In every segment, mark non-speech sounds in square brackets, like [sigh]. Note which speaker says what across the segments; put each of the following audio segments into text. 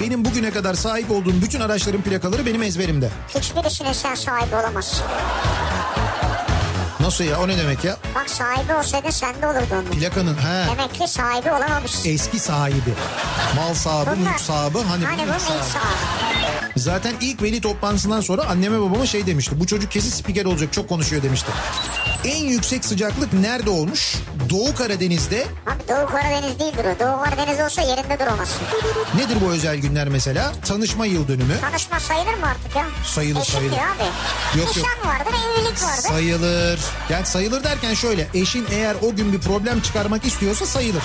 Speaker 1: Benim bugüne kadar sahip olduğum bütün araçların plakaları benim ezberimde.
Speaker 2: Hiçbirisine sen sahibi olamazsın.
Speaker 1: Nasıl ya o ne demek ya?
Speaker 2: Bak sahibi olsaydın sende olurdu onun.
Speaker 1: Plakanın he
Speaker 2: Demek ki sahibi olamamışsın.
Speaker 1: eski sahibi. Mal sahibi,
Speaker 2: Bunlar-
Speaker 1: mülk sahibi E, hani,
Speaker 2: hani
Speaker 1: bunun
Speaker 2: bu
Speaker 1: sahibi.
Speaker 2: ilk sahibi.
Speaker 1: Zaten ilk veli toplantısından sonra anneme babama şey demişti. Bu çocuk kesin spiker olacak çok konuşuyor demişti. En yüksek sıcaklık nerede olmuş? Doğu Karadeniz'de
Speaker 2: Abi Doğu Karadeniz değildir o. Doğu Karadeniz olsa yerinde duramazsın.
Speaker 1: nedir bu özel günler mesela? Tanışma yıl dönümü.
Speaker 2: Tanışma sayılır mı artık ya?
Speaker 1: Sayılır,
Speaker 2: Eşindir
Speaker 1: sayılır.
Speaker 2: abi.
Speaker 1: Yok, yok.
Speaker 2: Nişan vardır, evlilik vardır.
Speaker 1: Sayılır. Yani sayılır derken şöyle eşin eğer o gün bir problem çıkarmak istiyorsa sayılır.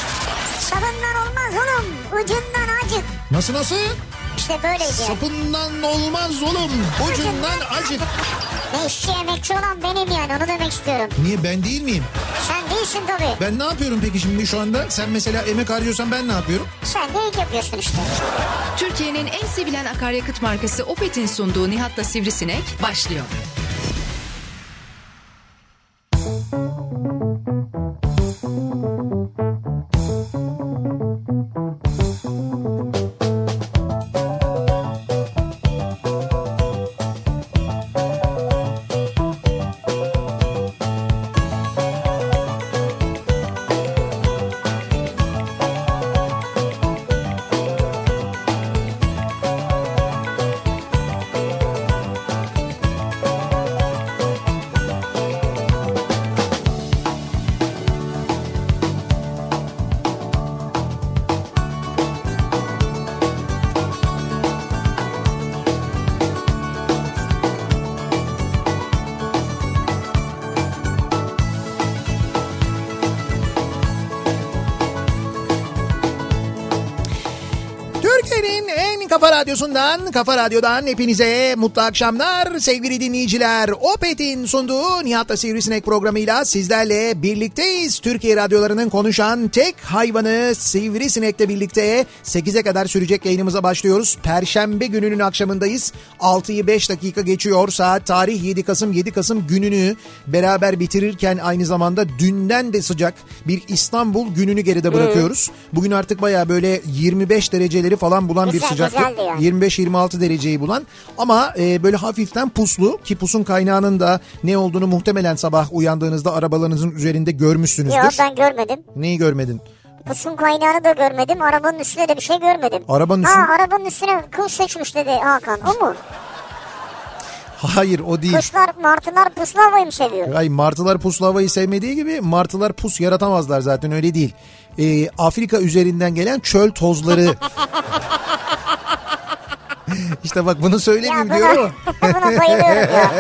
Speaker 2: Sabından olmaz oğlum. Ucundan acık.
Speaker 1: Nasıl nasıl?
Speaker 2: İşte böyleydi. yani.
Speaker 1: Sapından olmaz oğlum. Ucundan acık.
Speaker 2: Ne işçi emekçi olan benim yani onu demek istiyorum.
Speaker 1: Niye ben değil miyim?
Speaker 2: Sen değilsin tabii.
Speaker 1: Ben ne yapıyorum peki şimdi şu anda? Sen mesela emek harcıyorsan ben ne yapıyorum?
Speaker 2: Sen de ilk yapıyorsun işte.
Speaker 3: Türkiye'nin en sevilen akaryakıt markası Opet'in sunduğu Nihat'la Sivrisinek başlıyor.
Speaker 1: Türkiye'nin en kafa radyosundan, kafa radyodan hepinize mutlu akşamlar sevgili dinleyiciler. Opet'in sunduğu Nihat'la Sivrisinek programıyla sizlerle birlikteyiz. Türkiye radyolarının konuşan tek hayvanı Sivrisinek'le birlikte 8'e kadar sürecek yayınımıza başlıyoruz. Perşembe gününün akşamındayız. 6'yı 5 dakika geçiyor saat. Tarih 7 Kasım. 7 Kasım gününü beraber bitirirken aynı zamanda dünden de sıcak bir İstanbul gününü geride bırakıyoruz. Bugün artık baya böyle 25 dereceleri falan bulan bir
Speaker 2: Güzel,
Speaker 1: sıcaklık.
Speaker 2: güzeldi yani.
Speaker 1: 25-26 dereceyi bulan ama e, böyle hafiften puslu ki pusun kaynağının da ne olduğunu muhtemelen sabah uyandığınızda arabalarınızın üzerinde görmüşsünüzdür.
Speaker 2: Yok ben görmedim.
Speaker 1: Neyi görmedin?
Speaker 2: Pusun kaynağını da görmedim. Arabanın üstüne de bir şey görmedim.
Speaker 1: Arabanın üstüne-
Speaker 2: Ha arabanın üstüne kuş seçmiş dedi Hakan. O mu?
Speaker 1: Hayır o değil.
Speaker 2: Kuşlar, martılar puslu havayı mı seviyor?
Speaker 1: Ay martılar puslu havayı sevmediği gibi martılar pus yaratamazlar zaten öyle değil. Ee, Afrika üzerinden gelen çöl tozları. [laughs] işte bak bunu
Speaker 2: Ya
Speaker 1: söylemeyeyim diyorum.
Speaker 2: buna, [laughs] buna
Speaker 1: [laughs]
Speaker 2: bayılıyorum ya.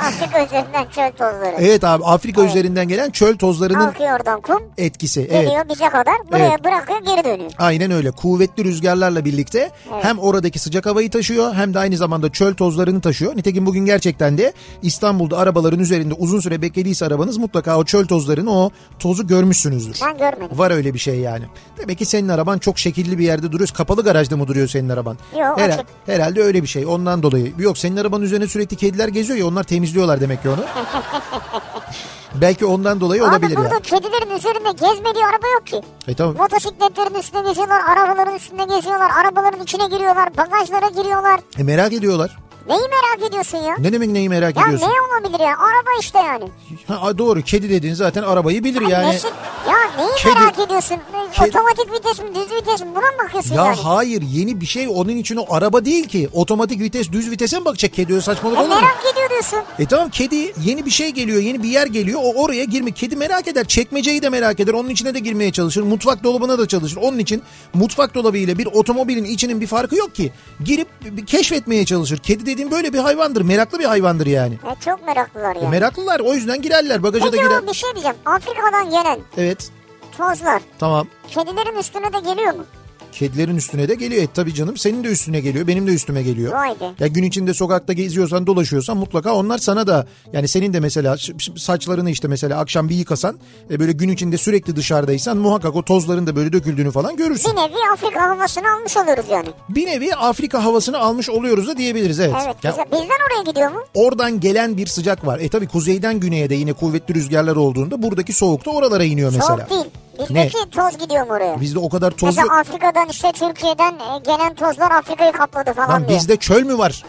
Speaker 2: Afrika üzerinden çöl tozları.
Speaker 1: Evet abi Afrika üzerinden gelen çöl tozlarının
Speaker 2: Kalkıyor oradan kum.
Speaker 1: etkisi. Evet.
Speaker 2: Geliyor bize kadar. Buraya
Speaker 1: Evet.
Speaker 2: bırakıyor geri dönüyor.
Speaker 1: Aynen öyle. Kuvvetli rüzgarlarla birlikte hem oradaki sıcak havayı taşıyor hem de aynı zamanda çöl tozlarını taşıyor. Nitekim bugün gerçekten de İstanbul'da arabaların üzerinde uzun süre beklediyse arabanız mutlaka o çöl tozlarını o tozu görmüşsünüzdür.
Speaker 2: Ben görmedim.
Speaker 1: Var öyle bir şey yani. Demek ki senin araban çok şekilli bir yerde duruyor. Kapalı garajda mı duruyor senin araban?
Speaker 2: Yok, açık.
Speaker 1: Herhalde öyle bir şey. Ondan dolayı. Yok senin arabanın üzerine sürekli kediler geziyor ya onlar temizliyorlar demek ki
Speaker 2: [laughs]
Speaker 1: onu. Belki ondan dolayı
Speaker 2: Abi
Speaker 1: olabilir
Speaker 2: burada
Speaker 1: ya.
Speaker 2: kedilerin üzerinde gezmediği araba yok ki.
Speaker 1: E tamam.
Speaker 2: Motosikletlerin üstüne geziyorlar, arabaların üstünde geziyorlar, arabaların içine giriyorlar, bagajlara giriyorlar.
Speaker 1: E merak ediyorlar.
Speaker 2: Neyi merak ediyorsun ya?
Speaker 1: Ne demek neyi merak
Speaker 2: Ya
Speaker 1: ediyorsun?
Speaker 2: ne olabilir ya? Araba işte yani.
Speaker 1: Ha, doğru kedi dediğin zaten arabayı bilir yani.
Speaker 2: Nesin- ya neyi
Speaker 1: Kedi-
Speaker 2: merak ediyorsun? Ne-
Speaker 1: Kedi-
Speaker 2: Otomatik vites mi, düz vites mi? Buna mı bakıyorsun
Speaker 1: Ya
Speaker 2: yani?
Speaker 1: hayır yeni bir şey onun için o araba değil ki. Otomatik vites düz vitese mi bakacak kedi Öyle saçmalık
Speaker 2: E,
Speaker 1: olur mu?
Speaker 2: merak ediyor diyorsun.
Speaker 1: E tamam kedi yeni bir şey geliyor yeni bir yer geliyor o oraya girme kedi merak eder çekmeceyi de merak eder onun içine de girmeye çalışır mutfak dolabına da çalışır onun için mutfak dolabı ile bir otomobilin içinin bir farkı yok ki girip bir keşfetmeye çalışır kedi dediğim böyle bir hayvandır meraklı bir hayvandır yani
Speaker 2: E, çok meraklılar
Speaker 1: E,
Speaker 2: ya.
Speaker 1: meraklılar o yüzden girerler bagaja da
Speaker 2: Peki
Speaker 1: girer
Speaker 2: abi bir şey diyeceğim. Afrika'dan gelen
Speaker 1: evet
Speaker 2: tozlar
Speaker 1: tamam
Speaker 2: kedilerin üstüne de geliyor mu?
Speaker 1: Kedilerin üstüne de geliyor. E tabii canım senin de üstüne geliyor. Benim de üstüme geliyor.
Speaker 2: Vay be.
Speaker 1: Ya gün içinde sokakta geziyorsan dolaşıyorsan mutlaka onlar sana da yani senin de mesela ş- ş- saçlarını işte mesela akşam bir yıkasan e, böyle gün içinde sürekli dışarıdaysan muhakkak o tozların da böyle döküldüğünü falan görürsün.
Speaker 2: Bir nevi Afrika havasını almış oluyoruz yani.
Speaker 1: Bir nevi Afrika havasını almış oluyoruz da diyebiliriz evet.
Speaker 2: Evet.
Speaker 1: Ya
Speaker 2: güzel. Bizden oraya gidiyor mu?
Speaker 1: oradan gelen bir sıcak var. E tabii kuzeyden güneye de yine kuvvetli rüzgarlar olduğunda buradaki soğuk da oralara iniyor mesela.
Speaker 2: Soğuk değil. Bizdeki toz gidiyor mu oraya?
Speaker 1: Bizde o kadar toz
Speaker 2: Mesela
Speaker 1: yok.
Speaker 2: Afrika'dan işte Türkiye'den e, gelen tozlar Afrika'yı kapladı falan
Speaker 1: Lan
Speaker 2: diye.
Speaker 1: bizde çöl mü var?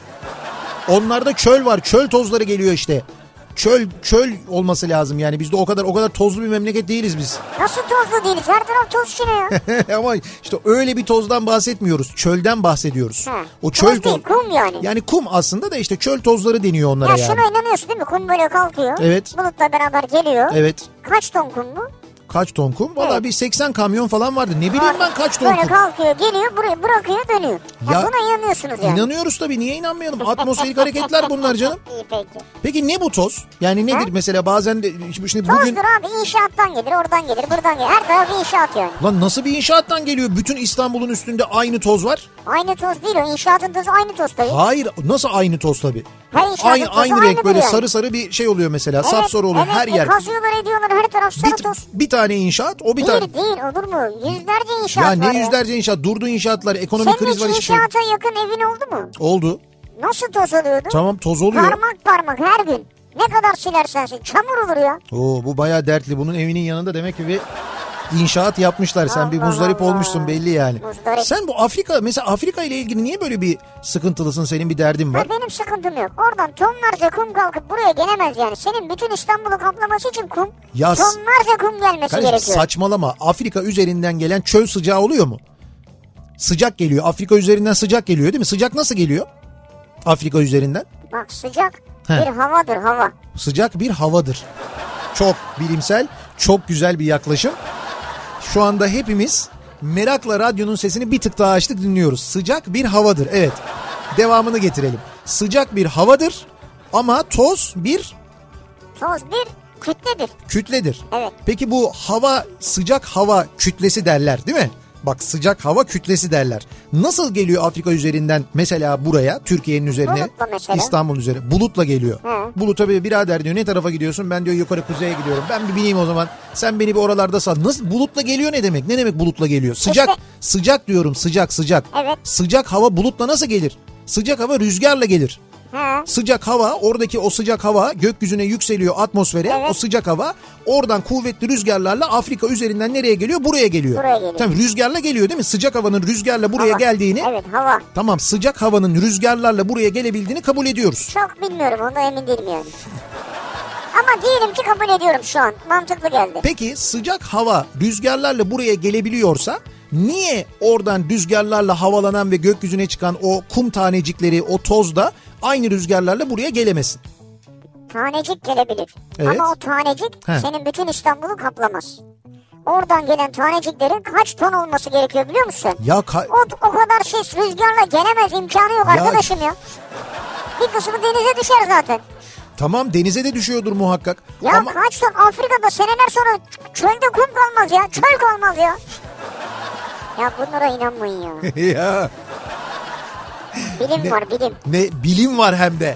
Speaker 1: Onlarda çöl var. Çöl tozları geliyor işte. Çöl çöl olması lazım yani. Bizde o kadar o kadar tozlu bir memleket değiliz biz. [laughs]
Speaker 2: Nasıl tozlu değiliz? Her taraf toz içine ya.
Speaker 1: Ama işte öyle bir tozdan bahsetmiyoruz. Çölden bahsediyoruz.
Speaker 2: Ha.
Speaker 1: O çöl
Speaker 2: Toz değil, kum yani.
Speaker 1: Yani kum aslında da işte çöl tozları deniyor onlara
Speaker 2: ya
Speaker 1: yani.
Speaker 2: şuna inanıyorsun değil mi? Kum böyle kalkıyor.
Speaker 1: Evet.
Speaker 2: Bulutla beraber geliyor.
Speaker 1: Evet.
Speaker 2: Kaç ton kum bu?
Speaker 1: Kaç ton kum? Valla
Speaker 2: Evet.
Speaker 1: bir 80 kamyon falan vardı. Ne bileyim ben kaç ton
Speaker 2: Böyle
Speaker 1: kum.
Speaker 2: kalkıyor, geliyor, buraya bırakıyor, dönüyor. Ya,
Speaker 1: Ya-
Speaker 2: buna inanıyorsunuz yani.
Speaker 1: İnanıyoruz tabii niye inanmayalım? Atmosferik hareketler bunlar
Speaker 2: [laughs]
Speaker 1: canım.
Speaker 2: İyi peki.
Speaker 1: Peki ne bu toz? Yani nedir mesela bazen de şimdi- şimdi bugün
Speaker 2: Tozdur abi inşaattan gelir, oradan gelir, buradan gelir. Her taraf inşaat yani.
Speaker 1: lan nasıl bir inşaattan geliyor? Bütün İstanbul'un üstünde aynı toz var.
Speaker 2: Aynı toz değil o. İnşaatın tozu aynı toz tabii.
Speaker 1: Hayır nasıl aynı toz tabii?
Speaker 2: Her inşaatın
Speaker 1: Aynı,
Speaker 2: tozu
Speaker 1: aynı renk
Speaker 2: aynıdır
Speaker 1: böyle
Speaker 2: yani.
Speaker 1: sarı sarı bir şey oluyor mesela.
Speaker 2: Evet,
Speaker 1: Sapsarı oluyor
Speaker 2: evet,
Speaker 1: her
Speaker 2: e,
Speaker 1: yer.
Speaker 2: Kazıyorlar ediyorlar her taraf sarı
Speaker 1: Bir,
Speaker 2: toz.
Speaker 1: bir tane inşaat o bir
Speaker 2: Değil
Speaker 1: tane.
Speaker 2: değil olur mu? Yüzlerce inşaat
Speaker 1: Ya
Speaker 2: var
Speaker 1: ne yüzlerce inşaat durdu inşaatlar ekonomik
Speaker 2: Senin
Speaker 1: kriz
Speaker 2: hiç
Speaker 1: var hiçbir şey. yok.
Speaker 2: inşaata yakın evin oldu mu?
Speaker 1: Oldu.
Speaker 2: Nasıl toz oluyordu?
Speaker 1: Tamam toz oluyor.
Speaker 2: Parmak parmak her gün. Ne kadar silersen sil. Çamur olur ya.
Speaker 1: Oo bu bayağı dertli. Bunun evinin yanında demek ki bir inşaat yapmışlar. Sen bir
Speaker 2: Allah
Speaker 1: muzdarip
Speaker 2: Allah.
Speaker 1: olmuşsun belli yani.
Speaker 2: Muzdarip.
Speaker 1: Sen bu Afrika mesela Afrika ile ilgili niye böyle bir sıkıntılısın? Senin bir derdin var.
Speaker 2: Ha, benim sıkıntım yok. Oradan tonlarca kum kalkıp buraya gelemez yani. Senin bütün İstanbul'u kaplaması için kum.
Speaker 1: Ya s-
Speaker 2: Tonlarca kum gelmesi
Speaker 1: Kardeşim
Speaker 2: gerekiyor.
Speaker 1: saçmalama. Afrika üzerinden gelen çöl sıcağı oluyor mu? Sıcak geliyor. Afrika üzerinden sıcak geliyor değil mi? Sıcak nasıl geliyor? Afrika üzerinden.
Speaker 2: Bak sıcak
Speaker 1: He.
Speaker 2: bir havadır hava.
Speaker 1: Sıcak bir havadır. Çok bilimsel, çok güzel bir yaklaşım. Şu anda hepimiz merakla radyonun sesini bir tık daha açtık dinliyoruz. Sıcak bir havadır. Evet. Devamını getirelim. Sıcak bir havadır ama toz bir
Speaker 2: Toz bir kütledir.
Speaker 1: kütledir.
Speaker 2: Evet.
Speaker 1: Peki bu hava sıcak hava kütlesi derler değil mi? Bak sıcak hava kütlesi derler. Nasıl geliyor Afrika üzerinden mesela buraya Türkiye'nin üzerine
Speaker 2: Bulutla mesela.
Speaker 1: İstanbul üzerine bulutla geliyor.
Speaker 2: Hı.
Speaker 1: Bulut tabii birader diyor ne tarafa gidiyorsun ben diyor yukarı kuzeye gidiyorum ben bir bineyim o zaman sen beni bir oralarda sal. Nasıl bulutla geliyor ne demek ne demek bulutla geliyor sıcak
Speaker 2: İşte-
Speaker 1: sıcak diyorum sıcak sıcak.
Speaker 2: Evet.
Speaker 1: Sıcak hava bulutla nasıl gelir? Sıcak hava rüzgarla gelir.
Speaker 2: Ha.
Speaker 1: Sıcak hava oradaki o sıcak hava gökyüzüne yükseliyor atmosfere
Speaker 2: Evet.
Speaker 1: o sıcak hava oradan kuvvetli rüzgarlarla Afrika üzerinden nereye geliyor buraya geliyor.
Speaker 2: Buraya geliyor.
Speaker 1: Tamam rüzgarla geliyor değil mi sıcak havanın rüzgarla buraya
Speaker 2: hava.
Speaker 1: geldiğini
Speaker 2: Evet hava.
Speaker 1: tamam sıcak havanın rüzgarlarla buraya gelebildiğini kabul ediyoruz.
Speaker 2: Çok bilmiyorum ona emin değilim
Speaker 1: [laughs]
Speaker 2: yani. Ama diyelim ki kabul ediyorum şu an. Mantıklı geldi.
Speaker 1: Peki sıcak hava rüzgarlarla buraya gelebiliyorsa niye oradan rüzgarlarla havalanan ve gökyüzüne çıkan o kum tanecikleri o toz da aynı rüzgarlarla buraya gelemesin?
Speaker 2: Tanecik gelebilir.
Speaker 1: Evet.
Speaker 2: Ama o tanecik
Speaker 1: He.
Speaker 2: senin bütün İstanbul'u kaplamaz. Oradan gelen taneciklerin kaç ton olması gerekiyor biliyor musun?
Speaker 1: Ya ka-
Speaker 2: O, o kadar ses rüzgarla gelemez imkanı yok
Speaker 1: Ya-
Speaker 2: arkadaşım ya. Bir kısmı denize düşer zaten.
Speaker 1: tamam denize de düşüyordur muhakkak.
Speaker 2: Ya
Speaker 1: Ama-
Speaker 2: kaç ton Afrika'da seneler sonra ç- çölde kum kalmaz ya. Çöl kalmaz ya. Ya bunlara inanmayın
Speaker 1: [laughs]
Speaker 2: ya.
Speaker 1: ya
Speaker 2: Bilim var bilim.
Speaker 1: ne bilim var hem de.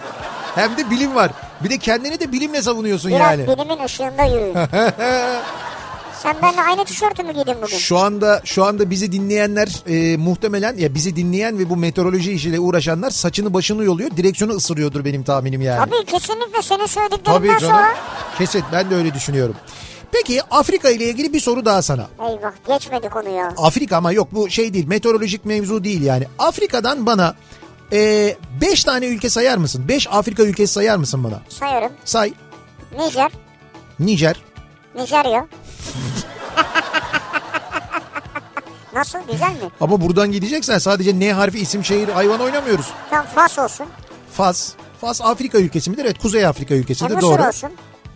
Speaker 1: Hem de bilim var. Bir de kendini de bilimle savunuyorsun
Speaker 2: Biraz
Speaker 1: yani.
Speaker 2: bilimin
Speaker 1: [laughs]
Speaker 2: ışığında yürüyün. Sen benimle aynı tişörtü mü giydin bugün?
Speaker 1: Şu anda şu anda bizi dinleyenler e, muhtemelen ya bizi dinleyen ve bu meteoroloji işiyle uğraşanlar saçını başını yoluyor, direksiyonu ısırıyordur benim tahminim yani.
Speaker 2: Abi kesinlikle senin söylediklerinden sonra...
Speaker 1: Kesin ben de öyle düşünüyorum. Peki Afrika ile ilgili bir soru daha sana.
Speaker 2: Eyvah geçmedi konu ya.
Speaker 1: Afrika ama yok bu şey değil meteorolojik mevzu değil yani. Afrika'dan bana 5 tane ülke sayar mısın? 5 Afrika ülkesi sayar mısın bana?
Speaker 2: Sayarım.
Speaker 1: Say.
Speaker 2: Nijer,
Speaker 1: Nijer. [laughs]
Speaker 2: Nijerya. Nasıl güzel mi?
Speaker 1: Ama buradan gideceksen sadece N harfi isim şehir hayvan oynamıyoruz.
Speaker 2: Tam Fas olsun.
Speaker 1: Fas. Fas Afrika ülkesi midir? Evet Kuzey Afrika
Speaker 2: E,
Speaker 1: ülkesidir
Speaker 2: Mısır
Speaker 1: doğru.
Speaker 2: olsun.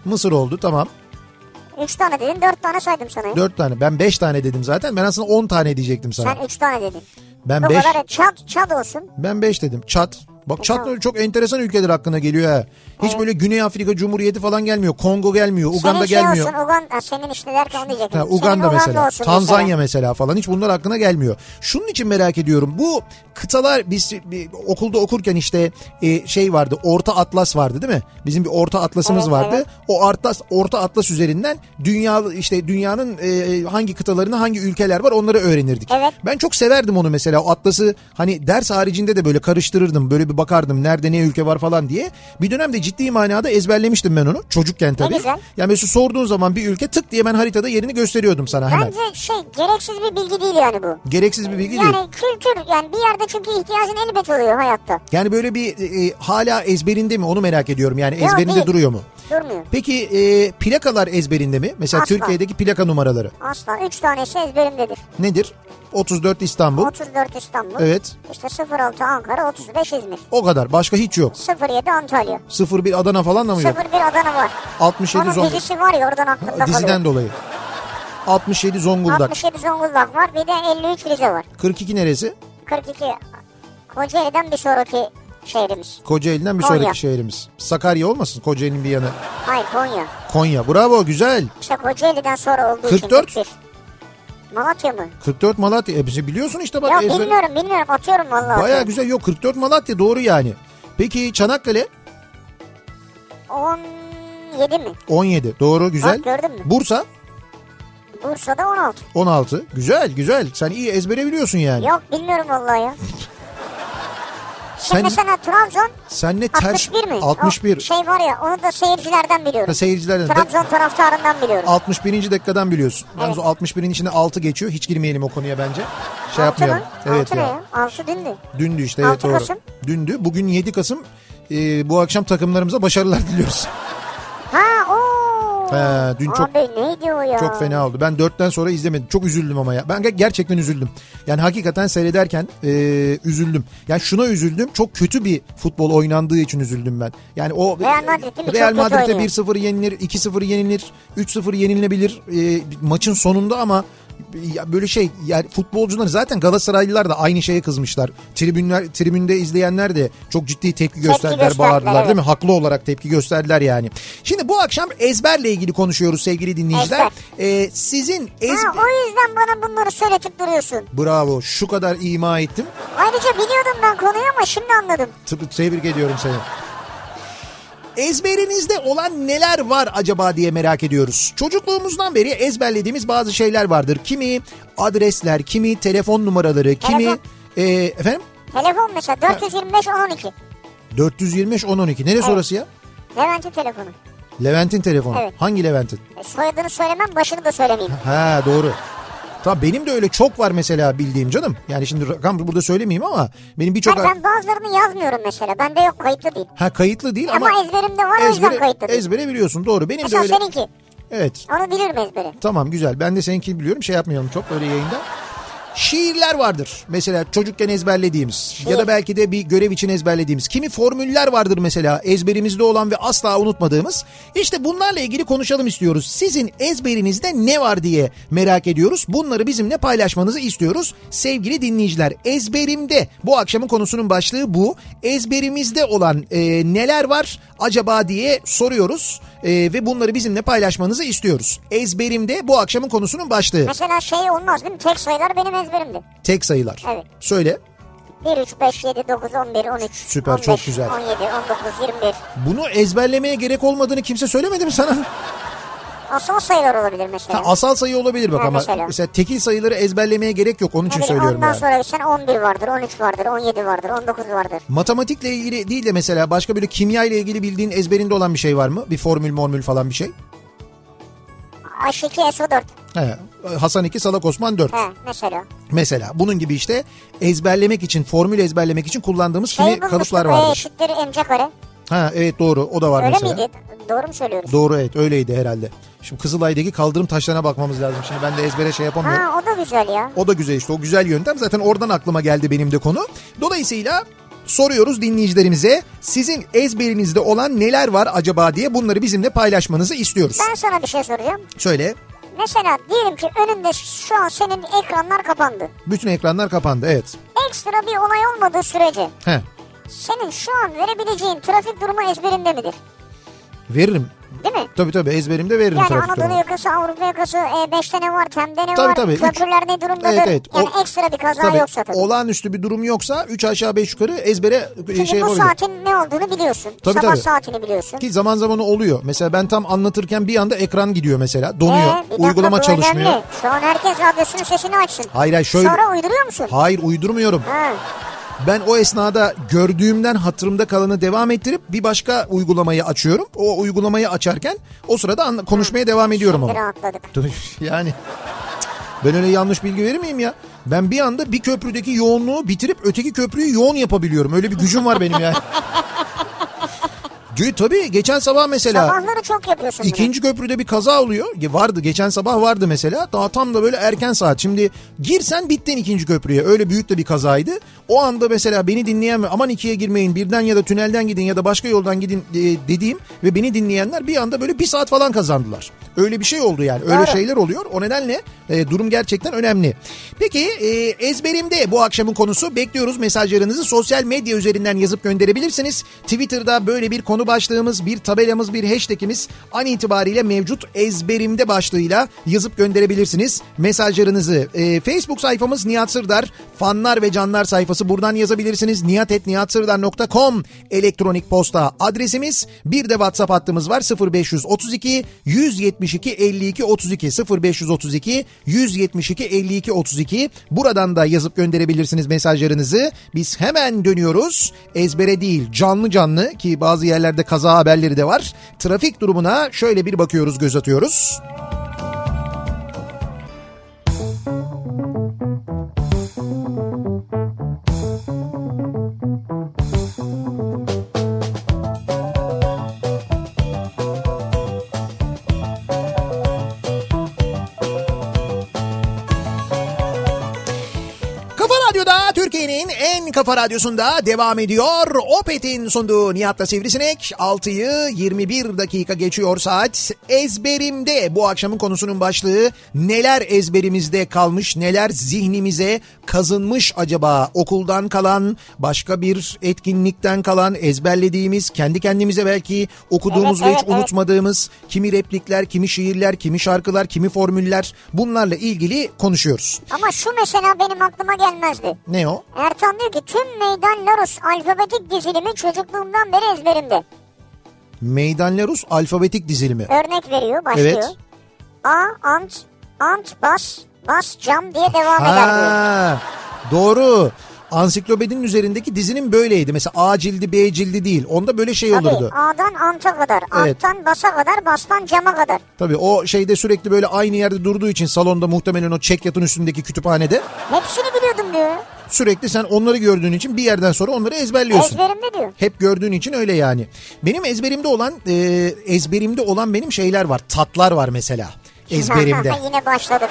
Speaker 1: Mısır oldu tamam.
Speaker 2: Üç tane dedin dört tane saydım sana. ya.
Speaker 1: Dört tane ben beş tane dedim zaten. Ben aslında on tane diyecektim sana.
Speaker 2: Sen üç tane dedin.
Speaker 1: ben
Speaker 2: O
Speaker 1: beş.
Speaker 2: kadar Çad, Çad olsun.
Speaker 1: Ben 5 dedim. Çat. Bak Çat da çok enteresan ülkeler hakkına geliyor ha. Hiç böyle Güney Afrika Cumhuriyeti falan gelmiyor. Kongo gelmiyor. Uganda
Speaker 2: senin şey
Speaker 1: gelmiyor.
Speaker 2: olsun Uganda. Senin işte derken onu diyecektim.
Speaker 1: Ha,
Speaker 2: Senin
Speaker 1: Uganda mesela,
Speaker 2: olsun
Speaker 1: Tanzanya mesela falan hiç bunlar hakkına gelmiyor. Şunun için merak ediyorum. Bu kıtalar biz bir okulda okurken işte e, şey vardı. Orta Atlas vardı değil mi? Bizim bir Orta Atlas'ımız
Speaker 2: Evet,
Speaker 1: vardı.
Speaker 2: evet.
Speaker 1: O Atlas Orta Atlas üzerinden dünya işte dünyanın e, hangi kıtalarında hangi ülkeler var onları öğrenirdik.
Speaker 2: Evet.
Speaker 1: Ben çok severdim onu mesela. O Atlas'ı hani ders haricinde de böyle karıştırırdım. Böyle bir vardı bakardım nerede ne ülke var falan diye. Bir dönemde ciddi manada ezberlemiştim ben onu çocukken tabii.
Speaker 2: güzel.
Speaker 1: Ya Mesut sorduğun zaman bir ülke tık diye ben haritada yerini gösteriyordum sana hemen.
Speaker 2: Bence şey gereksiz bir bilgi değil yani bu.
Speaker 1: Gereksiz bir bilgi değil.
Speaker 2: Yani kültür yani bir yerde çünkü ihtiyacın elbet oluyor hayatta.
Speaker 1: Yani böyle bir e, e, hala ezberinde mi onu merak ediyorum yani
Speaker 2: Yok,
Speaker 1: ezberinde
Speaker 2: değil.
Speaker 1: duruyor mu?
Speaker 2: Durmuyor.
Speaker 1: Peki e, plakalar ezberinde mi? Mesela
Speaker 2: Asla.
Speaker 1: Türkiye'deki plaka numaraları
Speaker 2: Asla. Üç şey tanesi ezberimdedir.
Speaker 1: nedir? 34 İstanbul.
Speaker 2: 34 İstanbul.
Speaker 1: Evet.
Speaker 2: İşte 06 Ankara, 35 İzmir.
Speaker 1: O kadar. Başka hiç yok.
Speaker 2: 07 Antalya.
Speaker 1: 01 Adana falan da mı yok?
Speaker 2: 01 Adana var.
Speaker 1: 67
Speaker 2: Onun
Speaker 1: Zonguldak.
Speaker 2: dizisi var ya oradan aklımda
Speaker 1: Diziden
Speaker 2: kalıyor.
Speaker 1: dolayı. 67 Zonguldak.
Speaker 2: 67 Zonguldak var bir de 53 Rize var.
Speaker 1: 42 neresi?
Speaker 2: 42 Kocaeli'den bir sonraki şehrimiz.
Speaker 1: Kocaeli'den bir
Speaker 2: Konya.
Speaker 1: sonraki şehrimiz. Sakarya olmasın Kocaeli'nin bir yanı.
Speaker 2: Hayır Konya.
Speaker 1: Konya. Bravo güzel.
Speaker 2: İşte Kocaeli'den sonra olduğu için.
Speaker 1: 44?
Speaker 2: 41. Malatya mı?
Speaker 1: 44 Malatya. E, bizi biliyorsun işte bak.
Speaker 2: Ya
Speaker 1: ezber-
Speaker 2: bilmiyorum bilmiyorum atıyorum vallahi.
Speaker 1: Baya
Speaker 2: atıyorum.
Speaker 1: güzel. Yok 44 Malatya doğru yani. Peki Çanakkale
Speaker 2: 17 mi?
Speaker 1: 17 doğru güzel.
Speaker 2: Bak gördün mü?
Speaker 1: Bursa
Speaker 2: Bursa'da 16.
Speaker 1: 16. Güzel güzel. Sen iyi ezbere biliyorsun yani.
Speaker 2: Yok bilmiyorum vallahi
Speaker 1: Hani-
Speaker 2: ya.
Speaker 1: sen
Speaker 2: Şimdi sana Trabzon
Speaker 1: sen ne ters
Speaker 2: 61 mi?
Speaker 1: 61.
Speaker 2: O şey var ya onu da seyircilerden
Speaker 1: Ha,
Speaker 2: biliyorum.
Speaker 1: seyircilerden. de-
Speaker 2: Trabzon taraftarından biliyorum.
Speaker 1: 61. dakikadan biliyorsun. Yalnız
Speaker 2: Evet.
Speaker 1: o 61'in içinde 6 geçiyor. Hiç girmeyelim o konuya bence. Şey
Speaker 2: Altı
Speaker 1: yapmayalım.
Speaker 2: mı?
Speaker 1: Evet
Speaker 2: Altı ne
Speaker 1: ya.
Speaker 2: ya? Altı dündü.
Speaker 1: Dündü işte evet
Speaker 2: Altı
Speaker 1: doğru.
Speaker 2: Kasım.
Speaker 1: Dündü. Bugün 7 Kasım. Ee, bu akşam takımlarımıza başarılar [laughs] diliyoruz.
Speaker 2: Ha ooo.
Speaker 1: He, dün çok-
Speaker 2: Abi neydi o ya?
Speaker 1: Çok fena oldu. Ben 4'ten sonra izlemedim. Çok üzüldüm ama ya. Ben ger- gerçekten üzüldüm. Yani hakikaten seyrederken ee, üzüldüm. Yani şuna üzüldüm. Çok kötü bir futbol oynandığı için üzüldüm ben. Yani o
Speaker 2: Real Madrid değil mi? Çok
Speaker 1: Real
Speaker 2: kötü
Speaker 1: Madrid'e
Speaker 2: oynuyor.
Speaker 1: 1-0 yenilir, 2-0 yenilir, 3-0 yenilebilir ee, maçın sonunda ama ya böyle şey yani futbolcular zaten Galatasaraylılar da aynı şeye kızmışlar. Tribünler tribünde izleyenler de çok ciddi tepki gösterdiler,
Speaker 2: gösterdiler,
Speaker 1: bağırdılar değil mi?
Speaker 2: evet.
Speaker 1: Haklı olarak tepki gösterdiler yani. Şimdi bu akşam ezberle ilgili konuşuyoruz sevgili dinleyiciler. Ee, sizin
Speaker 2: Ha,
Speaker 1: ezber...
Speaker 2: o yüzden bana bunları söyletip duruyorsun.
Speaker 1: Bravo şu kadar ima ettim.
Speaker 2: Ayrıca biliyordum ben konuyu ama şimdi anladım.
Speaker 1: Tıp- Tebrik ediyorum seni. Ezberinizde olan neler var acaba diye merak ediyoruz. Çocukluğumuzdan beri ezberlediğimiz bazı şeyler vardır. Kimi adresler, kimi telefon numaraları, kimi...
Speaker 2: Telefon.
Speaker 1: Ee, efendim?
Speaker 2: Telefon mesela 425 12.
Speaker 1: 425 1012. Neresi orası ya?
Speaker 2: Levent'in telefonu.
Speaker 1: Levent'in telefonu.
Speaker 2: Evet.
Speaker 1: Hangi Levent'in?
Speaker 2: E, soyadını söylemem başını da söylemeyeyim.
Speaker 1: Ha doğru. Tamam benim de öyle çok var mesela bildiğim canım. Yani şimdi rakam burada söylemeyeyim ama benim birçok...
Speaker 2: Hayır, ben bazılarını yazmıyorum mesela. Bende yok kayıtlı değil.
Speaker 1: Ha kayıtlı değil ama...
Speaker 2: Ama, ezberimde var o yüzden kayıtlı değil.
Speaker 1: ezbere biliyorsun doğru. Benim de
Speaker 2: Mesela
Speaker 1: öyle...
Speaker 2: seninki.
Speaker 1: Evet.
Speaker 2: Onu bilirim ezberi.
Speaker 1: Tamam güzel. Ben de seninkini biliyorum. Şey yapmayalım çok böyle yayında. Şiirler vardır. Mesela çocukken ezberlediğimiz ya da belki de bir görev için ezberlediğimiz. Kimi formüller vardır mesela ezberimizde olan ve asla unutmadığımız. İşte bunlarla ilgili konuşalım istiyoruz. Sizin ezberinizde ne var diye merak ediyoruz. Bunları bizimle paylaşmanızı istiyoruz. Sevgili dinleyiciler ezberimde bu akşamın konusunun başlığı bu. Ezberimizde olan e, neler var acaba diye soruyoruz. E, ve bunları bizimle paylaşmanızı istiyoruz. Ezberimde bu akşamın konusunun başlığı.
Speaker 2: Mesela şey olmaz değil mi? Tek sayılar benim ezberimde.
Speaker 1: Tek sayılar.
Speaker 2: Evet.
Speaker 1: Söyle.
Speaker 2: 1, 3, 5, 7, 9, 11, 13,
Speaker 1: Süper,
Speaker 2: 15,
Speaker 1: çok güzel.
Speaker 2: 17, 19, 21.
Speaker 1: Bunu ezberlemeye gerek olmadığını kimse söylemedi mi
Speaker 2: [laughs]
Speaker 1: sana?
Speaker 2: Asıl sayılar olabilir mesela.
Speaker 1: Ha, asal sayı olabilir bak
Speaker 2: Ha,
Speaker 1: ama mesela.
Speaker 2: mesela.
Speaker 1: tekil sayıları ezberlemeye gerek yok onun için
Speaker 2: Ne bileyim,
Speaker 1: söylüyorum
Speaker 2: Ondan
Speaker 1: yani.
Speaker 2: sonra sen 11 vardır, 13 vardır, 17 vardır, 19 vardır.
Speaker 1: Matematikle ilgili değil de mesela başka böyle kimya ile ilgili bildiğin ezberinde olan bir şey var mı? Bir formül mormül falan bir şey.
Speaker 2: H2, SO4.
Speaker 1: He. Hasan 2 Salak Osman 4
Speaker 2: He mesela.
Speaker 1: mesela. Bunun gibi işte ezberlemek için formül ezberlemek için kullandığımız
Speaker 2: Şey
Speaker 1: kimi
Speaker 2: bulmuştuk,
Speaker 1: kalıplar
Speaker 2: E
Speaker 1: vardır.
Speaker 2: eşittir MC kare.
Speaker 1: Ha evet doğru o da var
Speaker 2: Öyle
Speaker 1: mesela.
Speaker 2: miydi? Doğru mu söylüyoruz?
Speaker 1: Doğru evet öyleydi herhalde. Şimdi Kızılay'daki kaldırım taşlarına bakmamız lazım. Şimdi ben de ezbere şey yapamıyorum.
Speaker 2: ha o da güzel ya.
Speaker 1: O da güzel işte o güzel yöntem zaten oradan aklıma geldi benim de konu. Dolayısıyla soruyoruz dinleyicilerimize sizin ezberinizde olan neler var acaba diye bunları bizimle paylaşmanızı istiyoruz.
Speaker 2: Ben sana bir şey soracağım.
Speaker 1: Şöyle
Speaker 2: Mesela diyelim ki önünde şu an senin ekranlar kapandı.
Speaker 1: bütün ekranlar kapandı evet.
Speaker 2: Ekstra bir olay olmadığı sürece
Speaker 1: He,
Speaker 2: senin şu an verebileceğin trafik durumu ezberinde midir?
Speaker 1: veririm.
Speaker 2: Değil mi?
Speaker 1: Tabii tabii ezberimde veririm
Speaker 2: Yani
Speaker 1: trafik
Speaker 2: Anadolu
Speaker 1: durumu.
Speaker 2: yakası, Avrupa yakası, E5'te ne var, TEM'de ne
Speaker 1: Tabii,
Speaker 2: var,
Speaker 1: tabii. Üç-
Speaker 2: köprüler ne durumdadır?
Speaker 1: Evet, evet. O-
Speaker 2: Yani ekstra bir kaza
Speaker 1: Tabii,
Speaker 2: yoksa tabii.
Speaker 1: olağanüstü bir durum yoksa 3 aşağı 5 yukarı ezbere
Speaker 2: Çünkü
Speaker 1: şey
Speaker 2: bu
Speaker 1: yapabilirim.
Speaker 2: saatin ne olduğunu biliyorsun.
Speaker 1: Tabii,
Speaker 2: Sabah
Speaker 1: tabii.
Speaker 2: saatini biliyorsun.
Speaker 1: Ki zaman zaman o oluyor. Mesela ben tam anlatırken bir anda ekran gidiyor mesela. Donuyor.
Speaker 2: Ee, bir dakika,
Speaker 1: uygulama
Speaker 2: bu
Speaker 1: çalışmıyor.
Speaker 2: önemli. Şu an herkes radyosunun sesini açsın.
Speaker 1: Hayır hayır şöyle.
Speaker 2: Sonra uyduruyor musun?
Speaker 1: Hayır uydurmuyorum.
Speaker 2: Ha.
Speaker 1: Ben o esnada gördüğümden hatırımda kalanı devam ettirip bir başka uygulamayı açıyorum. O uygulamayı açarken o sırada anla- konuşmaya devam ediyorum ama.
Speaker 2: Rahatladık.
Speaker 1: Tabii [laughs] yani ben öyle yanlış bilgi verir miyim ya? Ben bir anda bir köprüdeki yoğunluğu bitirip öteki köprüyü yoğun yapabiliyorum. Öyle bir gücüm var benim yani. Dü- Tabii geçen sabah mesela
Speaker 2: Sabahları çok yapıyorsun bunu.
Speaker 1: ikinci köprüde bir kaza oluyor. Ge- Vardı geçen sabah vardı mesela. Daha tam da böyle erken saat. Şimdi girsen bittin ikinci köprüye. Öyle büyük de bir kazaydı. O anda mesela beni dinleyen ve aman ikiye girmeyin birden ya da tünelden gidin ya da başka yoldan gidin e, dediğim ve beni dinleyenler bir anda böyle bir saat falan kazandılar. Öyle bir şey oldu yani. Öyle
Speaker 2: Doğru.
Speaker 1: şeyler oluyor. O nedenle e, durum gerçekten önemli. Peki e, ezberimde bu akşamın konusu. Bekliyoruz mesajlarınızı sosyal medya üzerinden yazıp gönderebilirsiniz. Twitter'da böyle bir konu başlığımız, bir tabelamız, bir hashtagimiz an itibariyle mevcut ezberimde başlığıyla yazıp gönderebilirsiniz mesajlarınızı. E, Facebook sayfamız Nihat Sırdar, fanlar ve canlar sayfası buradan yazabilirsiniz. niyatetniyatsırdar.com elektronik posta adresimiz. Bir de WhatsApp hattımız var 0532 172 52 32 0532 172 52 32 buradan da yazıp gönderebilirsiniz mesajlarınızı. Biz hemen dönüyoruz. Ezbere değil canlı canlı ki bazı yerlerde kaza haberleri de var. Trafik durumuna şöyle bir bakıyoruz göz atıyoruz. Kafa Radyo'da Türkiye'nin en kafa radyosunda devam ediyor. Opet'in sunduğu Nihat'la Sivrisinek 6'yı 21 dakika geçiyor saat. Ezberimde bu akşamın konusunun başlığı neler ezberimizde kalmış neler zihnimize kazınmış acaba okuldan kalan başka bir etkinlikten kalan ezberlediğimiz kendi kendimize belki okuduğumuz
Speaker 2: Evet,
Speaker 1: ve hiç
Speaker 2: evet, evet.
Speaker 1: unutmadığımız kimi replikler kimi şiirler kimi şarkılar kimi formüller bunlarla ilgili konuşuyoruz.
Speaker 2: Ama şu mesela benim aklıma gelmezdi.
Speaker 1: Ne o?
Speaker 2: Ertan diyor ki tüm meydan Larus alfabetik dizilimi çocukluğumdan beri ezberimde.
Speaker 1: Meydanlar Rus alfabetik dizilimi.
Speaker 2: Örnek veriyor başlıyor.
Speaker 1: Evet.
Speaker 2: A, ant, ant, bas, bas, cam diye devam eder diyor.
Speaker 1: Ha, doğru. Ansiklopedinin üzerindeki dizinin böyleydi. Mesela A cildi B cildi değil. Onda böyle şey olurdu.
Speaker 2: Tabii A'dan anta kadar,
Speaker 1: Evet.
Speaker 2: anttan basa kadar, bastan cama kadar.
Speaker 1: Tabii o şeyde sürekli böyle aynı yerde durduğu için salonda muhtemelen o çek yatın üstündeki kütüphanede
Speaker 2: Hepsini biliyordum diyor.
Speaker 1: sürekli sen onları gördüğün için bir yerden sonra onları ezberliyorsun.
Speaker 2: Ezberimde diyor.
Speaker 1: Hep gördüğün için öyle yani. Benim ezberimde olan e, ezberimde olan benim şeyler var. Tatlar var mesela ezberimde.
Speaker 2: [laughs] Yine başladık.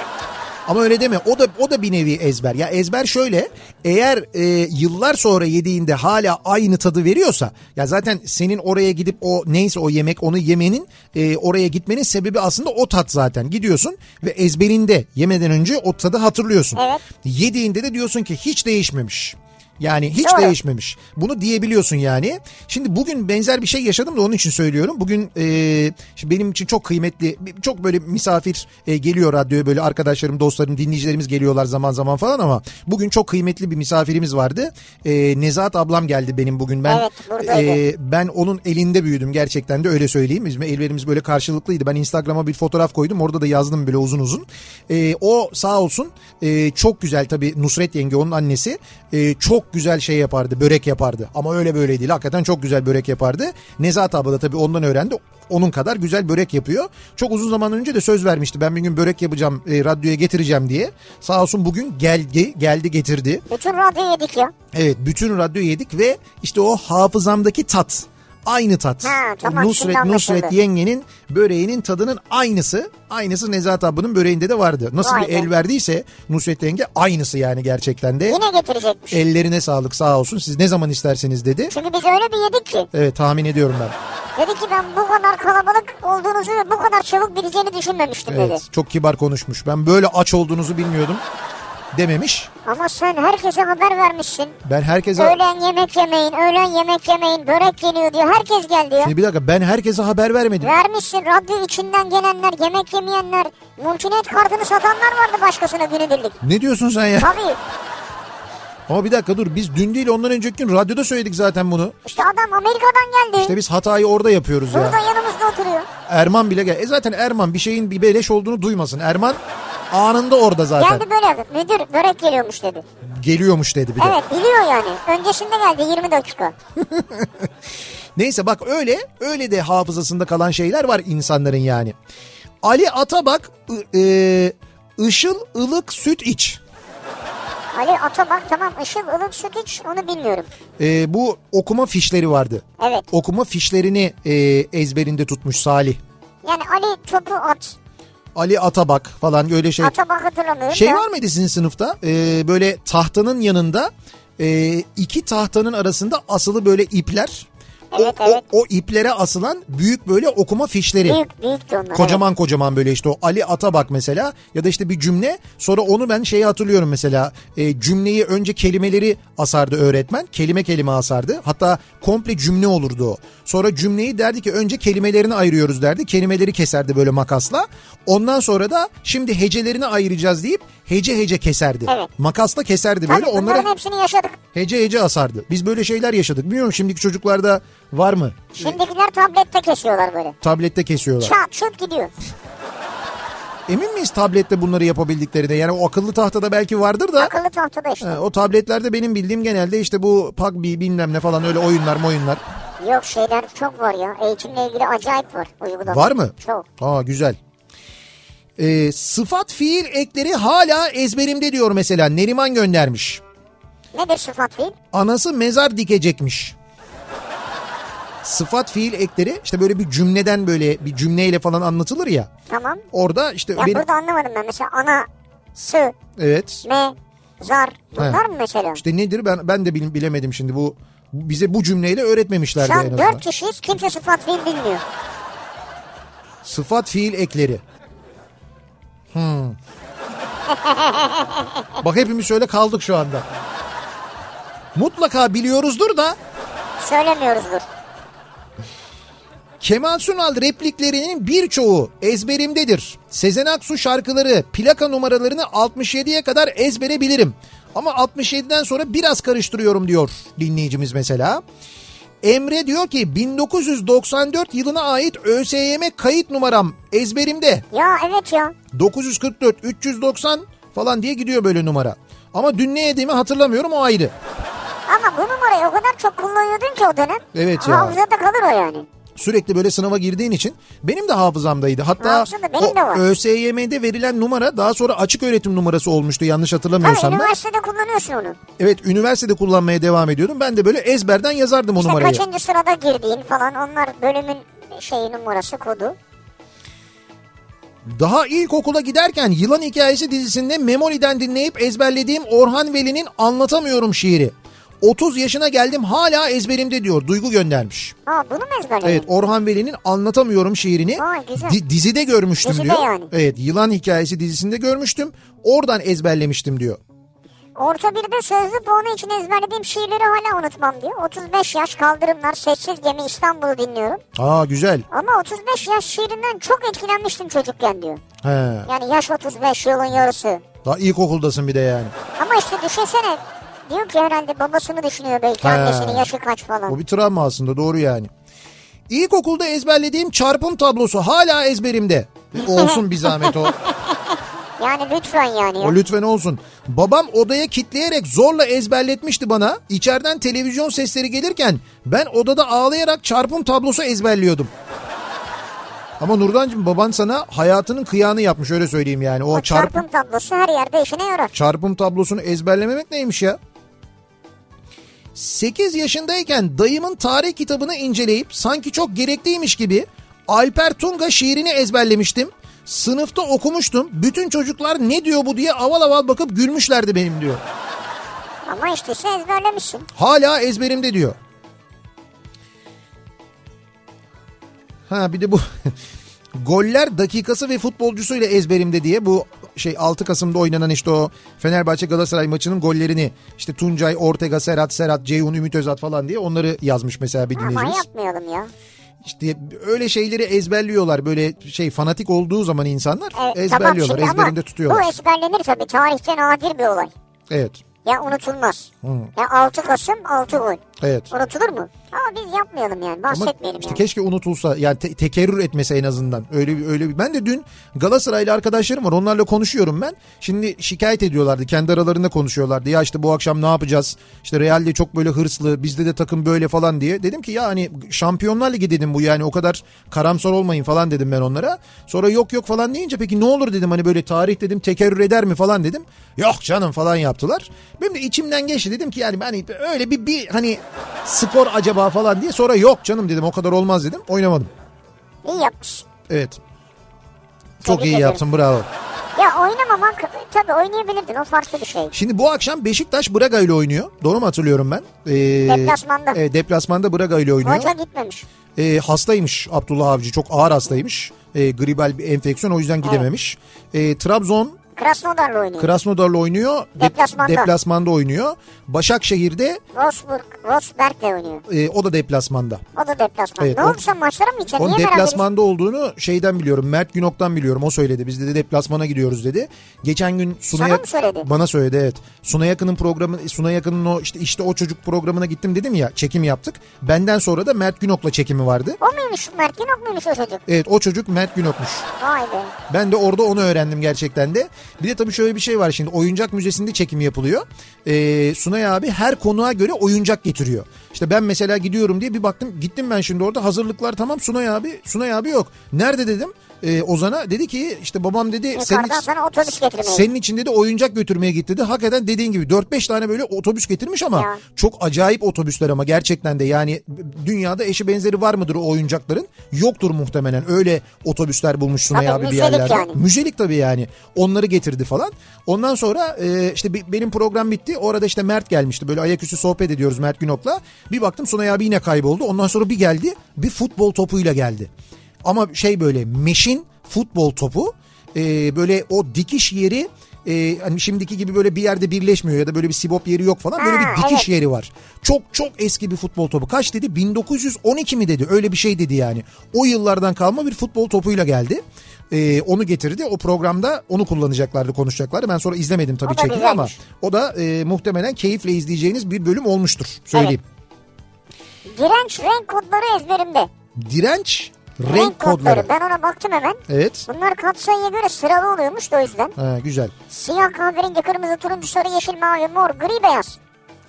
Speaker 1: Ama öyle deme. O da o da bir nevi ezber. Ya ezber şöyle. Eğer e, yıllar sonra yediğinde hala aynı tadı veriyorsa ya zaten senin oraya gidip o neyse o yemek onu yemenin e, oraya gitmenin sebebi aslında o tat zaten. Gidiyorsun ve ezberinde yemeden önce o tadı hatırlıyorsun.
Speaker 2: Evet.
Speaker 1: Yediğinde de diyorsun ki hiç değişmemiş. Yani hiç
Speaker 2: Doğru.
Speaker 1: değişmemiş. Bunu diyebiliyorsun yani. Şimdi bugün benzer bir şey yaşadım da onun için söylüyorum. Bugün e, şimdi benim için çok kıymetli, çok böyle misafir e, geliyor radyoya böyle arkadaşlarım, dostlarım, dinleyicilerimiz geliyorlar zaman zaman falan ama bugün çok kıymetli bir misafirimiz vardı. E, Nezahat ablam geldi benim bugün. Ben
Speaker 2: Evet, buradaydı.
Speaker 1: e, ee, ben onun elinde büyüdüm gerçekten de öyle söyleyeyim. Bizim elverimiz böyle karşılıklıydı. Ben Instagram'a bir fotoğraf koydum. Orada da yazdım böyle uzun uzun. Ee, o sağ olsun e, çok güzel tabii Nusret yenge onun annesi e, çok güzel şey yapardı. Börek yapardı. Ama öyle böyle değil. Hakikaten çok güzel börek yapardı. Nezahat abla da tabii ondan öğrendi. Onun kadar güzel börek yapıyor. Çok uzun zaman önce de söz vermişti. Ben bir gün börek yapacağım, e, radyoya getireceğim diye. Sağ olsun bugün geldi, geldi getirdi.
Speaker 2: Bütün radyo yedik ya.
Speaker 1: Evet bütün radyo yedik ve işte o hafızamdaki tat aynı tat.
Speaker 2: Ha, tamam, şimdi
Speaker 1: Nusret
Speaker 2: anlaşıldı.
Speaker 1: Nusret yengenin böreğinin tadının aynısı. Aynısı Nezahat ablanın böreğinde de vardı. Nasıl
Speaker 2: Vay
Speaker 1: bir
Speaker 2: be.
Speaker 1: el verdiyse Nusret yenge aynısı yani gerçekten de.
Speaker 2: Yine getirecekmiş.
Speaker 1: Ellerine sağlık sağ olsun siz ne zaman isterseniz dedi.
Speaker 2: Çünkü biz öyle bir yedik ki.
Speaker 1: Evet tahmin ediyorum ben.
Speaker 2: Dedi ki ben bu kadar kalabalık olduğunuzu ve bu kadar çabuk bileceğini düşünmemiştim dedi.
Speaker 1: Evet, çok kibar konuşmuş. Ben böyle aç olduğunuzu bilmiyordum dememiş.
Speaker 2: Ama sen herkese haber vermişsin.
Speaker 1: Ben herkese...
Speaker 2: Öğlen yemek yemeyin, öğlen yemek yemeyin, börek geliyor diyor. Herkes gel diyor.
Speaker 1: Şimdi E, bir dakika ben herkese haber vermedim.
Speaker 2: Vermişsin radyo içinden gelenler, yemek yemeyenler, multinet kartını satanlar vardı başkasına günübirlik.
Speaker 1: Ne diyorsun sen ya?
Speaker 2: Tabii
Speaker 1: Ama bir dakika dur biz dün değil ondan önceki gün radyoda söyledik zaten bunu.
Speaker 2: işte adam Amerika'dan geldi.
Speaker 1: İşte biz hatayı orada yapıyoruz
Speaker 2: Burada
Speaker 1: ya.
Speaker 2: yanımızda oturuyor.
Speaker 1: Erman bile gel. E zaten Erman bir şeyin bir beleş olduğunu duymasın. Erman Anında orada zaten.
Speaker 2: Geldi böyle yaptı. Müdür börek geliyormuş dedi.
Speaker 1: Geliyormuş dedi bir de.
Speaker 2: Evet biliyor yani. Öncesinde geldi 20 dakika.
Speaker 1: Neyse bak öyle öyle de hafızasında kalan şeyler var insanların yani. Ali Atabak ı- e, ışıl ılık süt iç.
Speaker 2: Ali Atabak tamam ışıl ılık süt iç onu bilmiyorum.
Speaker 1: E, bu okuma fişleri vardı.
Speaker 2: Evet.
Speaker 1: Okuma fişlerini e, ezberinde tutmuş Salih.
Speaker 2: Yani Ali topu at.
Speaker 1: Ali Atabak falan öyle şey.
Speaker 2: Atabak hatırlamıyorum
Speaker 1: Şey
Speaker 2: da.
Speaker 1: var mıydı sizin sınıfta? E, böyle tahtanın yanında e, iki tahtanın arasında asılı böyle ipler. O-
Speaker 2: Evet,
Speaker 1: o,
Speaker 2: evet.
Speaker 1: o iplere asılan büyük böyle okuma fişleri.
Speaker 2: Büyük büyüktü onlar.
Speaker 1: Kocaman kocaman böyle işte o Ali Atabak mesela ya da işte bir cümle sonra onu ben şeyi hatırlıyorum mesela e, cümleyi önce kelimeleri asardı öğretmen kelime kelime asardı hatta komple cümle olurdu o. Sonra cümleyi derdi ki önce kelimelerini ayırıyoruz derdi kelimeleri keserdi böyle makasla ondan sonra da şimdi hecelerini ayıracağız deyip hece hece keserdi
Speaker 2: Evet.
Speaker 1: makasla keserdi
Speaker 2: Evet.
Speaker 1: böyle
Speaker 2: Tabii
Speaker 1: onlara
Speaker 2: bunların hepsini yaşadık.
Speaker 1: hece hece asardı biz böyle şeyler yaşadık bilmiyorum şimdiki çocuklarda var mı
Speaker 2: Şimdikiler tablette kesiyorlar böyle.
Speaker 1: tablette kesiyorlar.
Speaker 2: Çat çut gidiyor.
Speaker 1: Emin miyiz tablette bunları yapabildiklerine? Yani o akıllı tahtada belki vardır da.
Speaker 2: Akıllı tahtada işte.
Speaker 1: Ha, o tabletlerde benim bildiğim genelde işte bu PUBG bilmem ne falan öyle oyunlar oyunlar.
Speaker 2: Yok şeyler çok var ya. Eğitimle ilgili acayip var uygulama.
Speaker 1: Var mı?
Speaker 2: Çok.
Speaker 1: Aa güzel. Ee, sıfat fiil ekleri hala ezberimde diyor mesela. Neriman göndermiş.
Speaker 2: Nedir sıfat fiil?
Speaker 1: Anası mezar dikecekmiş. Sıfat fiil ekleri işte böyle bir cümleden böyle bir cümleyle falan anlatılır ya.
Speaker 2: Tamam.
Speaker 1: Orada işte
Speaker 2: Ya
Speaker 1: benim...
Speaker 2: burada anlamadım ben. Mesela ana, sı,
Speaker 1: Evet.
Speaker 2: me, zar. Bunlar
Speaker 1: He.
Speaker 2: mı mesela?
Speaker 1: İşte nedir ben ben de bil- bilemedim şimdi bu bu- bize bu cümleyle öğretmemişlerdi
Speaker 2: Şu
Speaker 1: en
Speaker 2: an
Speaker 1: azından.
Speaker 2: dört kişiyiz kimse sıfat fiil bilmiyor.
Speaker 1: Sıfat fiil ekleri. Hmm. Bak hepimiz şöyle kaldık şu anda. Mutlaka biliyoruzdur da
Speaker 2: Söylemiyoruzdur.
Speaker 1: Kemal Sunal repliklerinin birçoğu ezberimdedir. Sezen Aksu şarkıları plaka numaralarını 67'ye kadar ezbere bilirim. Ama 67'den sonra biraz karıştırıyorum diyor dinleyicimiz mesela. Emre diyor ki 1994 yılına ait ÖSYM kayıt numaram ezberimde.
Speaker 2: Ya evet ya.
Speaker 1: 944 390 falan diye gidiyor böyle numara. Ama dün ne yediğimi hatırlamıyorum o ayrı.
Speaker 2: Ama bu numarayı o kadar çok kullanıyordun ki o dönem.
Speaker 1: Evet ya.
Speaker 2: Hafızada kalır o yani.
Speaker 1: Sürekli böyle sınava girdiğin için benim de hafızamdaydı. Hatta
Speaker 2: Hafızamda benim
Speaker 1: o
Speaker 2: de var.
Speaker 1: ÖSYM'de verilen numara daha sonra açık öğretim numarası olmuştu yanlış
Speaker 2: Ha,
Speaker 1: hatırlamıyorsam ben.
Speaker 2: üniversitede kullanıyorsun onu.
Speaker 1: Evet üniversitede kullanmaya devam ediyordum. Ben de böyle ezberden yazardım o
Speaker 2: İşte
Speaker 1: numarayı.
Speaker 2: kaçıncı sırada girdiğin falan onlar bölümün şeyi numarası kodu.
Speaker 1: Daha ilkokula giderken Yılan Hikayesi dizisinde Memoli'den dinleyip ezberlediğim Orhan Veli'nin Anlatamıyorum şiiri. 30 yaşına geldim hala ezberimde diyor. Duygu göndermiş.
Speaker 2: Ha bunu mu ezberledin?
Speaker 1: Evet Orhan Veli'nin Anlatamıyorum şiirini
Speaker 2: Vay, güzel.
Speaker 1: di- dizide görmüştüm
Speaker 2: Dizide
Speaker 1: diyor.
Speaker 2: yani.
Speaker 1: Evet Yılan Hikayesi dizisinde görmüştüm. Oradan ezberlemiştim diyor.
Speaker 2: Orta birde sözlü puanı için ezberlediğim şiirleri hala unutmam diyor. 35 yaş kaldırımlar sessiz gemi İstanbul'u dinliyorum.
Speaker 1: Aa güzel.
Speaker 2: Ama 35 yaş şiirinden çok etkilenmiştim çocukken diyor.
Speaker 1: He.
Speaker 2: Yani yaş 35 yılın yarısı.
Speaker 1: Daha ilkokuldasın bir de yani.
Speaker 2: Ama işte düşünsene diyor ki herhalde babasını düşünüyor belki
Speaker 1: He.
Speaker 2: annesini yaşı kaç falan.
Speaker 1: O bir travma aslında doğru yani. İlkokulda ezberlediğim çarpım tablosu hala ezberimde. Olsun bir zahmet o.
Speaker 2: Yani lütfen yani ya.
Speaker 1: O lütfen olsun. Babam odaya kitleyerek zorla ezberletmişti bana. İçeriden televizyon sesleri gelirken ben odada ağlayarak çarpım tablosu ezberliyordum. Ama Nurdancığım baban sana hayatının kıyağını yapmış öyle söyleyeyim yani. O,
Speaker 2: O
Speaker 1: çarpım,
Speaker 2: çarpım tablosu her yerde işine yarar.
Speaker 1: çarpım tablosunu ezberlememek neymiş ya? 8 yaşındayken dayımın tarih kitabını inceleyip sanki çok gerekliymiş gibi Alper Tunga şiirini ezberlemiştim. Sınıfta okumuştum. Bütün çocuklar ne diyor bu diye aval aval bakıp gülmüşlerdi benim diyor.
Speaker 2: Ama işte sen ezberlemişsin.
Speaker 1: Hala ezberimde diyor. Ha bir de bu [laughs] goller dakikası ve futbolcusuyla ezberimde diye bu şey 6 Kasım'da oynanan işte o Fenerbahçe Galatasaray maçının gollerini işte Tuncay, Ortega, Serhat, Serhat, Ceyhun, Ümit Özat falan diye onları yazmış mesela bir
Speaker 2: Ama
Speaker 1: dinleyicimiz.
Speaker 2: yapmayalım ya.
Speaker 1: İşte öyle şeyleri ezberliyorlar böyle şey fanatik olduğu zaman insanlar
Speaker 2: Evet, tamam
Speaker 1: ezberliyorlar
Speaker 2: şimdi
Speaker 1: ezberinde
Speaker 2: ama
Speaker 1: tutuyorlar.
Speaker 2: bu ezberlenir tabii. Tarihte nadir bir olay.
Speaker 1: Evet.
Speaker 2: Ya unutulmaz. Ya 6 Kasım 6 gol.
Speaker 1: Evet.
Speaker 2: Unutulur mu? Ama biz yapmayalım yani
Speaker 1: Ama
Speaker 2: bahsetmeyelim
Speaker 1: işte
Speaker 2: yani.
Speaker 1: keşke unutulsa yani te- tekerrür etmese en azından. Öyle bir öyle bir. Ben de dün Galatasaraylı arkadaşlarım var. Onlarla konuşuyorum ben. Şimdi şikayet ediyorlardı. Kendi aralarında konuşuyorlardı. Ya işte bu akşam ne yapacağız? İşte Real de çok böyle hırslı. Bizde de takım böyle falan diye. Dedim ki ya hani Şampiyonlar Ligi dedim bu yani Hani o kadar karamsar olmayın falan dedim ben onlara. Sonra yok yok falan deyince peki ne olur dedim hani böyle tarih dedim tekerrür eder mi falan dedim. Yok canım falan yaptılar. Benim de içimden geçti dedim ki yani hani öyle bir bir hani skor acaba falan diye sonra yok canım dedim o kadar olmaz dedim oynamadım.
Speaker 2: İyi yapmış.
Speaker 1: Evet. Çok
Speaker 2: Tebrik
Speaker 1: iyi
Speaker 2: ederim.
Speaker 1: yaptın bravo.
Speaker 2: Ya oynamamak tabii oynayabilirdin o farklı bir şey.
Speaker 1: Şimdi bu akşam Beşiktaş Braga ile oynuyor. Doğru mu hatırlıyorum ben? Ee,
Speaker 2: Deplasmanda.
Speaker 1: e, deplasmanda Braga ile oynuyor.
Speaker 2: Hoca gitmemiş.
Speaker 1: E, hastaymış Abdullah Avcı çok ağır hastaymış. E, gribal bir enfeksiyon o yüzden gidememiş. E, Trabzon
Speaker 2: Krasnodar'la oynuyor.
Speaker 1: Krasnodar'la oynuyor. Dep-
Speaker 2: Deplasmanda.
Speaker 1: deplasmanda oynuyor. Başakşehir'de
Speaker 2: Rosberg, Rosberg'le oynuyor.
Speaker 1: e, o da deplasmanda.
Speaker 2: O da deplasman.
Speaker 1: Evet,
Speaker 2: ne
Speaker 1: o-
Speaker 2: oldu sen maçlara mı gideceksin?
Speaker 1: Onun
Speaker 2: Niye merak ediyorsun?
Speaker 1: deplasmanda olduğunu şeyden biliyorum. Mert Günok'tan biliyorum. O söyledi. Biz dedi deplasmana gidiyoruz dedi. Geçen gün Suna
Speaker 2: Sana mı söyledi?
Speaker 1: bana söyledi evet. Suna Yakın'ın programı Suna Yakın'ın o işte işte o çocuk programına gittim dedim ya. Çekim yaptık. Benden sonra da Mert Günok'la çekimi vardı.
Speaker 2: O muymuş Mert Günok muymuş o çocuk?
Speaker 1: Evet o çocuk Mert Günok'muş.
Speaker 2: Vay be.
Speaker 1: Ben de orada onu öğrendim gerçekten de. Bir de tabii şöyle bir şey var şimdi oyuncak müzesinde çekim yapılıyor. Ee, Sunay abi her konuğa göre oyuncak getiriyor. İşte ben mesela gidiyorum diye bir baktım gittim ben şimdi orada hazırlıklar tamam Sunay abi Sunay abi yok. Nerede dedim Ee, Ozan'a dedi ki işte babam dedi senin,
Speaker 2: Yukarıdan sana otobüs getirmeyi.
Speaker 1: senin için dedi oyuncak götürmeye gitti dedi. Hakikaten dediğin gibi 4-5 tane böyle otobüs getirmiş ama
Speaker 2: Ya.
Speaker 1: çok acayip otobüsler ama gerçekten de yani dünyada eşi benzeri var mıdır o oyuncakların? Yoktur muhtemelen öyle otobüsler bulmuş Sunay
Speaker 2: Tabii,
Speaker 1: abi bir
Speaker 2: müzelik
Speaker 1: yerlerde.
Speaker 2: yani.
Speaker 1: Müzelik tabii yani. Onları getirdi falan. Ondan sonra e, işte bi- benim program bitti. Orada işte Mert gelmişti. Böyle ayaküstü sohbet ediyoruz Mert Günok'la. Bir baktım Sunay abi yine kayboldu. Ondan sonra bir geldi. Bir futbol topuyla geldi. Ama şey böyle meşin futbol topu. e, böyle o dikiş yeri e, hani şimdiki gibi böyle bir yerde birleşmiyor ya da böyle bir sibop yeri yok falan. Böyle
Speaker 2: Ha,
Speaker 1: bir dikiş
Speaker 2: evet.
Speaker 1: yeri var. Çok çok eski bir futbol topu. Kaç dedi? 1912 mi dedi? Öyle bir şey dedi yani. O yıllardan kalma bir futbol topuyla geldi. Ee, onu getirdi. O programda onu kullanacaklardı, konuşacaklardı. Ben sonra izlemedim tabii
Speaker 2: O da
Speaker 1: çekimi ama
Speaker 2: güzelmiş.
Speaker 1: o da e, muhtemelen keyifle izleyeceğiniz bir bölüm olmuştur. Söyleyeyim.
Speaker 2: Direnç renk kodları ezberimde.
Speaker 1: Direnç, renk, kodları.
Speaker 2: Ben ona baktım hemen.
Speaker 1: Evet.
Speaker 2: Bunlar katsayıya göre sıralı oluyormuş da o yüzden.
Speaker 1: Ha, güzel.
Speaker 2: Siyah, kahverengi, kırmızı, turuncu, sarı, yeşil, mavi, mor, gri, beyaz.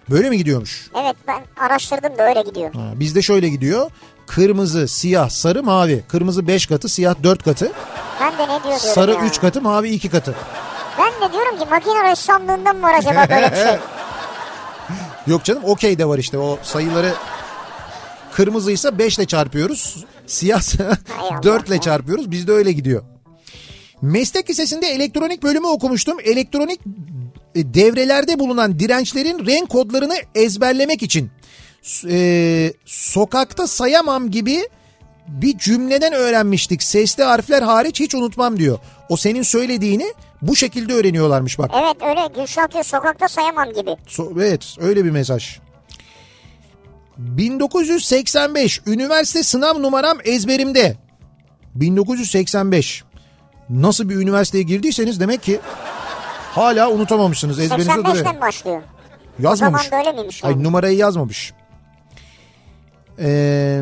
Speaker 1: Böyle mi gidiyormuş?
Speaker 2: Evet ben araştırdım da öyle gidiyor.
Speaker 1: Ha, bizde şöyle gidiyor. Kırmızı, siyah, sarı, mavi. Kırmızı 5 katı, siyah 4 katı.
Speaker 2: Ben de ne diyor diyorum
Speaker 1: Sarı
Speaker 2: ya.
Speaker 1: 3 katı, mavi 2 katı.
Speaker 2: Ben de diyorum ki makine ressamlığından mı var acaba böyle
Speaker 1: [laughs]
Speaker 2: bir şey?
Speaker 1: Yok canım okey de var işte o sayıları kırmızıysa 5 ile çarpıyoruz. Siyah [laughs]
Speaker 2: Allah
Speaker 1: 4 ile
Speaker 2: ya.
Speaker 1: çarpıyoruz. Bizde öyle gidiyor. Meslek lisesinde elektronik bölümü okumuştum. Elektronik e, devrelerde bulunan dirençlerin renk kodlarını ezberlemek için s- e, sokakta sayamam gibi bir cümleden öğrenmiştik. Sesli harfler hariç hiç unutmam diyor. O senin söylediğini bu şekilde öğreniyorlarmış bak.
Speaker 2: Evet öyle Gülşah diyor sokakta sayamam gibi.
Speaker 1: So- evet öyle bir mesaj. 1985 üniversite sınav numaram ezberimde. 1985. Nasıl bir üniversiteye girdiyseniz demek ki hala unutamamışsınız ezberinizde
Speaker 2: 85'ten
Speaker 1: duruyor.
Speaker 2: başlıyor.
Speaker 1: Yazmamış.
Speaker 2: O zaman böyle miymiş?
Speaker 1: Ay
Speaker 2: yani?
Speaker 1: numarayı yazmamış. Ee,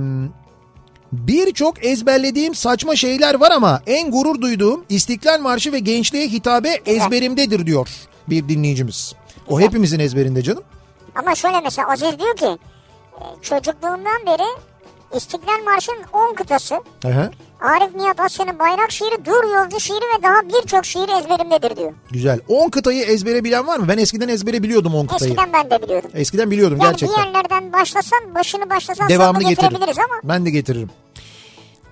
Speaker 1: Birçok ezberlediğim saçma şeyler var ama en gurur duyduğum İstiklal Marşı ve gençliğe hitabe ezberimdedir diyor bir dinleyicimiz. O hepimizin ezberinde canım.
Speaker 2: Ama şöyle mesela Aziz diyor ki e, çocukluğumdan beri İstiklal Marşı'nın 10 kıtası
Speaker 1: Aha,
Speaker 2: Arif Nihat Asya'nın bayrak şiiri, dur yolcu şiiri ve daha birçok şiir ezberimdedir diyor.
Speaker 1: güzel. 10 kıtayı ezbere bilen var mı? Ben eskiden ezbere biliyordum 10 kıtayı. Eskiden,
Speaker 2: Eskiden ben de biliyordum.
Speaker 1: biliyordum
Speaker 2: Yani bir
Speaker 1: gerçekten.
Speaker 2: yerlerden başlasan, başını başlasan
Speaker 1: Devamını
Speaker 2: sonunu
Speaker 1: getiririm.
Speaker 2: getirebiliriz ama
Speaker 1: Ben de getiririm.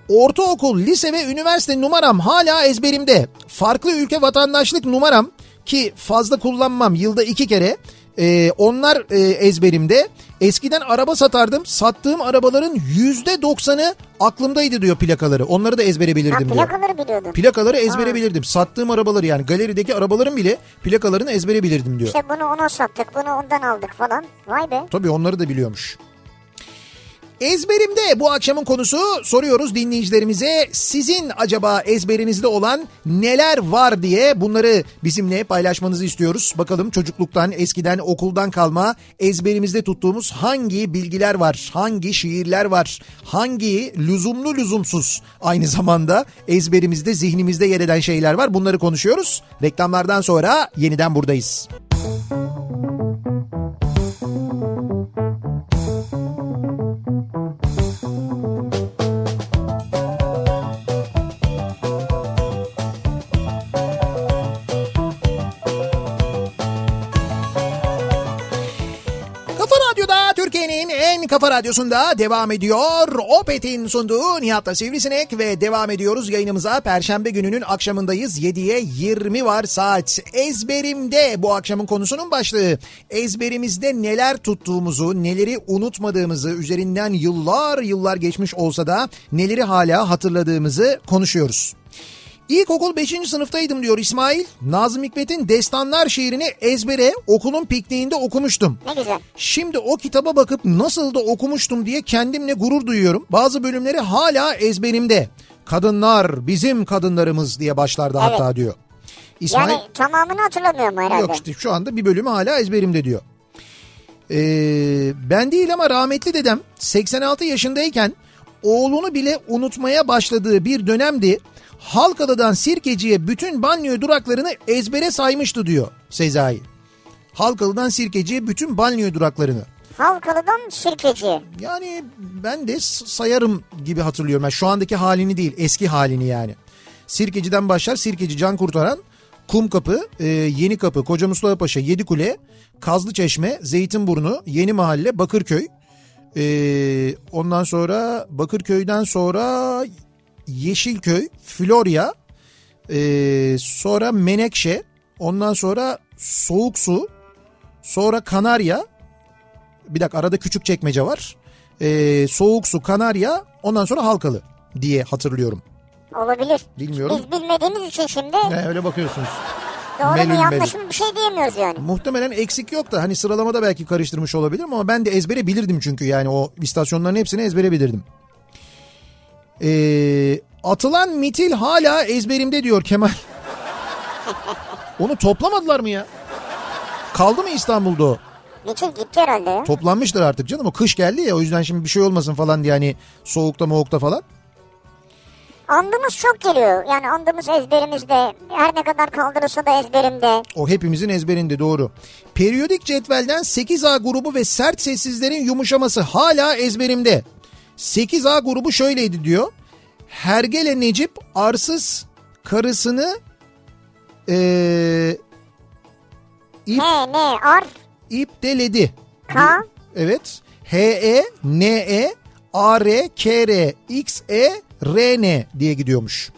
Speaker 1: Ortaokul, lise ve üniversite numaram hala ezberimde. Farklı ülke vatandaşlık numaram ki fazla kullanmam yılda iki kere. Ee, onlar e, ezberimde. Eskiden araba satardım. Sattığım arabaların yüzde doksanı aklımdaydı diyor plakaları. Onları da ezbere
Speaker 2: ha,
Speaker 1: bilirdim diyor.
Speaker 2: plakaları biliyordum.
Speaker 1: Plakaları ezbere bilirdim. Sattığım arabaları yani galerideki arabaların bile plakalarını ezbere bilirdim diyor.
Speaker 2: İşte bunu ona sattık, bunu ondan aldık falan. Vay be.
Speaker 1: Tabii onları da biliyormuş. Ezberimde bu akşamın konusu soruyoruz dinleyicilerimize sizin acaba ezberinizde olan neler var diye bunları bizimle paylaşmanızı istiyoruz. Bakalım çocukluktan, eskiden, okuldan kalma ezberimizde tuttuğumuz hangi bilgiler var, hangi şiirler var, hangi lüzumlu lüzumsuz aynı zamanda ezberimizde, zihnimizde yer eden şeyler var. Bunları konuşuyoruz. Reklamlardan sonra yeniden buradayız. Kafa Radyo'da Türkiye'nin en kafa radyosunda devam ediyor. Opet'in sunduğu Nihat'la Sivrisinek ve devam ediyoruz yayınımıza. Perşembe gününün akşamındayız. 7'ye 20 var saat. Ezberimde bu akşamın konusunun başlığı. Ezberimizde neler tuttuğumuzu, neleri unutmadığımızı, üzerinden yıllar yıllar geçmiş olsa da neleri hala hatırladığımızı konuşuyoruz. İlkokul 5. sınıftaydım diyor İsmail. Nazım Hikmet'in Destanlar şiirini ezbere okulun pikniğinde okumuştum.
Speaker 2: Ne güzel.
Speaker 1: Şimdi o kitaba bakıp nasıl da okumuştum diye kendimle gurur duyuyorum. Bazı bölümleri hala ezberimde. Kadınlar bizim kadınlarımız diye başlardı hatta diyor. İsmail
Speaker 2: Yani tamamını hatırlamıyorum herhalde.
Speaker 1: yok işte şu anda bir bölümü hala ezberimde diyor. Ee, ben değil ama rahmetli dedem 86 yaşındayken oğlunu bile unutmaya başladığı bir dönemdi. Halkalı'dan Sirkeci'ye bütün banyo duraklarını ezbere saymıştı diyor Sezai. Halkalı'dan Sirkeci'ye bütün banyo duraklarını.
Speaker 2: Halkalı'dan Sirkeci.
Speaker 1: Yani ben de s- sayarım gibi hatırlıyorum. Yani şu andaki halini değil eski halini yani. Sirkeci'den başlar Sirkeci Can Kurtaran, Kumkapı, e, Yeni Kapı, Koca Mustafa Paşa, Yedikule, Kazlıçeşme, Zeytinburnu, Yeni Mahalle, Bakırköy. E, ondan sonra Bakırköy'den sonra Yeşilköy, Florya, e, sonra Menekşe, ondan sonra Soğuk Su, sonra Kanarya, bir dakika arada küçük çekmece var. Ee, soğuk su Kanarya ondan sonra Halkalı diye hatırlıyorum.
Speaker 2: Olabilir.
Speaker 1: Bilmiyorum.
Speaker 2: Biz bilmediğimiz için şimdi
Speaker 1: Ne öyle bakıyorsunuz.
Speaker 2: doğru
Speaker 1: melül
Speaker 2: mu yanlış
Speaker 1: melül.
Speaker 2: mı bir şey diyemiyoruz yani.
Speaker 1: Muhtemelen eksik yok da hani sıralamada belki karıştırmış olabilirim ama ben de ezbere bilirdim çünkü yani o istasyonların hepsini ezbere bilirdim. Ee, atılan mitil hala ezberimde diyor Kemal. Onu toplamadılar mı ya? Kaldı mı İstanbul'da o?
Speaker 2: Niçin gitti herhalde ya.
Speaker 1: Toplanmıştır artık canım o kış geldi ya o yüzden şimdi bir şey olmasın falan diye hani soğukta moğukta falan.
Speaker 2: Andımız çok geliyor. Yani andımız ezberimizde. Her ne kadar kaldırılsa da ezberimde.
Speaker 1: O hepimizin ezberinde doğru. Periyodik cetvelden 8A grubu ve sert sessizlerin yumuşaması hala ezberimde. 8A grubu şöyleydi diyor. Hergele Necip arsız karısını e, eee İp-
Speaker 2: He ne ar
Speaker 1: ipteledi.
Speaker 2: ka
Speaker 1: Evet. H-E, N-E, A-R, K-R, X-E, R-N diye gidiyormuş.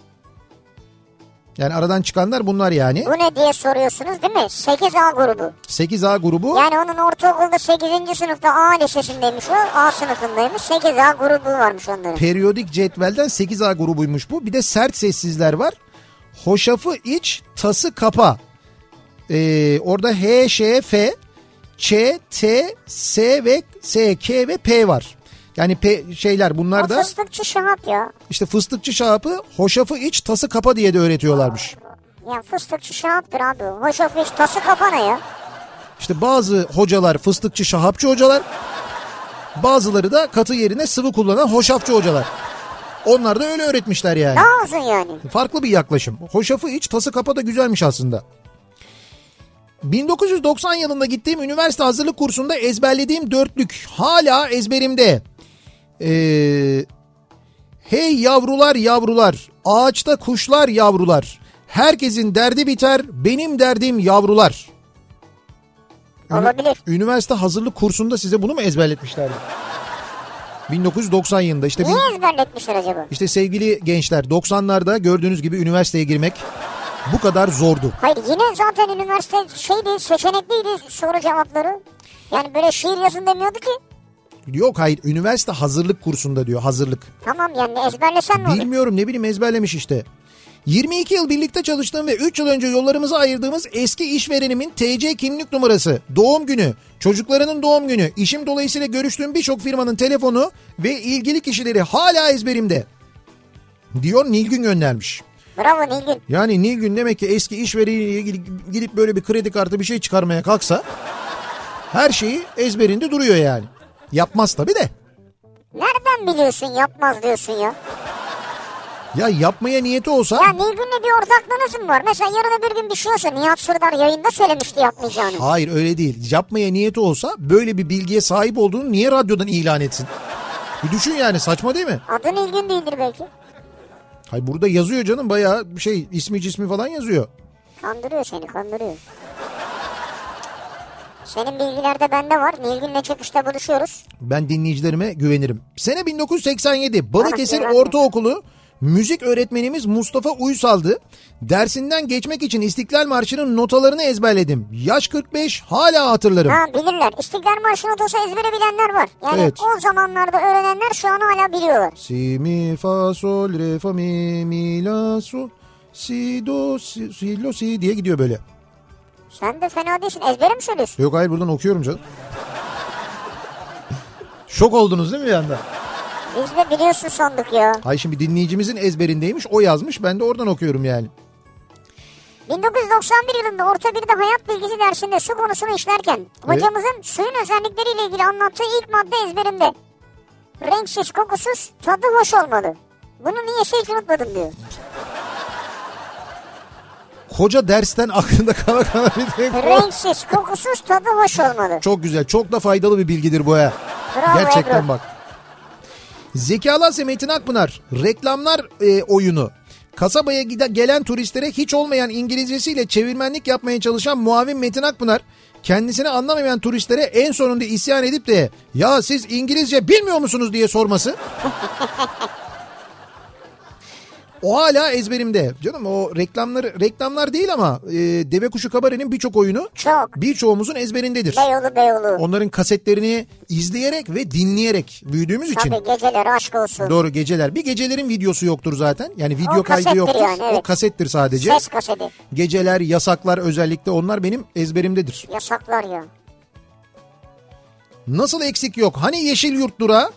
Speaker 1: Yani aradan çıkanlar bunlar yani.
Speaker 2: bu ne diye soruyorsunuz değil mi? 8A grubu.
Speaker 1: 8A grubu.
Speaker 2: Yani onun ortaokulda 8. sınıfta A lisesindeymiş o. A sınıfındaymış. 8A grubu varmış onların.
Speaker 1: periyodik cetvelden 8A grubuymuş bu. Bir de sert sessizler var. Hoşafı iç, tası kapa. Ee, orada H, Ş, F, Ç, T, S ve S, K ve P var. Yani P şeyler bunlar
Speaker 2: O
Speaker 1: da
Speaker 2: fıstıkçı Şahap ya.
Speaker 1: işte fıstıkçı şahapı hoşafı iç tası kapa diye de öğretiyorlarmış.
Speaker 2: Ya fıstıkçı Şahap'tır abi. o. Hoş of hiç tası kapana ya.
Speaker 1: İşte bazı hocalar fıstıkçı şahapçı hocalar bazıları da katı yerine sıvı kullanan hoşafçı hocalar. Onlar da öyle öğretmişler yani.
Speaker 2: Ne olsun yani?
Speaker 1: Farklı bir yaklaşım. Hoşafı iç tası kapa da güzelmiş aslında. 1990 yılında gittiğim üniversite hazırlık kursunda ezberlediğim dörtlük hala ezberimde. Ee, hey yavrular yavrular, ağaçta kuşlar yavrular. Herkesin derdi biter, benim derdim yavrular. Ünü-
Speaker 2: Olabilir.
Speaker 1: Üniversite hazırlık kursunda size bunu mu ezberletmişlerdi? 1990 yılında işte bin-
Speaker 2: Niye ezberletmişler acaba?
Speaker 1: işte sevgili gençler 90'larda gördüğünüz gibi üniversiteye girmek bu kadar zordu.
Speaker 2: Hayır yine zaten üniversite şeydi seçenekliydi soru cevapları. Yani böyle şiir yazın demiyordu ki.
Speaker 1: Yok hayır üniversite hazırlık kursunda diyor hazırlık.
Speaker 2: Tamam yani ezberlesen ne olur?
Speaker 1: Bilmiyorum ne bileyim ezberlemiş işte. 22 yıl birlikte çalıştığım ve 3 yıl önce yollarımızı ayırdığımız eski işverenimin TC kimlik numarası, doğum günü, çocuklarının doğum günü, işim dolayısıyla görüştüğüm birçok firmanın telefonu ve ilgili kişileri hala ezberimde. Diyor Nilgün göndermiş.
Speaker 2: Bravo Nilgün.
Speaker 1: Yani Nilgün demek ki eski işvereniyle ilgili gidip böyle bir kredi kartı bir şey çıkarmaya kalksa her şeyi ezberinde duruyor yani. Yapmaz tabii de.
Speaker 2: Nereden biliyorsun yapmaz diyorsun ya.
Speaker 1: Ya yapmaya niyeti olsa...
Speaker 2: Ya Nilgün'le bir ortaklığınız mı var? Mesela yarın öbür gün bir şey olsa Nihat Sırdar yayında söylemişti yapmayacağını.
Speaker 1: Hayır öyle değil. Yapmaya niyeti olsa böyle bir bilgiye sahip olduğunu niye radyodan ilan etsin? Bir düşün yani saçma değil mi?
Speaker 2: Adı Nilgün değildir belki.
Speaker 1: Hayır burada yazıyor canım bayağı şey ismi cismi falan yazıyor.
Speaker 2: Kandırıyor seni kandırıyor. Senin bilgiler de bende var. Nilgün'le çıkışta buluşuyoruz.
Speaker 1: Ben dinleyicilerime güvenirim. Sene 1987 Balıkesir
Speaker 2: Ah, güvenme.
Speaker 1: Ortaokulu müzik öğretmenimiz Mustafa Uysal'dı. Dersinden geçmek için İstiklal Marşı'nın notalarını ezberledim. Yaş 45 hala hatırlarım.
Speaker 2: Ha bilirler. İstiklal Marşı notası ezbere bilenler var. Yani
Speaker 1: Evet.
Speaker 2: o zamanlarda öğrenenler şu an hala biliyorlar.
Speaker 1: Si mi fa sol re fa mi mi la sol si do si, si lo si diye gidiyor böyle.
Speaker 2: Sen de fena değilsin. Ezbere mi söylüyorsun?
Speaker 1: Yok hayır buradan okuyorum canım. Şok oldunuz değil mi bir anda?
Speaker 2: Biz de biliyorsun sandık ya.
Speaker 1: Hayır şimdi dinleyicimizin ezberindeymiş o yazmış ben de oradan okuyorum yani.
Speaker 2: 1991 yılında orta birde hayat bilgisi dersinde su konusunu işlerken hocamızın suyun özellikleriyle ilgili anlattığı ilk madde ezberimde. Renksiz, kokusuz, tadı hoş olmalı. Bunu niye şey hiç unutmadım diyor.
Speaker 1: Koca dersten aklında kala kala bir tek o.
Speaker 2: Renksiz, kokusuz, tadı hoş olmalı.
Speaker 1: Çok güzel çok da faydalı bir bilgidir bu ya.
Speaker 2: Bravo
Speaker 1: Gerçekten
Speaker 2: Ebru.
Speaker 1: bak. Zekalı Asya Metin Akpınar reklamlar e, oyunu. Kasabaya gide, gelen turistlere hiç olmayan İngilizcesiyle çevirmenlik yapmaya çalışan muavin Metin Akpınar kendisini anlamayan turistlere en sonunda isyan edip de ya siz İngilizce bilmiyor musunuz diye sorması. O hala ezberimde. Canım o reklamları reklamlar değil ama e, Deve Kuşu Kabare'nin birçok oyunu
Speaker 2: Çok.
Speaker 1: birçoğumuzun ezberindedir.
Speaker 2: Beyoğlu Beyoğlu.
Speaker 1: Onların kasetlerini izleyerek ve dinleyerek büyüdüğümüz için.
Speaker 2: Tabii geceleri aşk olsun.
Speaker 1: Doğru geceler. Bir gecelerin videosu yoktur zaten. Yani video
Speaker 2: O
Speaker 1: kaydı
Speaker 2: kasettir
Speaker 1: yoktur.
Speaker 2: yani, evet.
Speaker 1: O kasettir sadece.
Speaker 2: Ses kaseti.
Speaker 1: Geceler, yasaklar özellikle onlar benim ezberimdedir.
Speaker 2: Yasaklar ya.
Speaker 1: Nasıl eksik yok? Hani Yeşil Yurt durağı?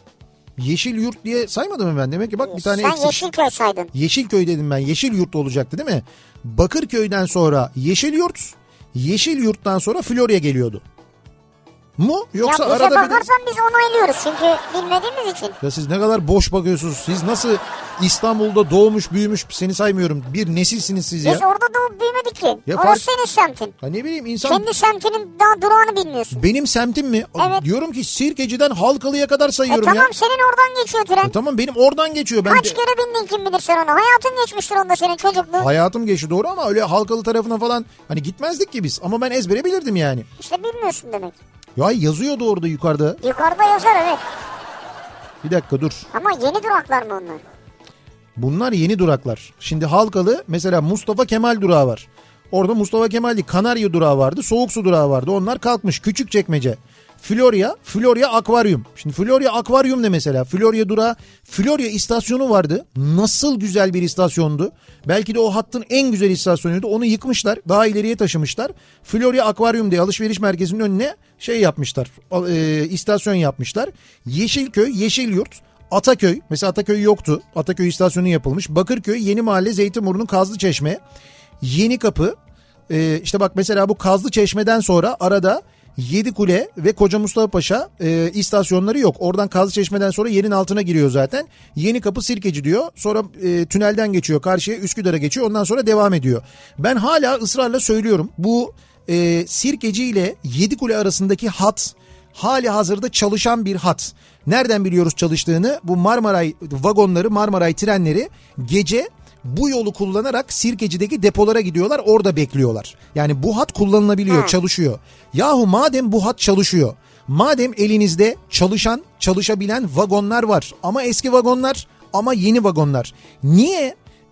Speaker 1: Yeşil Yurt diye saymadım mı ben? Demek ki bak bir tane
Speaker 2: Sen
Speaker 1: eksik.
Speaker 2: Yeşilköy saydın.
Speaker 1: Yeşilköy dedim ben. Yeşil Yurt olacaktı değil mi? Bakırköy'den sonra Yeşil Yurt, Yeşil Yurt'tan sonra Florya geliyordu. Mu yoksa
Speaker 2: ya bize
Speaker 1: arada bir de-
Speaker 2: bakarsan biz onaylıyoruz çünkü bilmediğimiz için.
Speaker 1: Ya siz ne kadar boş bakıyorsunuz. Siz nasıl İstanbul'da doğmuş büyümüş seni saymıyorum. Bir nesilsiniz siz
Speaker 2: Biz
Speaker 1: ya.
Speaker 2: orada doğup büyümedik ki.
Speaker 1: Ya
Speaker 2: Orası
Speaker 1: fark-
Speaker 2: senin semtin.
Speaker 1: Ha ne bileyim insan
Speaker 2: Kendi semtinin daha durağını bilmiyorsun.
Speaker 1: benim semtim mi?
Speaker 2: Evet.
Speaker 1: Diyorum ki Sirkeci'den Halkalı'ya kadar
Speaker 2: E
Speaker 1: sayıyorum
Speaker 2: tamam
Speaker 1: ya.
Speaker 2: senin oradan geçiyor tren.
Speaker 1: E tamam benim oradan geçiyor. Ben
Speaker 2: Kaç
Speaker 1: de-
Speaker 2: kere bindin kim bilir sen ona. Hayatın geçmiştir onda senin çocukluğun.
Speaker 1: Hayatım geçti doğru ama öyle Halkalı tarafına falan hani gitmezdik ki biz. Ama ben ezbere bilirdim yani.
Speaker 2: İşte bilmiyorsun demek.
Speaker 1: Ya yazıyordu orada yukarıda.
Speaker 2: Yukarıda yazar evet.
Speaker 1: Bir dakika dur.
Speaker 2: Ama yeni duraklar mı onlar?
Speaker 1: Bunlar yeni duraklar. Şimdi Halkalı mesela Mustafa Kemal durağı var. Orada Mustafa Kemal değil Kanarya durağı vardı. Soğuk su durağı vardı. Onlar kalkmış. Küçük çekmece. Florya, Florya akvaryum. Şimdi Florya akvaryum ne mesela? Florya durağı, Florya istasyonu vardı. Nasıl güzel bir istasyondu. Belki de o hattın en güzel istasyonuydu. Onu yıkmışlar, daha ileriye taşımışlar. Florya akvaryum diye alışveriş merkezinin önüne şey yapmışlar, al- e, istasyon yapmışlar. Yeşilköy, Yeşilyurt, Ataköy mesela Ataköy yoktu. Ataköy istasyonu yapılmış. Bakırköy, Yeni Mahalle, Zeytinburnu, Kazlıçeşme, Yeni Kapı. Ee, işte bak mesela bu Kazlıçeşme'den sonra arada Yedikule ve Koca Mustafa Paşa e, istasyonları yok. Oradan Kazlıçeşme'den sonra yerin altına giriyor zaten. Yeni Kapı Sirkeci diyor. Sonra e, tünelden geçiyor karşıya Üsküdar'a geçiyor. Ondan sonra devam ediyor. Ben hala ısrarla söylüyorum. Bu e, Sirkeci ile Yedikule arasındaki hat hali hazırda çalışan bir hat. Nereden biliyoruz çalıştığını? Bu Marmaray vagonları, Marmaray trenleri gece bu yolu kullanarak Sirkeci'deki depolara gidiyorlar orada bekliyorlar. Yani bu hat kullanılabiliyor, çalışıyor. Yahu madem bu hat çalışıyor, madem elinizde çalışan, çalışabilen vagonlar var ama eski vagonlar ama yeni vagonlar. Niye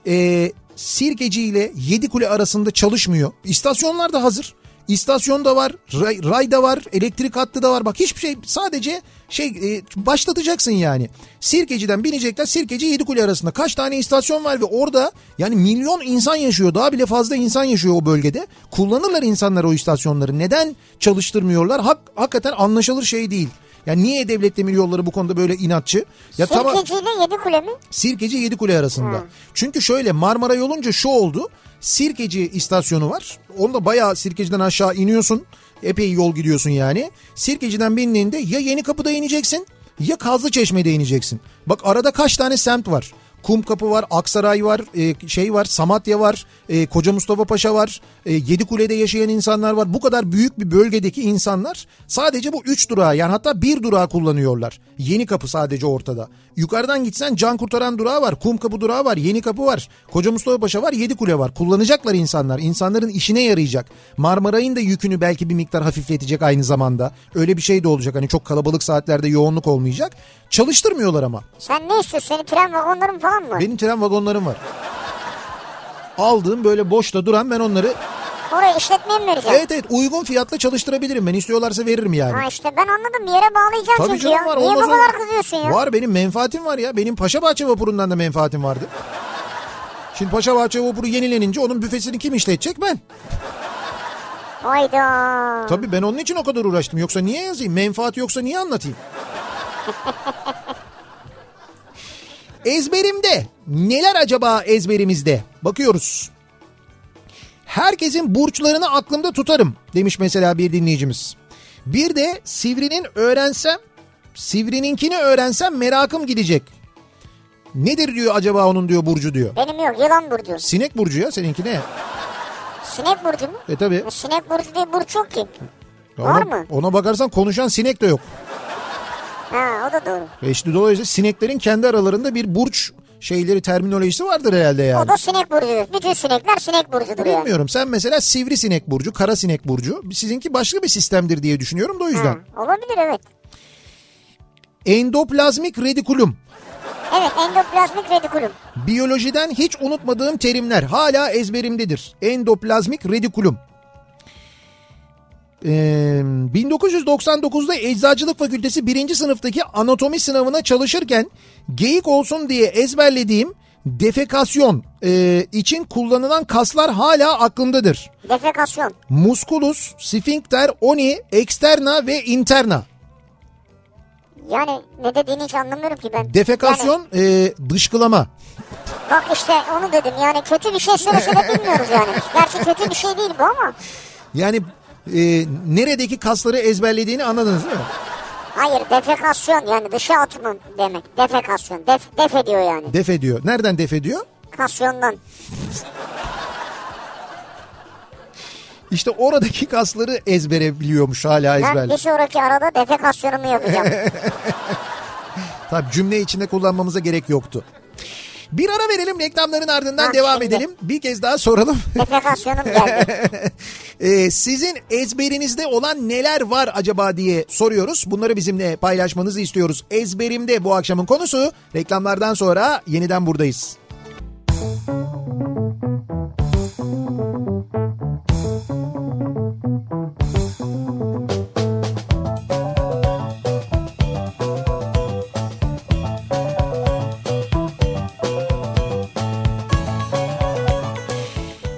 Speaker 1: Ee, e, Sirkeci ile Yedikule arasında çalışmıyor? İstasyonlar da hazır. İstasyon da var, ray, ray da var, elektrik hattı da var. Bak hiçbir şey sadece şey e, başlatacaksın yani. Sirkeci'den binecekler Sirkeci Yedikule arasında. Kaç tane istasyon var ve orada yani milyon insan yaşıyor. Daha bile fazla insan yaşıyor o bölgede. Kullanırlar insanlar o istasyonları. Neden çalıştırmıyorlar? Hak, hakikaten anlaşılır şey değil. Yani niye devlet demir yolları bu konuda böyle inatçı? Ya tamam
Speaker 2: Sirkeci ile Yedi Kule mi?
Speaker 1: Sirkeci Yedikule arasında. Çünkü şöyle Marmara yolunca şu oldu. Sirkeci istasyonu var. Onda bayağı Sirkeci'den aşağı iniyorsun. Epey yol gidiyorsun yani. Sirkeci'den bindiğinde ya Yeni Kapı'da ineceksin ya Kazlıçeşme'de ineceksin. Bak arada kaç tane semt var. Kumkapı var, Aksaray var, e, şey var, Samatya var, e, Koca Mustafa Paşa var, e, Yedikule'de yaşayan insanlar var. Bu kadar büyük bir bölgedeki insanlar sadece bu 3 durağı yani hatta bir durağı kullanıyorlar. Yeni kapı sadece ortada. Yukarıdan gitsen can kurtaran durağı var, Kumkapı durağı var, Yeni kapı var, Koca Mustafa Paşa var, Yedikule var. Kullanacaklar insanlar. İnsanların işine yarayacak. Marmaray'ın da yükünü belki bir miktar hafifletecek aynı zamanda. Öyle bir şey de olacak. Hani çok kalabalık saatlerde yoğunluk olmayacak. Çalıştırmıyorlar ama.
Speaker 2: Sen ne istiyorsun? Senin tren vagonların falan mı?
Speaker 1: Benim tren vagonlarım var. Aldığım böyle boşta duran ben onları
Speaker 2: Oraya işletmeye mi vereceksin?
Speaker 1: evet evet uygun fiyatla çalıştırabilirim. Ben istiyorlarsa veririm yani.
Speaker 2: Ha işte ben anladım bir yere bağlayacağım
Speaker 1: Tabii
Speaker 2: çünkü
Speaker 1: canım
Speaker 2: ya.
Speaker 1: var.
Speaker 2: Niye bu
Speaker 1: olmaz
Speaker 2: kadar
Speaker 1: olur.
Speaker 2: kızıyorsun ya?
Speaker 1: Var benim menfaatim var ya. Benim Paşabahçe vapurundan da menfaatim vardı. Şimdi Paşabahçe vapuru yenilenince onun büfesini kim işletecek ben.
Speaker 2: Hayda.
Speaker 1: Tabii ben onun için o kadar uğraştım. Yoksa niye yazayım? Menfaat yoksa niye anlatayım? Ezberimde. Neler acaba ezberimizde? Bakıyoruz. Herkesin burçlarını aklımda tutarım demiş mesela bir dinleyicimiz. Bir de Sivri'nin öğrensem, Sivri'ninkini öğrensem merakım gidecek. Nedir diyor acaba onun diyor burcu diyor.
Speaker 2: Benim yok yılan burcu.
Speaker 1: Sinek burcu ya seninki ne?
Speaker 2: Sinek burcu mu?
Speaker 1: E tabi.
Speaker 2: E, Sinek burcu diye burç yok ki.
Speaker 1: Ona,
Speaker 2: Var mı?
Speaker 1: ona bakarsan konuşan sinek de yok.
Speaker 2: Ha o da doğru.
Speaker 1: E işte dolayısıyla sineklerin kendi aralarında bir burç şeyleri terminolojisi vardır herhalde
Speaker 2: O
Speaker 1: yani.
Speaker 2: da sinek burcudur. Bütün sinekler sinek burcudur yani.
Speaker 1: Bilmiyorum sen mesela sivri sinek burcu, kara sinek burcu. Sizinki başka bir sistemdir diye düşünüyorum da o yüzden.
Speaker 2: Ha, olabilir evet.
Speaker 1: Endoplazmik redikulum.
Speaker 2: Evet endoplazmik redikulum.
Speaker 1: Biyolojiden hiç unutmadığım terimler hala ezberimdedir. Endoplazmik redikulum. Ee, 1999'da Eczacılık Fakültesi 1. sınıftaki anatomi sınavına çalışırken geyik olsun diye ezberlediğim defekasyon e, için kullanılan kaslar hala aklımdadır.
Speaker 2: Defekasyon.
Speaker 1: Musculus, sphincter, oni, externa ve interna.
Speaker 2: Yani ne dediğini hiç anlamıyorum ki ben. Yani,
Speaker 1: Defekasyon e, dışkılama.
Speaker 2: bak işte onu dedim yani kötü bir şey söylese de bilmiyoruz yani. Gerçi kötü bir şey değil bu ama.
Speaker 1: Yani e, neredeki kasları ezberlediğini anladınız değil mi?
Speaker 2: Hayır defekasyon yani dışa atma demek. Defekasyon. Def, def ediyor yani.
Speaker 1: Def ediyor. Nereden def ediyor?
Speaker 2: Kasyondan.
Speaker 1: İşte oradaki [laughs] kasları ezbere biliyormuş hala
Speaker 2: Ben
Speaker 1: ezberli.
Speaker 2: bir sonraki arada defekasyonumu yapacağım.
Speaker 1: [laughs] Tabii cümle içinde kullanmamıza gerek yoktu. Bir ara verelim reklamların ardından
Speaker 2: Ha,
Speaker 1: devam
Speaker 2: şimdi.
Speaker 1: edelim. Bir kez daha soralım.
Speaker 2: defekasyonum geldi.
Speaker 1: Ee, sizin ezberinizde olan neler var acaba diye soruyoruz. Bunları bizimle paylaşmanızı istiyoruz. Ezberimde bu akşamın konusu. Reklamlardan sonra yeniden buradayız.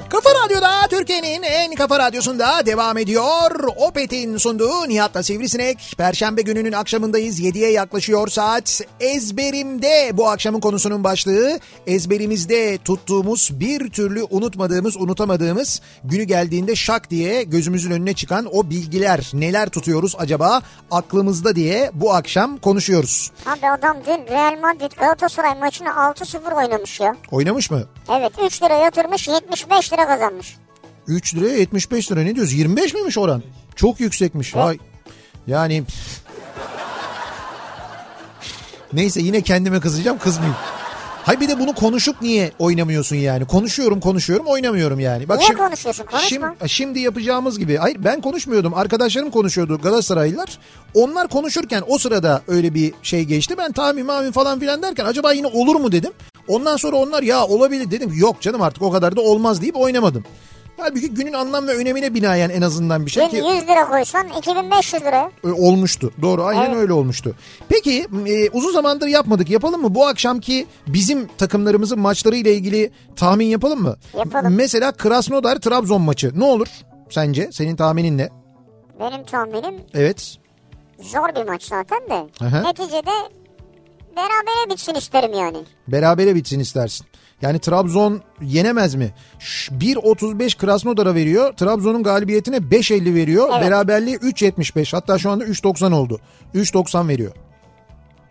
Speaker 1: Kafa Radyo'da Türkiye'nin en kafa radyosunda devam ediyor. Opet'in sunduğu Nihat'la Sivrisinek. Perşembe gününün akşamındayız. 7'ye yaklaşıyor saat. Ezberimde bu akşamın konusunun başlığı. Ezberimizde tuttuğumuz bir türlü unutmadığımız, unutamadığımız günü geldiğinde şak diye gözümüzün önüne çıkan o bilgiler. Neler tutuyoruz acaba aklımızda diye bu akşam konuşuyoruz.
Speaker 2: Abi adam dün Real Madrid Galatasaray maçını 6-0 oynamış ya.
Speaker 1: Oynamış mı?
Speaker 2: Evet 3 lira yatırmış 75 lira kazanmış.
Speaker 1: 3 liraya 75 lira ne diyoruz? 25 miymiş oran? Çok yüksekmiş. Vay. Yani Neyse yine kendime kızacağım kızmayayım. Hay bir de bunu konuşup niye oynamıyorsun yani? Konuşuyorum konuşuyorum oynamıyorum yani. Bak
Speaker 2: Niye
Speaker 1: şimdi,
Speaker 2: konuşuyorsun? Konuşma.
Speaker 1: Şimdi, şimdi yapacağımız gibi. Hayır ben konuşmuyordum. Arkadaşlarım konuşuyordu Galatasaraylılar. Onlar konuşurken o sırada öyle bir şey geçti. Ben tahmin mahmin falan filan derken acaba yine olur mu dedim. Ondan sonra onlar ya olabilir dedim. Yok canım artık o kadar da olmaz deyip oynamadım. Halbuki günün anlam ve önemine binaen en azından bir şey ki
Speaker 2: Dün 100 lira koysan 2500 lira.
Speaker 1: e, olmuştu. Doğru aynen
Speaker 2: Evet.
Speaker 1: öyle olmuştu. Peki e, uzun zamandır yapmadık yapalım mı? Bu akşamki bizim takımlarımızın maçları ile ilgili tahmin yapalım mı?
Speaker 2: Yapalım.
Speaker 1: M- Mesela Krasnodar Trabzon maçı ne olur sence? Senin tahminin ne?
Speaker 2: Benim tahminim
Speaker 1: Evet.
Speaker 2: zor bir maç zaten de.
Speaker 1: Aha.
Speaker 2: Neticede berabere bitsin isterim yani.
Speaker 1: Berabere bitsin istersin. Yani Trabzon yenemez mi? Ş- 1.35 Krasnodar'a veriyor. Trabzon'un galibiyetine 5.50 veriyor.
Speaker 2: Evet.
Speaker 1: Beraberliği 3.75. Hatta şu anda 3.90 oldu. 3.90 veriyor.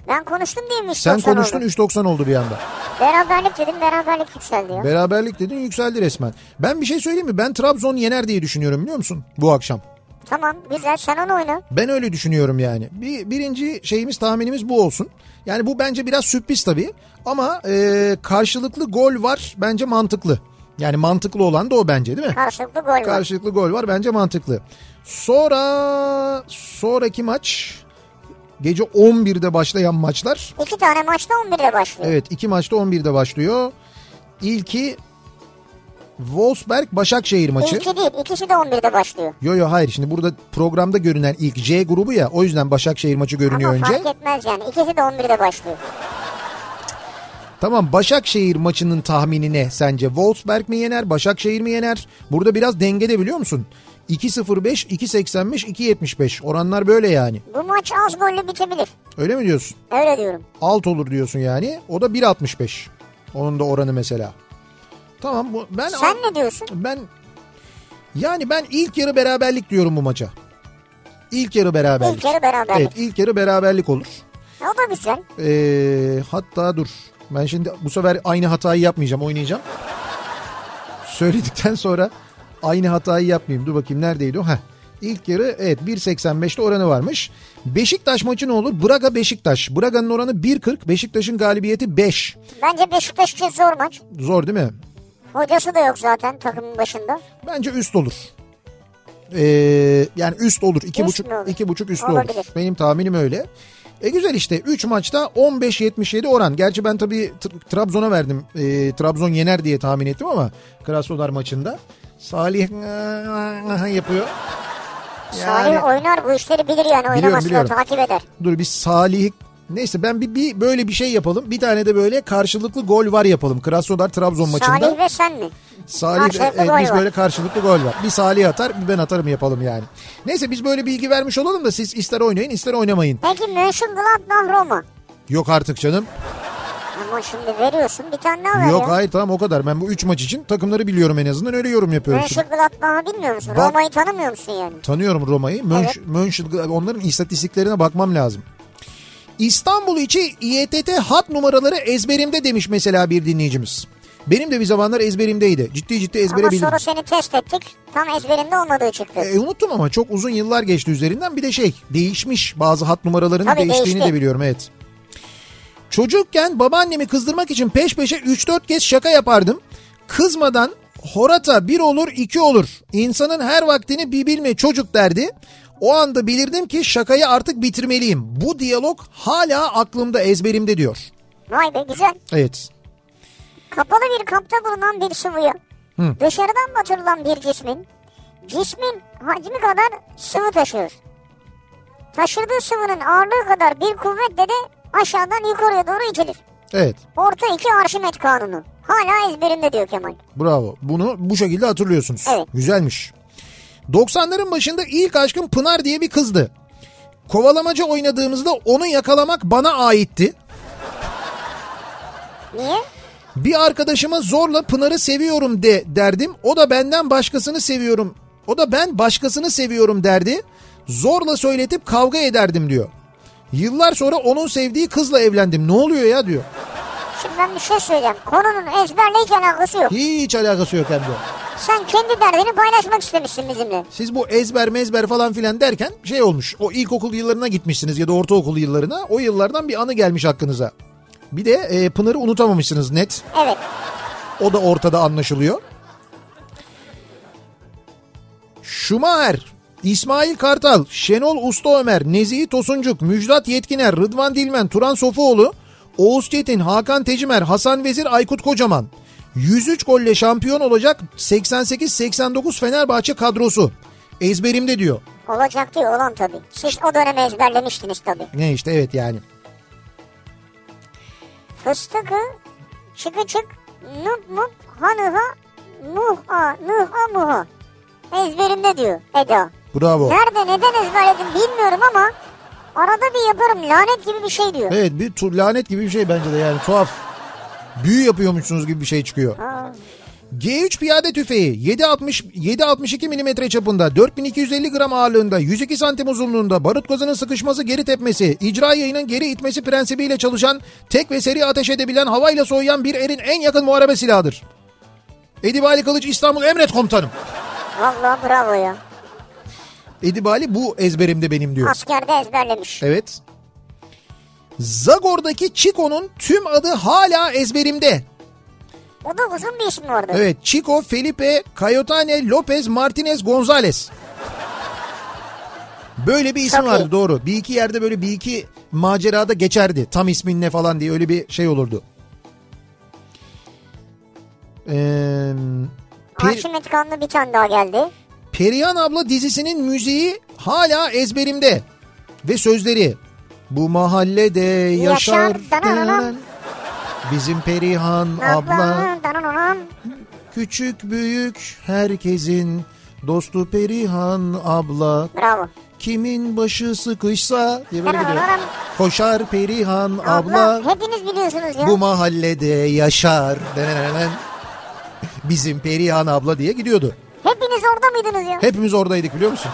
Speaker 2: Ben konuştum diye mi?
Speaker 1: Sen
Speaker 2: 90 oldu?
Speaker 1: konuştun 3.90 oldu bir anda.
Speaker 2: Beraberlik dedim beraberlik yükseldi ya.
Speaker 1: Beraberlik dedin yükseldi resmen. Ben bir şey söyleyeyim mi? Ben Trabzon yener diye düşünüyorum biliyor musun bu akşam?
Speaker 2: Tamam güzel sen onu oyna.
Speaker 1: Ben öyle düşünüyorum yani. Bir, birinci şeyimiz tahminimiz bu olsun. Yani bu bence biraz sürpriz tabii ama e, karşılıklı gol var bence mantıklı. Yani mantıklı olan da o bence değil mi?
Speaker 2: Karşılıklı gol var.
Speaker 1: Karşılıklı gol var bence mantıklı. Sonra sonraki maç gece 11'de başlayan maçlar.
Speaker 2: İki tane maçta 11'de başlıyor.
Speaker 1: Evet iki maçta 11'de başlıyor. İlki Wolfsberg Başakşehir maçı.
Speaker 2: İlki değil ikisi de 11'de başlıyor.
Speaker 1: Yo yo hayır şimdi burada programda görünen ilk C grubu ya o yüzden Başakşehir maçı görünüyor
Speaker 2: Ama
Speaker 1: önce.
Speaker 2: fark etmez yani ikisi de 11'de başlıyor.
Speaker 1: Tamam Başakşehir maçının tahmini ne sence? Wolfsberg mi yener, Başakşehir mi yener? Burada biraz dengede biliyor musun? 2.05, 2.85, 2.75 oranlar böyle yani.
Speaker 2: Bu maç az gollü bitebilir.
Speaker 1: Öyle mi diyorsun?
Speaker 2: Öyle diyorum.
Speaker 1: Alt olur diyorsun yani. O da 1.65. Onun da oranı mesela. Tamam bu ben
Speaker 2: Sen ne diyorsun?
Speaker 1: ben yani ben ilk yarı beraberlik diyorum bu maça. İlk yarı beraberlik.
Speaker 2: İlk yarı beraberlik.
Speaker 1: Evet, ilk yarı beraberlik olur.
Speaker 2: O da güzel.
Speaker 1: Ee, hatta dur. Ben şimdi bu sefer aynı hatayı yapmayacağım. Oynayacağım. Söyledikten sonra aynı hatayı yapmayayım. Dur bakayım neredeydi o? Heh. İlk yarı evet 1.85'te oranı varmış. Beşiktaş maçı ne olur? Braga Beşiktaş. Braga'nın oranı 1.40. Beşiktaş'ın galibiyeti 5.
Speaker 2: Bence Beşiktaş için zor maç.
Speaker 1: Zor değil mi?
Speaker 2: Hocası da yok zaten takımın başında.
Speaker 1: Bence üst olur. Ee, yani üst olur.
Speaker 2: Üst
Speaker 1: 2.5 buçuk,
Speaker 2: mü olur?
Speaker 1: iki buçuk üstü
Speaker 2: Olabilir.
Speaker 1: olur. Benim tahminim öyle. E güzel işte 3 maçta 15-77 oran. Gerçi ben tabii Tr- Trabzon'a verdim. Ee, Trabzon yener diye tahmin ettim ama Krasnodar maçında. Salih yapıyor. Yani-
Speaker 2: Salih oynar bu işleri bilir yani oynamasını
Speaker 1: biliyorum.
Speaker 2: takip eder.
Speaker 1: Dur bir Salih Neyse ben bir, bir böyle bir şey yapalım. Bir tane de böyle karşılıklı gol var yapalım. Krasnodar Trabzon maçında.
Speaker 2: Salih ve sen mi?
Speaker 1: Salih
Speaker 2: Karşılıklı
Speaker 1: e,
Speaker 2: gol
Speaker 1: biz
Speaker 2: var.
Speaker 1: böyle karşılıklı gol var. Bir Salih atar bir ben atarım yapalım yani. Neyse biz böyle bilgi vermiş olalım da siz ister oynayın ister oynamayın.
Speaker 2: Peki Mönchengladbach Roma.
Speaker 1: Yok artık canım.
Speaker 2: Ama şimdi veriyorsun bir tane daha ver
Speaker 1: Yok
Speaker 2: ya.
Speaker 1: hayır tamam o kadar. Ben bu 3 maç için takımları biliyorum en azından öyle yorum yapıyorum. şimdi.
Speaker 2: Mönchengladbach'ı bilmiyor musun?
Speaker 1: Bak-
Speaker 2: Roma'yı tanımıyor musun yani?
Speaker 1: Tanıyorum Roma'yı. Mönch, Mönchengladbach- onların istatistiklerine bakmam lazım. İstanbul içi İETT hat numaraları ezberimde demiş mesela bir dinleyicimiz. Benim de bir zamanlar ezberimdeydi. Ciddi ciddi ezbere
Speaker 2: Ama
Speaker 1: bildim.
Speaker 2: sonra seni test ettik. Tam ezberinde olmadığı çıktı.
Speaker 1: E, unuttum ama çok uzun yıllar geçti üzerinden. Bir de şey değişmiş bazı hat numaralarının
Speaker 2: Tabii
Speaker 1: değiştiğini
Speaker 2: değişti.
Speaker 1: de biliyorum evet. Çocukken babaannemi kızdırmak için peş peşe 3-4 kez şaka yapardım. Kızmadan horata bir olur iki olur. İnsanın her vaktini bir bilme çocuk derdi. O anda bilirdim ki şakayı artık bitirmeliyim. Bu diyalog hala aklımda ezberimde diyor.
Speaker 2: Vay be güzel.
Speaker 1: Evet.
Speaker 2: Kapalı bir kapta bulunan bir sıvıya
Speaker 1: Hı.
Speaker 2: dışarıdan batırılan bir cismin cismin hacmi kadar sıvı taşıyor. Taşıdığı sıvının ağırlığı kadar bir kuvvetle de aşağıdan yukarıya doğru itilir.
Speaker 1: Evet.
Speaker 2: Orta iki Arşimet kanunu. Hala ezberimde diyor Kemal.
Speaker 1: Bravo. Bunu bu şekilde hatırlıyorsunuz.
Speaker 2: Evet.
Speaker 1: Güzelmiş. 90'ların başında ilk aşkım Pınar diye bir kızdı. Kovalamaca oynadığımızda onu yakalamak bana aitti.
Speaker 2: Niye?
Speaker 1: Bir arkadaşıma zorla Pınar'ı seviyorum de derdim. O da benden başkasını seviyorum. O da ben başkasını seviyorum derdi. Zorla söyletip kavga ederdim diyor. Yıllar sonra onun sevdiği kızla evlendim. Ne oluyor ya diyor.
Speaker 2: Şimdi ben bir şey söyleyeceğim. Konunun ezberle hiç alakası yok.
Speaker 1: Hiç alakası yok hem de.
Speaker 2: Sen kendi derdini paylaşmak istemişsin bizimle.
Speaker 1: Siz bu ezber mezber falan filan derken şey olmuş. O ilkokul yıllarına gitmişsiniz ya da ortaokul yıllarına. O yıllardan bir anı gelmiş hakkınıza. Bir de e, Pınar'ı unutamamışsınız net.
Speaker 2: Evet.
Speaker 1: O da ortada anlaşılıyor. Şumaer, İsmail Kartal, Şenol Usta Ömer, Nezihi Tosuncuk, Müjdat Yetkiner, Rıdvan Dilmen, Turan Sofuoğlu, Oğuz Çetin, Hakan Tecimer, Hasan Vezir, Aykut Kocaman. 103 golle şampiyon olacak 88-89 Fenerbahçe kadrosu. Ezberimde diyor.
Speaker 2: Olacak diyor olan tabii. Siz o döneme ezberlemiştiniz tabii.
Speaker 1: Ne işte evet yani.
Speaker 2: Fıstıkı çıkı çık nup nup hanıha muha nuha muha. Ezberimde diyor Eda.
Speaker 1: Bravo.
Speaker 2: Nerede neden ezberledim bilmiyorum ama arada bir yaparım lanet gibi bir şey diyor.
Speaker 1: Evet bir tu- lanet gibi bir şey bence de yani tuhaf. Büyü yapıyormuşsunuz gibi bir şey çıkıyor.
Speaker 2: Aa,
Speaker 1: G3 piyade tüfeği 760 762 mm çapında 4250 gram ağırlığında 102 santim uzunluğunda barut gazının sıkışması geri tepmesi icra yayının geri itmesi prensibiyle çalışan tek ve seri ateş edebilen havayla soğuyan bir erin en yakın muharebe silahıdır. Edibali Kılıç İstanbul Emret Komutanım.
Speaker 2: vallahi bravo ya.
Speaker 1: Edibali bu ezberimde benim diyor.
Speaker 2: Askerde ezberlemiş.
Speaker 1: Evet. Zagor'daki Chico'nun tüm adı hala ezberimde.
Speaker 2: O da uzun bir isim vardı.
Speaker 1: Evet Chico, Felipe, Cayetane, Lopez, Martinez, Gonzalez. Böyle bir isim
Speaker 2: Çok iyi.
Speaker 1: vardı doğru. Bir iki yerde böyle bir iki macerada geçerdi. Tam ismin ne falan diye öyle bir şey olurdu. Ee, Peri-
Speaker 2: Arşimet kanlı bir tane daha geldi.
Speaker 1: Perihan abla dizisinin müziği hala ezberimde. Ve sözleri. Bu mahallede yaşar.
Speaker 2: Yaşar, dananam.
Speaker 1: Bizim Perihan abla.
Speaker 2: Abla. dananam.
Speaker 1: Küçük büyük herkesin dostu Perihan abla
Speaker 2: Bravo.
Speaker 1: kimin başı sıkışsa diye böyle gidiyor.
Speaker 2: Dananam.
Speaker 1: Koşar Perihan abla
Speaker 2: Abla. Hepiniz biliyorsunuz ya.
Speaker 1: bu mahallede yaşar. Denenenen. Bizim Perihan abla diye gidiyordu.
Speaker 2: Hepiniz orada mıydınız ya?
Speaker 1: Hepimiz oradaydık biliyor musun?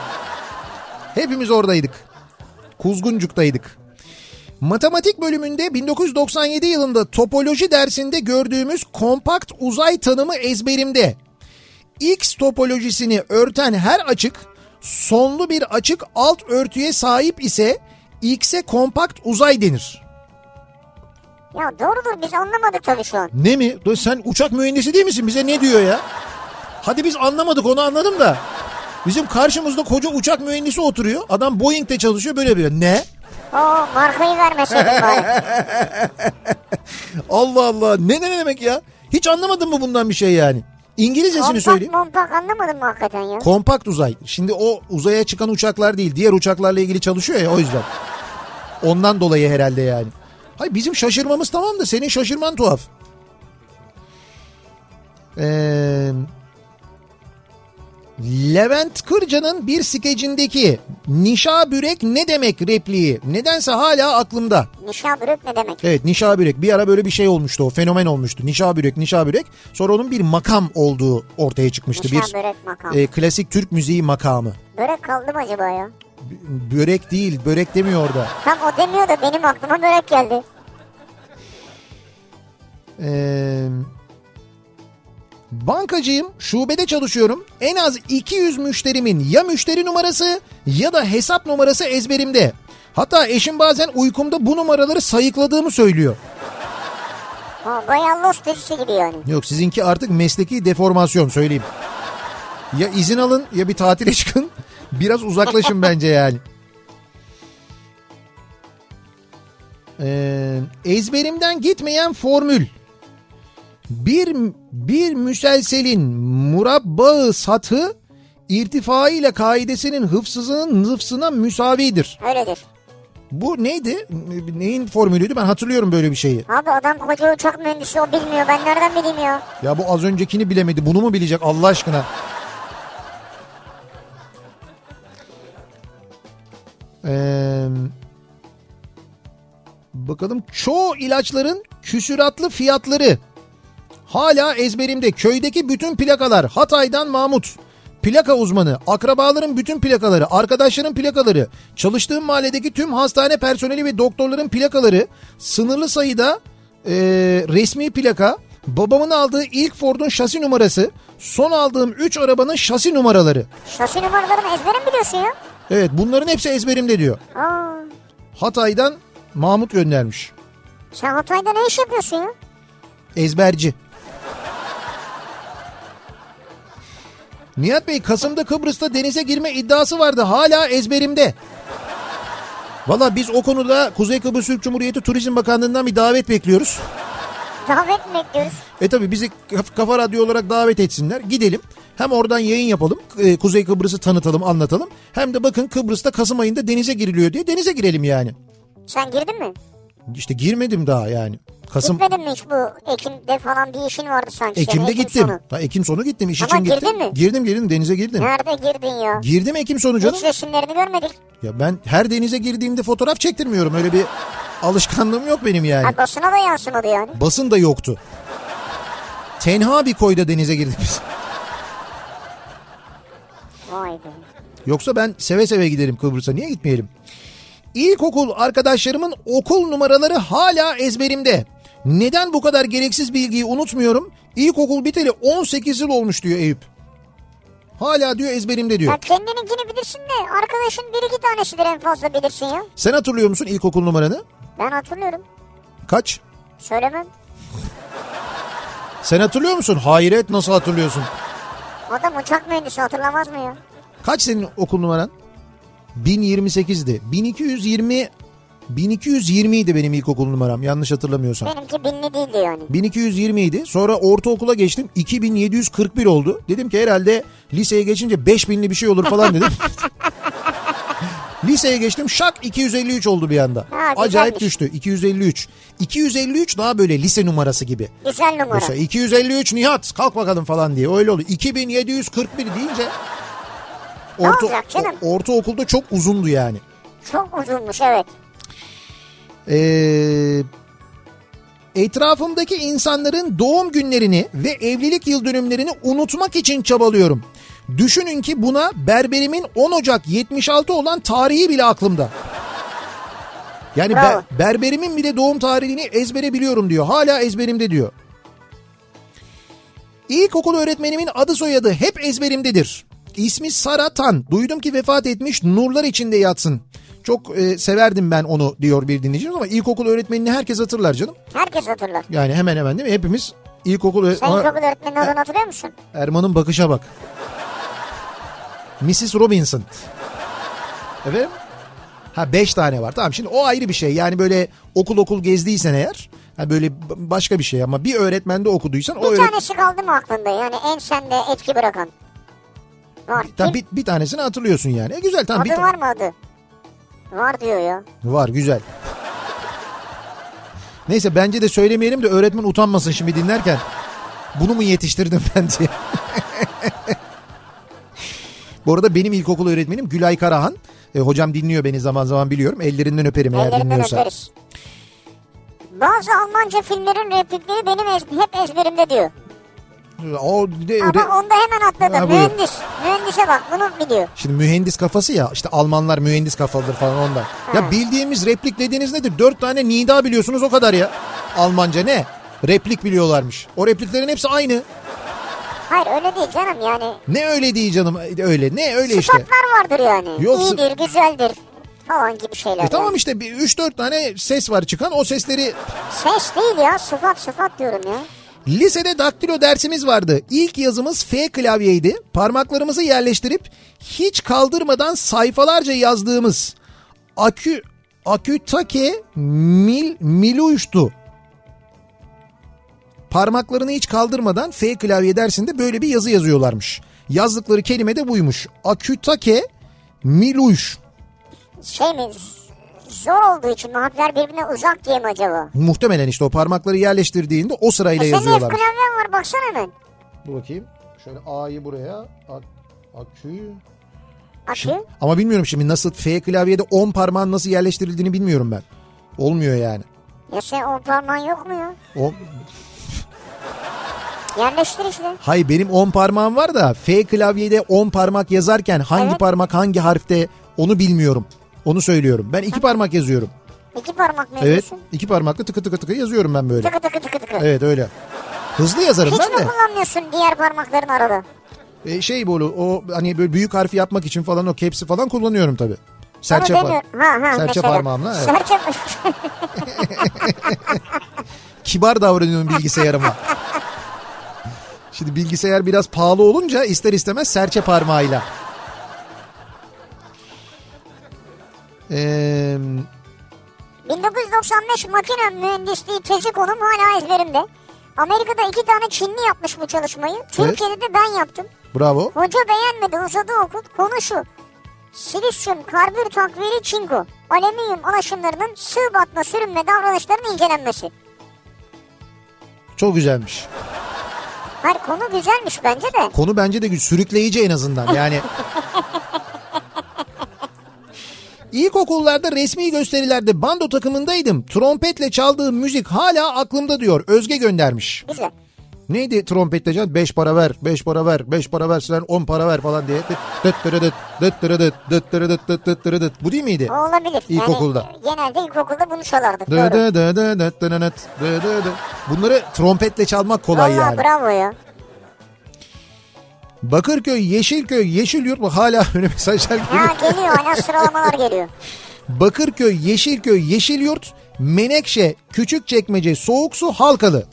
Speaker 1: Hepimiz oradaydık. Kuzguncuk'taydık. Matematik bölümünde 1997 yılında topoloji dersinde gördüğümüz kompakt uzay tanımı ezberimde. X topolojisini örten her açık sonlu bir açık alt örtüye sahip ise X'e kompakt uzay denir.
Speaker 2: Ya doğrudur biz anlamadık tabii şu an.
Speaker 1: Ne mi? Lan Sen uçak mühendisi değil misin? Bize ne diyor ya? Hadi biz anlamadık onu anladım da. Bizim karşımızda koca uçak mühendisi oturuyor. Adam Boeing'de çalışıyor böyle bir. Ne?
Speaker 2: Oo markayı vermeseydin bari.
Speaker 1: Allah Allah. Ne ne ne demek ya? Hiç anlamadın mı bundan bir şey yani? İngilizcesini
Speaker 2: Mompak
Speaker 1: söyleyeyim.
Speaker 2: mompak anlamadım mı hakikaten ya?
Speaker 1: Kompakt uzay. Şimdi o uzaya çıkan uçaklar değil. Diğer uçaklarla ilgili çalışıyor ya o yüzden. Ondan dolayı herhalde yani. Hayır bizim şaşırmamız tamam da senin şaşırman tuhaf. Ee, Levent Kırca'nın bir skecindeki Nişa Bürek ne demek repliği nedense hala aklımda.
Speaker 2: Nişan bürüp ne demek?
Speaker 1: Evet Nişa Bürek bir ara böyle bir şey olmuştu o fenomen olmuştu. Nişa Bürek, Nişa Bürek sonra onun bir makam olduğu ortaya çıkmıştı.
Speaker 2: Nişan
Speaker 1: bir
Speaker 2: börek makam.
Speaker 1: e, klasik Türk müziği makamı.
Speaker 2: Börek kaldı mı acaba ya?
Speaker 1: B- Börek değil, börek demiyor orada.
Speaker 2: Tam o demiyor da benim aklıma börek geldi.
Speaker 1: Ee, bankacıyım, şubede çalışıyorum. En az 200 müşterimin ya müşteri numarası ya da hesap numarası ezberimde. Hatta eşim bazen uykumda bu numaraları sayıkladığımı söylüyor.
Speaker 2: Ha, bayağı Lost dizisi gibi yani.
Speaker 1: Yok sizinki artık mesleki deformasyon söyleyeyim. Ya izin alın ya bir tatile [laughs] çıkın. Biraz uzaklaşın bence yani. Ee, ezberimden gitmeyen formül. Bir, bir müselselin murabbağı satı irtifaiyle ile kaidesinin hıfsızının zıfsına müsavidir.
Speaker 2: Öyledir.
Speaker 1: Bu neydi? Neyin formülüydü? Ben hatırlıyorum böyle bir şeyi.
Speaker 2: Abi adam koca uçak mühendisi o bilmiyor. Ben nereden bileyim ya?
Speaker 1: Ya bu az öncekini bilemedi. Bunu mu bilecek Allah aşkına? Ee, bakalım çoğu ilaçların küsüratlı fiyatları hala ezberimde. Köydeki bütün plakalar Hatay'dan Mahmut. Plaka uzmanı, akrabaların bütün plakaları, arkadaşların plakaları, çalıştığım mahalledeki tüm hastane personeli ve doktorların plakaları, sınırlı sayıda e, resmi plaka, babamın aldığı ilk Ford'un şasi numarası, son aldığım 3 arabanın şasi numaraları.
Speaker 2: Şasi numaralarını ezberim biliyorsun ya.
Speaker 1: Evet bunların hepsi ezberimde diyor.
Speaker 2: Aa,
Speaker 1: Hatay'dan Mahmut göndermiş.
Speaker 2: sen Hatay'da ne iş yapıyorsun ya?
Speaker 1: Ezberci. Nihat Bey Kasım'da Kıbrıs'ta denize girme iddiası vardı. Hala ezberimde. Valla biz o konuda Kuzey Kıbrıs Türk Cumhuriyeti Turizm Bakanlığı'ndan bir davet bekliyoruz.
Speaker 2: Davet mi bekliyoruz?
Speaker 1: E tabi bizi Kaf- Kafa Radyo olarak davet etsinler. Gidelim. Hem oradan yayın yapalım. e, Kuzey Kıbrıs'ı tanıtalım, anlatalım. Hem de bakın Kıbrıs'ta Kasım ayında denize giriliyor diye denize girelim yani.
Speaker 2: Sen girdin mi?
Speaker 1: İşte girmedim daha yani. Kasım
Speaker 2: Gitmedin mi hiç bu Ekim'de falan bir işin vardı sanki. senin,
Speaker 1: Ekim'de
Speaker 2: Ekim
Speaker 1: gittim.
Speaker 2: sonu.
Speaker 1: Ha, Ekim sonu gittim iş
Speaker 2: Ama
Speaker 1: için gittim.
Speaker 2: girdin mi?
Speaker 1: Girdim girdim denize girdim.
Speaker 2: Nerede girdin ya?
Speaker 1: Girdim Ekim sonu canım.
Speaker 2: Hiç resimlerini görmedik.
Speaker 1: Ya ben her denize girdiğimde fotoğraf çektirmiyorum. Öyle bir alışkanlığım yok benim yani.
Speaker 2: Ha, basına da yansımadı yani.
Speaker 1: Basın da yoktu. Tenha bir koyda denize girdik biz.
Speaker 2: Vay be.
Speaker 1: Yoksa ben seve seve giderim Kıbrıs'a. Niye gitmeyelim? İlkokul arkadaşlarımın okul numaraları hala ezberimde. Neden bu kadar gereksiz bilgiyi unutmuyorum? İlkokul biteli 18 yıl olmuş diyor Eyüp. Hala diyor ezberimde diyor.
Speaker 2: Ya kendininkini bilirsin de arkadaşın bir iki tanesidir en fazla bilirsin ya.
Speaker 1: Sen hatırlıyor musun ilkokul numaranı?
Speaker 2: Ben hatırlıyorum.
Speaker 1: Kaç?
Speaker 2: Söylemem.
Speaker 1: Sen hatırlıyor musun? Hayret nasıl hatırlıyorsun?
Speaker 2: Adam uçak mühendisi hatırlamaz mı ya?
Speaker 1: Kaç senin okul numaran? 1028'di. 1220 1220 idi benim ilkokul numaram yanlış hatırlamıyorsam.
Speaker 2: Benimki binli değildi yani.
Speaker 1: 1220 idi. Sonra ortaokula geçtim. 2741 oldu. Dedim ki herhalde liseye geçince 5000'li bir şey olur falan dedim. liseye geçtim şak 253 oldu bir anda.
Speaker 2: güzelmiş.
Speaker 1: Acayip düştü 253. 253 daha böyle lise numarası gibi.
Speaker 2: Güzel numara.
Speaker 1: Mesela 253 Nihat kalk bakalım falan diye öyle oldu. 2741 deyince orta,
Speaker 2: olacak canım?
Speaker 1: o- ortaokulda çok uzundu yani.
Speaker 2: Çok uzunmuş evet.
Speaker 1: Ee, etrafımdaki insanların doğum günlerini ve evlilik yıl dönümlerini unutmak için çabalıyorum. Düşünün ki buna berberimin 10 Ocak 76 olan tarihi bile aklımda. Yani ber-
Speaker 2: Bravo.
Speaker 1: berberimin bile doğum tarihini ezbere biliyorum diyor. Hala ezberimde diyor. İlkokul öğretmenimin adı soyadı hep ezberimdedir. İsmi Sara Tan. Duydum ki vefat etmiş nurlar içinde yatsın. Çok e, severdim ben onu diyor bir dinleyicimiz ama ilkokul öğretmenini herkes hatırlar canım.
Speaker 2: Herkes hatırlar.
Speaker 1: Yani hemen hemen değil mi? Hepimiz ilkokul öğ-
Speaker 2: Sen
Speaker 1: Aa,
Speaker 2: ilkokul öğretmenin adını hatırlıyor musun?
Speaker 1: Erman'ın bakışa bak. Mrs. Robinson. Efendim? Ha beş tane var. Tamam şimdi o ayrı bir şey. Yani böyle okul okul gezdiysen eğer. Ha böyle b- başka bir şey ama bir öğretmende okuduysan o
Speaker 2: Bir
Speaker 1: öğret-
Speaker 2: tanesi kaldı mı aklında yani en sende etki bırakan? Var.
Speaker 1: Tamam,
Speaker 2: Kim?
Speaker 1: bir, bir tanesini hatırlıyorsun yani. E, güzel tamam.
Speaker 2: Adı
Speaker 1: Bir ta-
Speaker 2: var mı adı? Var diyor ya.
Speaker 1: Var güzel. Neyse bence de söylemeyelim de öğretmen utanmasın şimdi dinlerken. Bunu mu yetiştirdim ben diye. [laughs] Bu arada benim ilkokul öğretmenim Gülay Karahan. E, hocam dinliyor beni zaman zaman biliyorum. Ellerinden öperim eğer
Speaker 2: Ellerinden
Speaker 1: dinliyorsa.
Speaker 2: öperiz. Bazı Almanca filmlerin replikleri benim ez- hep ezberimde diyor.
Speaker 1: O de-
Speaker 2: Ama
Speaker 1: de-
Speaker 2: onda hemen atladım.
Speaker 1: Ha, buyur.
Speaker 2: Mühendis. Mühendise bak bunu biliyor.
Speaker 1: Şimdi mühendis kafası ya işte Almanlar mühendis kafalıdır falan ondan. Ya bildiğimiz replik dediğiniz nedir? Dört tane nida biliyorsunuz o kadar ya. Almanca ne? Replik biliyorlarmış. O repliklerin hepsi aynı.
Speaker 2: Hayır öyle değil canım yani.
Speaker 1: Ne öyle diye canım öyle ne öyle işte.
Speaker 2: Sıfatlar vardır yani.
Speaker 1: Yok, sı-
Speaker 2: İyidir, güzeldir falan gibi şeyler.
Speaker 1: E tamam
Speaker 2: yani.
Speaker 1: işte 3-4 tane ses var çıkan o sesleri
Speaker 2: Ses değil ya sıfat sıfat diyorum ya.
Speaker 1: lisede daktilo dersimiz vardı. İlk yazımız F klavyeydi. Parmaklarımızı yerleştirip hiç kaldırmadan sayfalarca yazdığımız akü akütake mil miluştu. Parmaklarını hiç kaldırmadan F klavye dersinde böyle bir yazı yazıyorlarmış. Yazdıkları kelime de buymuş. Akütake miluş.
Speaker 2: Şey mi z- zor olduğu için mi harfler birbirine uzak diye mi acaba?
Speaker 1: Muhtemelen işte o parmakları yerleştirdiğinde o sırayla
Speaker 2: E senin F
Speaker 1: yazıyorlar.
Speaker 2: klavyen var baksana hemen.
Speaker 1: Dur bakayım. Şöyle A'yı buraya. Ak akü.
Speaker 2: Akü.
Speaker 1: Ama bilmiyorum şimdi nasıl F klavyede 10 parmağın nasıl yerleştirildiğini bilmiyorum ben. Olmuyor yani.
Speaker 2: Ya sen on parmağın yok mu ya?
Speaker 1: O,
Speaker 2: Yerleştir işte.
Speaker 1: hayır benim 10 parmağım var da F klavyede 10 parmak yazarken hangi
Speaker 2: Evet.
Speaker 1: parmak hangi harfte onu bilmiyorum. Onu söylüyorum. Ben iki parmak yazıyorum.
Speaker 2: İki parmak mı
Speaker 1: Evet.
Speaker 2: yapıyorsun?
Speaker 1: iki parmakla tıkı tıkı tıkı yazıyorum ben böyle.
Speaker 2: Tıkı tıkı tıkı tıkı.
Speaker 1: Evet öyle. Hızlı yazarım
Speaker 2: Hiç
Speaker 1: ben
Speaker 2: mi
Speaker 1: de.
Speaker 2: kullanmıyorsun diğer parmakların arada?
Speaker 1: E, şey böyle o hani böyle büyük harfi yapmak için falan o kepsi falan kullanıyorum tabii. Serçe,
Speaker 2: Onu
Speaker 1: par-
Speaker 2: demiyor. Ha, ha,
Speaker 1: serçe
Speaker 2: mesela.
Speaker 1: parmağımla. evet.
Speaker 2: Serçe
Speaker 1: kibar davranıyorum bilgisayarıma. Şimdi bilgisayar biraz pahalı olunca ister istemez serçe parmağıyla. Ee,
Speaker 2: 1995 makine mühendisliği tezi konum hala ezberimde. Amerika'da iki tane Çinli yapmış bu çalışmayı. Türkiye'de de ben yaptım.
Speaker 1: Bravo.
Speaker 2: Hoca beğenmedi uzadı okul. Konu şu. Silisyum, karbür takviyeli çinko, alüminyum alaşımlarının sığ batma, sürünme davranışlarının incelenmesi.
Speaker 1: Çok güzelmiş.
Speaker 2: Hayır konu güzelmiş bence de.
Speaker 1: Konu bence de gü- sürükleyici en azından yani. İlkokullarda resmi gösterilerde bando takımındaydım. Trompetle çaldığım müzik hala aklımda diyor. Özge göndermiş.
Speaker 2: Güzel.
Speaker 1: Neydi trompetle can? Beş para ver, beş para ver, beş para versen on para ver falan diye. Dıt dıt dırı dıt, dıt dırı dıt, dıt dırı dıt, dıt dıt dırı dıt. Bu değil miydi?
Speaker 2: O olabilir.
Speaker 1: İlkokulda.
Speaker 2: Yani, genelde ilkokulda bunu çalardık.
Speaker 1: Dı
Speaker 2: Doğru.
Speaker 1: dı dı dı dıt dı dı dıt, dı dı dı. Bunları trompetle çalmak kolay
Speaker 2: Vallahi
Speaker 1: yani. [laughs]
Speaker 2: bravo ya.
Speaker 1: Bakırköy, Yeşilköy, Yeşilyurt mu? Hala öyle mesajlar geliyor.
Speaker 2: Ha geliyor hala sıralamalar geliyor.
Speaker 1: Bakırköy, Yeşilköy, Yeşilyurt, Menekşe, Küçükçekmece, Soğuksu, Halkalı.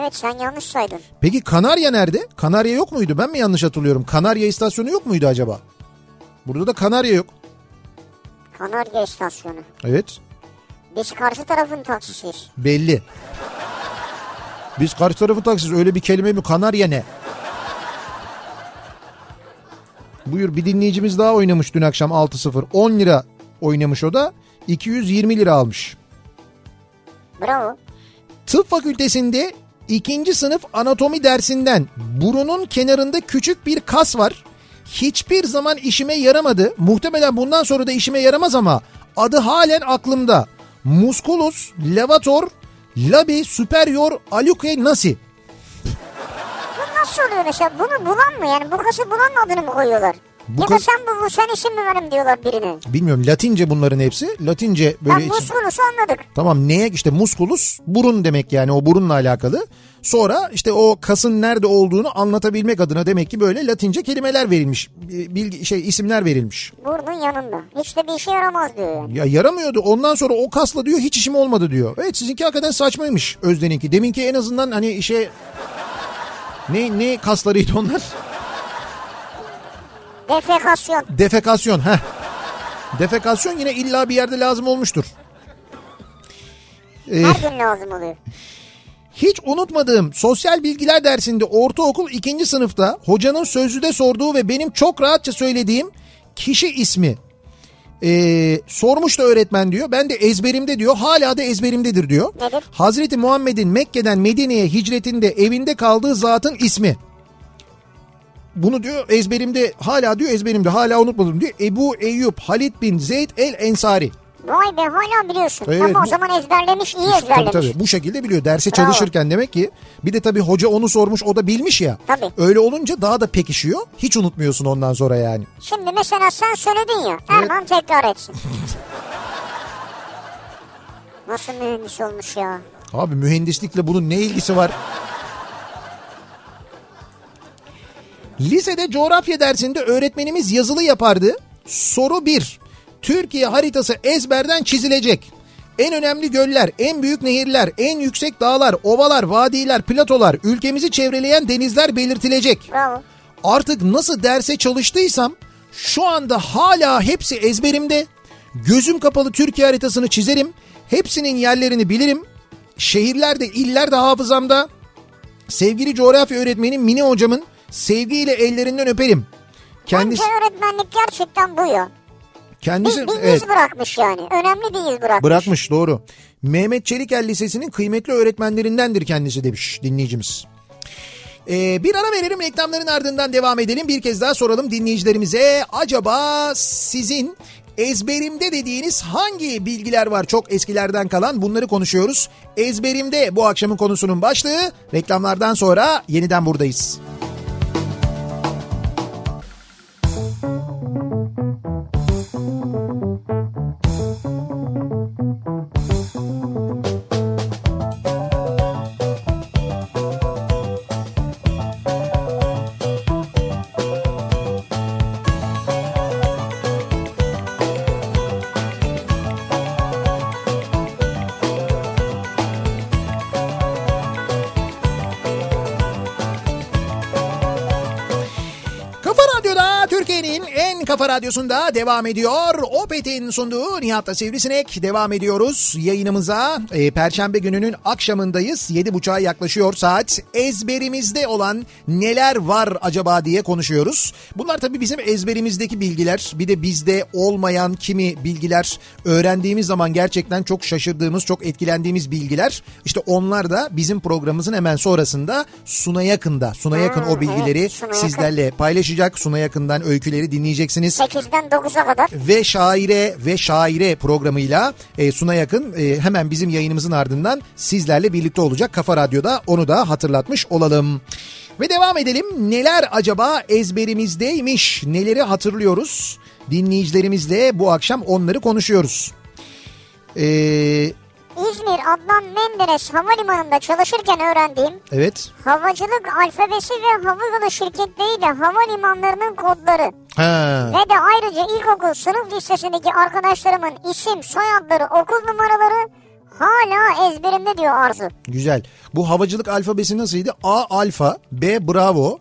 Speaker 2: Evet sen yanlış saydın.
Speaker 1: Peki Kanarya nerede? Kanarya yok muydu? Ben mi yanlış hatırlıyorum? Kanarya istasyonu yok muydu acaba? Burada da Kanarya yok.
Speaker 2: Kanarya istasyonu.
Speaker 1: Evet.
Speaker 2: Biz karşı tarafın taksisiyiz.
Speaker 1: Belli. Biz karşı tarafı taksız öyle bir kelime mi? Kanarya ne? Buyur bir dinleyicimiz daha oynamış dün akşam 6-0. 10 lira oynamış o da 220 lira almış.
Speaker 2: Bravo.
Speaker 1: Tıp fakültesinde ikinci sınıf anatomi dersinden burunun kenarında küçük bir kas var. Hiçbir zaman işime yaramadı. Muhtemelen bundan sonra da işime yaramaz ama adı halen aklımda. Musculus levator labi superior aluque nasi.
Speaker 2: Bu nasıl oluyor mesela? Bunu bulan mı yani? Bu kası bulanın adını mı koyuyorlar?
Speaker 1: Bu
Speaker 2: ya da
Speaker 1: kas-
Speaker 2: sen bu, bu sen işin mi benim diyorlar birine.
Speaker 1: Bilmiyorum Latince bunların hepsi. Latince
Speaker 2: Ya
Speaker 1: böyle için-
Speaker 2: muskulusu anladık.
Speaker 1: Tamam neye işte musculus burun demek yani o burunla alakalı. Sonra işte o kasın nerede olduğunu anlatabilmek adına demek ki böyle Latince kelimeler verilmiş. e, Bilgi şey isimler verilmiş.
Speaker 2: Burnun yanında. Hiç de bir işe yaramaz diyor yani.
Speaker 1: Ya yaramıyordu. Ondan sonra o kasla diyor hiç işim olmadı diyor. Evet sizinki hakikaten saçmaymış Özden'inki. Deminki en azından hani işe ne ne kaslarıydı onlar?
Speaker 2: Defekasyon.
Speaker 1: Defekasyon. Heh. Defekasyon yine illa bir yerde lazım olmuştur. Ee,
Speaker 2: Her gün lazım oluyor.
Speaker 1: Hiç unutmadığım sosyal bilgiler dersinde ortaokul ikinci sınıfta hocanın sözlüde sorduğu ve benim çok rahatça söylediğim kişi ismi. Ee, sormuş da öğretmen diyor. Ben de ezberimde diyor. Hala da ezberimdedir diyor.
Speaker 2: Nedir?
Speaker 1: Hazreti Muhammed'in Mekke'den Medine'ye hicretinde evinde kaldığı zatın ismi. Bunu diyor ezberimde hala diyor ezberimde hala unutmadım diyor. Ebu Eyyub Halid bin Zeyd el Ensari.
Speaker 2: Vay be hala biliyorsun.
Speaker 1: Evet,
Speaker 2: Ama
Speaker 1: bu-
Speaker 2: o zaman ezberlemiş, iyi
Speaker 1: Tabii,
Speaker 2: ezberlemiş.
Speaker 1: tabii. bu şekilde biliyor. Derse
Speaker 2: Bravo.
Speaker 1: çalışırken demek ki bir de tabii hoca onu sormuş o da bilmiş ya.
Speaker 2: Tabii.
Speaker 1: Öyle olunca daha da pekişiyor. Hiç unutmuyorsun ondan sonra yani.
Speaker 2: Şimdi mesela sen söyledin ya. Erman tekrar etsin. Nasıl mühendis olmuş ya?
Speaker 1: Abi mühendislikle bunun ne ilgisi var? Lisede coğrafya dersinde öğretmenimiz yazılı yapardı. Soru 1. Türkiye haritası ezberden çizilecek. En önemli göller, en büyük nehirler, en yüksek dağlar, ovalar, vadiler, platolar, ülkemizi çevreleyen denizler belirtilecek.
Speaker 2: Bravo.
Speaker 1: Artık nasıl derse çalıştıysam şu anda hala hepsi ezberimde. Gözüm kapalı Türkiye haritasını çizerim. Hepsinin yerlerini bilirim. Şehirler de iller de hafızamda. Sevgili coğrafya öğretmeni Mine hocamın sevgiyle ellerinden öperim. Kendisi
Speaker 2: Bence öğretmenlik gerçekten bu ya. Bir,
Speaker 1: kendisi
Speaker 2: bir iz
Speaker 1: evet,
Speaker 2: bırakmış yani. Önemli bir iz bırakmış.
Speaker 1: bırakmış doğru. Mehmet Çelikel Lisesi'nin kıymetli öğretmenlerindendir kendisi demiş dinleyicimiz. Ee, bir ara verelim reklamların ardından devam edelim. Bir kez daha soralım dinleyicilerimize. Acaba sizin ezberimde dediğiniz hangi bilgiler var çok eskilerden kalan bunları konuşuyoruz. Ezberimde bu akşamın konusunun başlığı reklamlardan sonra yeniden buradayız. Kafa Radyosu'nda devam ediyor. Opet'in sunduğu Nihat'la Sivrisinek devam ediyoruz. Yayınımıza e, Perşembe gününün akşamındayız. 7.30'a yaklaşıyor saat. Ezberimizde olan neler var acaba diye konuşuyoruz. Bunlar tabii bizim ezberimizdeki bilgiler. Bir de bizde olmayan kimi bilgiler öğrendiğimiz zaman gerçekten çok şaşırdığımız, çok etkilendiğimiz bilgiler. İşte onlar da bizim programımızın hemen sonrasında Suna Yakın'da. Suna Yakın o
Speaker 2: evet,
Speaker 1: bilgileri
Speaker 2: Suna Yakın.
Speaker 1: sizlerle paylaşacak. Suna Yakın'dan öyküleri dinleyeceksiniz.
Speaker 2: 8'den 9'a kadar.
Speaker 1: Ve Şaire ve Şaire programıyla e, Suna Yakın e, hemen bizim yayınımızın ardından sizlerle birlikte olacak Kafa Radyo'da onu da hatırlatmış olalım. Ve devam edelim. Neler acaba ezberimizdeymiş? Neleri hatırlıyoruz? Dinleyicilerimizle bu akşam onları konuşuyoruz. Ee,
Speaker 2: İzmir Adnan Menderes Havalimanı'nda çalışırken öğrendiğim
Speaker 1: evet.
Speaker 2: havacılık alfabesi ve havayolu şirketleriyle havalimanlarının kodları
Speaker 1: Ha.
Speaker 2: ve de ayrıca ilkokul sınıf listesindeki arkadaşlarımın isim, soyadları, okul numaraları hala ezberimde diyor Arzu.
Speaker 1: Güzel. Bu havacılık alfabesi nasılydı? A alfa, B bravo,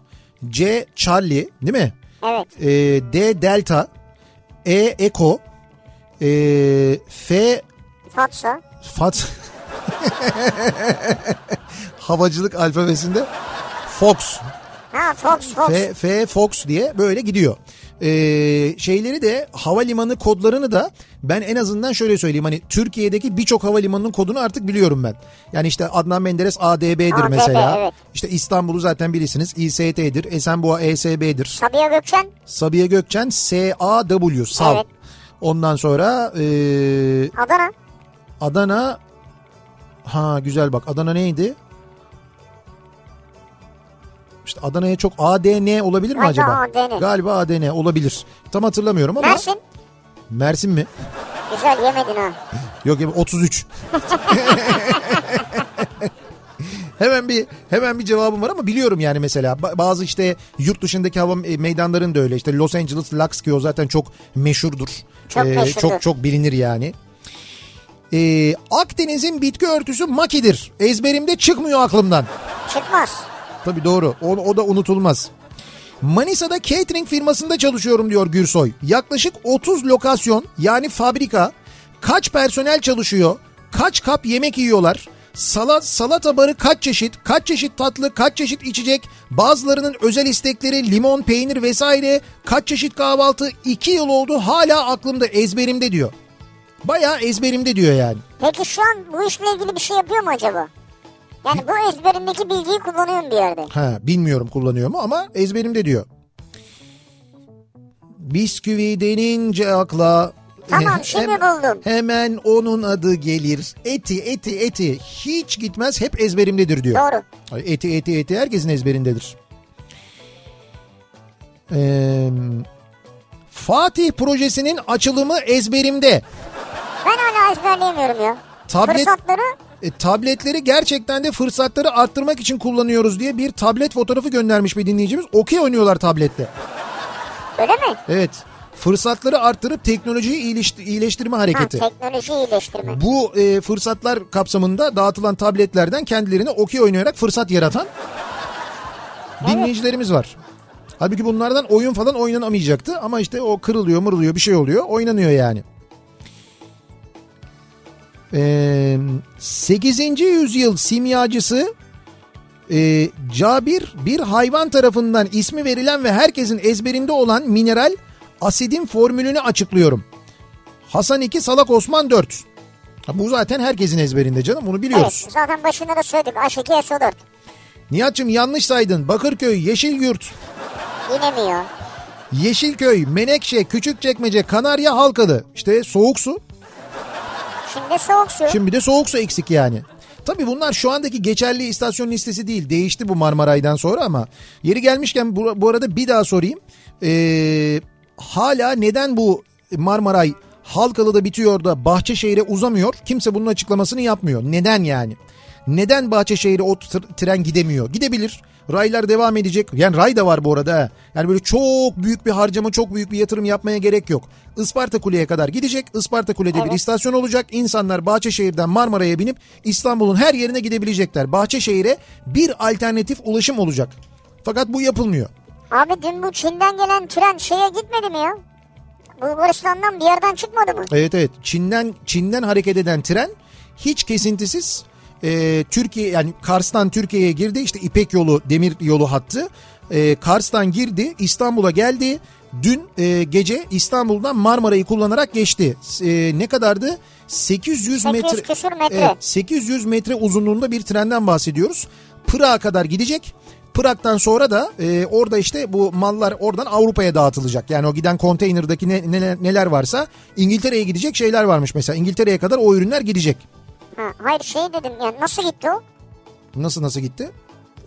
Speaker 1: C Charlie değil mi?
Speaker 2: Evet.
Speaker 1: Ee, D delta, E eko, ee, F
Speaker 2: Fatsa.
Speaker 1: fat. [laughs] havacılık alfabesinde Fox.
Speaker 2: Ha Fox Fox.
Speaker 1: F, F Fox diye böyle gidiyor. Ee, şeyleri de havalimanı kodlarını da ben en azından şöyle söyleyeyim hani Türkiye'deki birçok havalimanının kodunu artık biliyorum ben. Yani işte Adnan Menderes ADB'dir
Speaker 2: ADB,
Speaker 1: mesela.
Speaker 2: evet.
Speaker 1: İşte İstanbul'u zaten bilirsiniz İST'dir, Esenboğa ESB'dir.
Speaker 2: Sabiha Gökçen.
Speaker 1: Sabiha Gökçen SAW, SAV.
Speaker 2: Evet.
Speaker 1: Ondan sonra e,
Speaker 2: Adana.
Speaker 1: Adana ha güzel bak Adana neydi? İşte Adana'ya çok ADN olabilir mi
Speaker 2: Galiba
Speaker 1: acaba?
Speaker 2: ADN.
Speaker 1: Galiba ADN olabilir. Tam hatırlamıyorum ama
Speaker 2: Mersin.
Speaker 1: Mersin mi?
Speaker 2: Güzel yemedin ha.
Speaker 1: Yok ya, 33. hemen bir hemen bir cevabım var ama biliyorum yani mesela Ba- bazı işte yurt dışındaki hava e, meydanlarında öyle işte Los Angeles Luxkio zaten çok meşhurdur. Ee,
Speaker 2: Çok meşhurdur.
Speaker 1: Çok çok bilinir yani. Ee, Akdeniz'in bitki örtüsü makidir. Ezberimde çıkmıyor aklımdan.
Speaker 2: Çıkmaz.
Speaker 1: Tabii doğru. O, o da unutulmaz. Manisa'da catering firmasında çalışıyorum diyor Gürsoy. Yaklaşık 30 lokasyon yani fabrika. Kaç personel çalışıyor? Kaç kap yemek yiyorlar? Salat, salata barı kaç çeşit? Kaç çeşit tatlı? Kaç çeşit içecek? Bazılarının özel istekleri limon, peynir vesaire. Kaç çeşit kahvaltı? 2 yıl oldu hala aklımda ezberimde diyor. Bayağı ezberimde diyor yani.
Speaker 2: Peki şu an bu işle ilgili bir şey yapıyor mu acaba? Yani bu ezberindeki bilgiyi kullanıyorum bir yerde.
Speaker 1: Ha, bilmiyorum kullanıyor mu ama ezberimde diyor. Bisküvi denince akla eh,
Speaker 2: Tamam, şimdi buldum.
Speaker 1: Hemen onun adı gelir. Eti eti eti hiç gitmez hep ezberimdedir diyor.
Speaker 2: Doğru.
Speaker 1: Ay, Eti eti eti herkesin ezberindedir. Ee, Fatih projesinin açılımı ezberimde.
Speaker 2: Ben hala ezberleyemiyorum ya.
Speaker 1: Tablet-
Speaker 2: Fırsatları
Speaker 1: E, tabletleri gerçekten de fırsatları arttırmak için kullanıyoruz diye bir tablet fotoğrafı göndermiş bir dinleyicimiz. Okey oynuyorlar tablette.
Speaker 2: öyle mi?
Speaker 1: Evet. Fırsatları arttırıp teknolojiyi iyileşti- iyileştirme
Speaker 2: Ha,
Speaker 1: hareketi.
Speaker 2: teknoloji iyileştirme.
Speaker 1: Bu e, fırsatlar kapsamında dağıtılan tabletlerden kendilerine okey oynayarak fırsat yaratan dinleyicilerimiz var. Halbuki bunlardan oyun falan oynanamayacaktı ama işte o kırılıyor mırılıyor bir şey oluyor oynanıyor yani. E, 8. yüzyıl simyacısı e, Cabir bir hayvan tarafından ismi verilen ve herkesin ezberinde olan mineral asidin formülünü açıklıyorum. Hasan 2 Salak Osman 4. Ha, bu zaten herkesin ezberinde canım bunu
Speaker 2: Evet
Speaker 1: biliyoruz.
Speaker 2: zaten başında da söyledik H2SO4.
Speaker 1: Nihat'cığım yanlış saydın Bakırköy, Yeşilyurt,
Speaker 2: Yine mi ya?
Speaker 1: Yeşilköy, Menekşe, Küçükçekmece, Kanarya, Halkalı. İşte soğuk su
Speaker 2: Şimdi soğuk su.
Speaker 1: Şimdi bir de soğuk su eksik yani. Tabii bunlar şu andaki geçerli istasyon listesi değil. Değişti bu Marmaray'dan sonra ama. Yeri gelmişken bu, bu arada bir daha sorayım. Ee, hala neden bu Marmaray Halkalı'da bitiyor da Bahçeşehir'e uzamıyor? Kimse bunun açıklamasını yapmıyor. Neden yani? Neden Bahçeşehir'e o tr- tren gidemiyor? Gidebilir. Raylar devam edecek. Yani ray da var bu arada. ha. Yani böyle çok büyük bir harcama, çok büyük bir yatırım yapmaya gerek yok. Isparta Kule'ye kadar gidecek. Isparta Kule'de bir istasyon olacak. İnsanlar Bahçeşehir'den Marmara'ya binip İstanbul'un her yerine gidebilecekler. Bahçeşehir'e bir alternatif ulaşım olacak. Fakat bu yapılmıyor.
Speaker 2: Abi dün bu Çin'den gelen tren şeye gitmedi mi ya? Bulgaristan'dan bir yerden çıkmadı mı?
Speaker 1: Evet evet Çin'den Çin'den hareket eden tren hiç kesintisiz e, Türkiye yani Kars'tan Türkiye'ye girdi işte İpek yolu demir yolu hattı E, Kars'tan girdi İstanbul'a geldi dün e, gece İstanbul'dan Marmara'yı kullanarak geçti E, ne kadardı 800 metre
Speaker 2: 800 küsür metre.
Speaker 1: Evet, 800 metre uzunluğunda bir trenden bahsediyoruz Pırak'a kadar gidecek Pırak'tan sonra da e, orada işte bu mallar oradan Avrupa'ya dağıtılacak. Yani o giden konteynerdaki ne- ne- neler varsa İngiltere'ye gidecek şeyler varmış mesela. İngiltere'ye kadar o ürünler gidecek.
Speaker 2: Ha, hayır şey dedim yani nasıl gitti o?
Speaker 1: Nasıl nasıl gitti?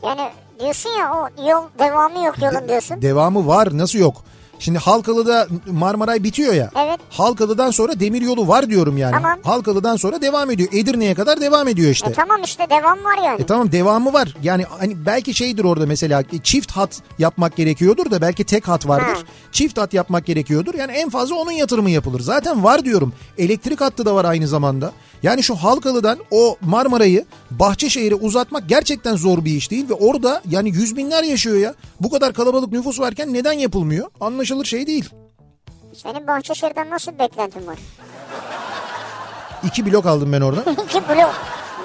Speaker 2: Yani diyorsun ya o yol devamı yok yolun diyorsun.
Speaker 1: Devamı var nasıl yok? Şimdi Halkalı'da Marmaray bitiyor ya.
Speaker 2: Evet.
Speaker 1: Halkalı'dan sonra demir yolu var diyorum yani.
Speaker 2: Tamam.
Speaker 1: Halkalı'dan sonra devam ediyor. Edirne'ye kadar devam ediyor işte.
Speaker 2: E tamam işte devam var yani.
Speaker 1: E tamam devamı var. Yani hani belki şeydir orada mesela e, çift hat yapmak gerekiyordur da belki tek hat vardır.
Speaker 2: Ha.
Speaker 1: Çift hat yapmak gerekiyordur. Yani en fazla onun yatırımı yapılır. Zaten var diyorum. Elektrik hattı da var aynı zamanda. Yani şu Halkalı'dan o Marmara'yı Bahçeşehir'e uzatmak gerçekten zor bir iş değil ve orada yani yüz binler yaşıyor ya. Bu kadar kalabalık nüfus varken neden yapılmıyor? Anlaşılır şey değil.
Speaker 2: Senin Bahçeşehir'den nasıl bir beklentin var? [laughs]
Speaker 1: İki blok aldım ben orada.
Speaker 2: İki blok.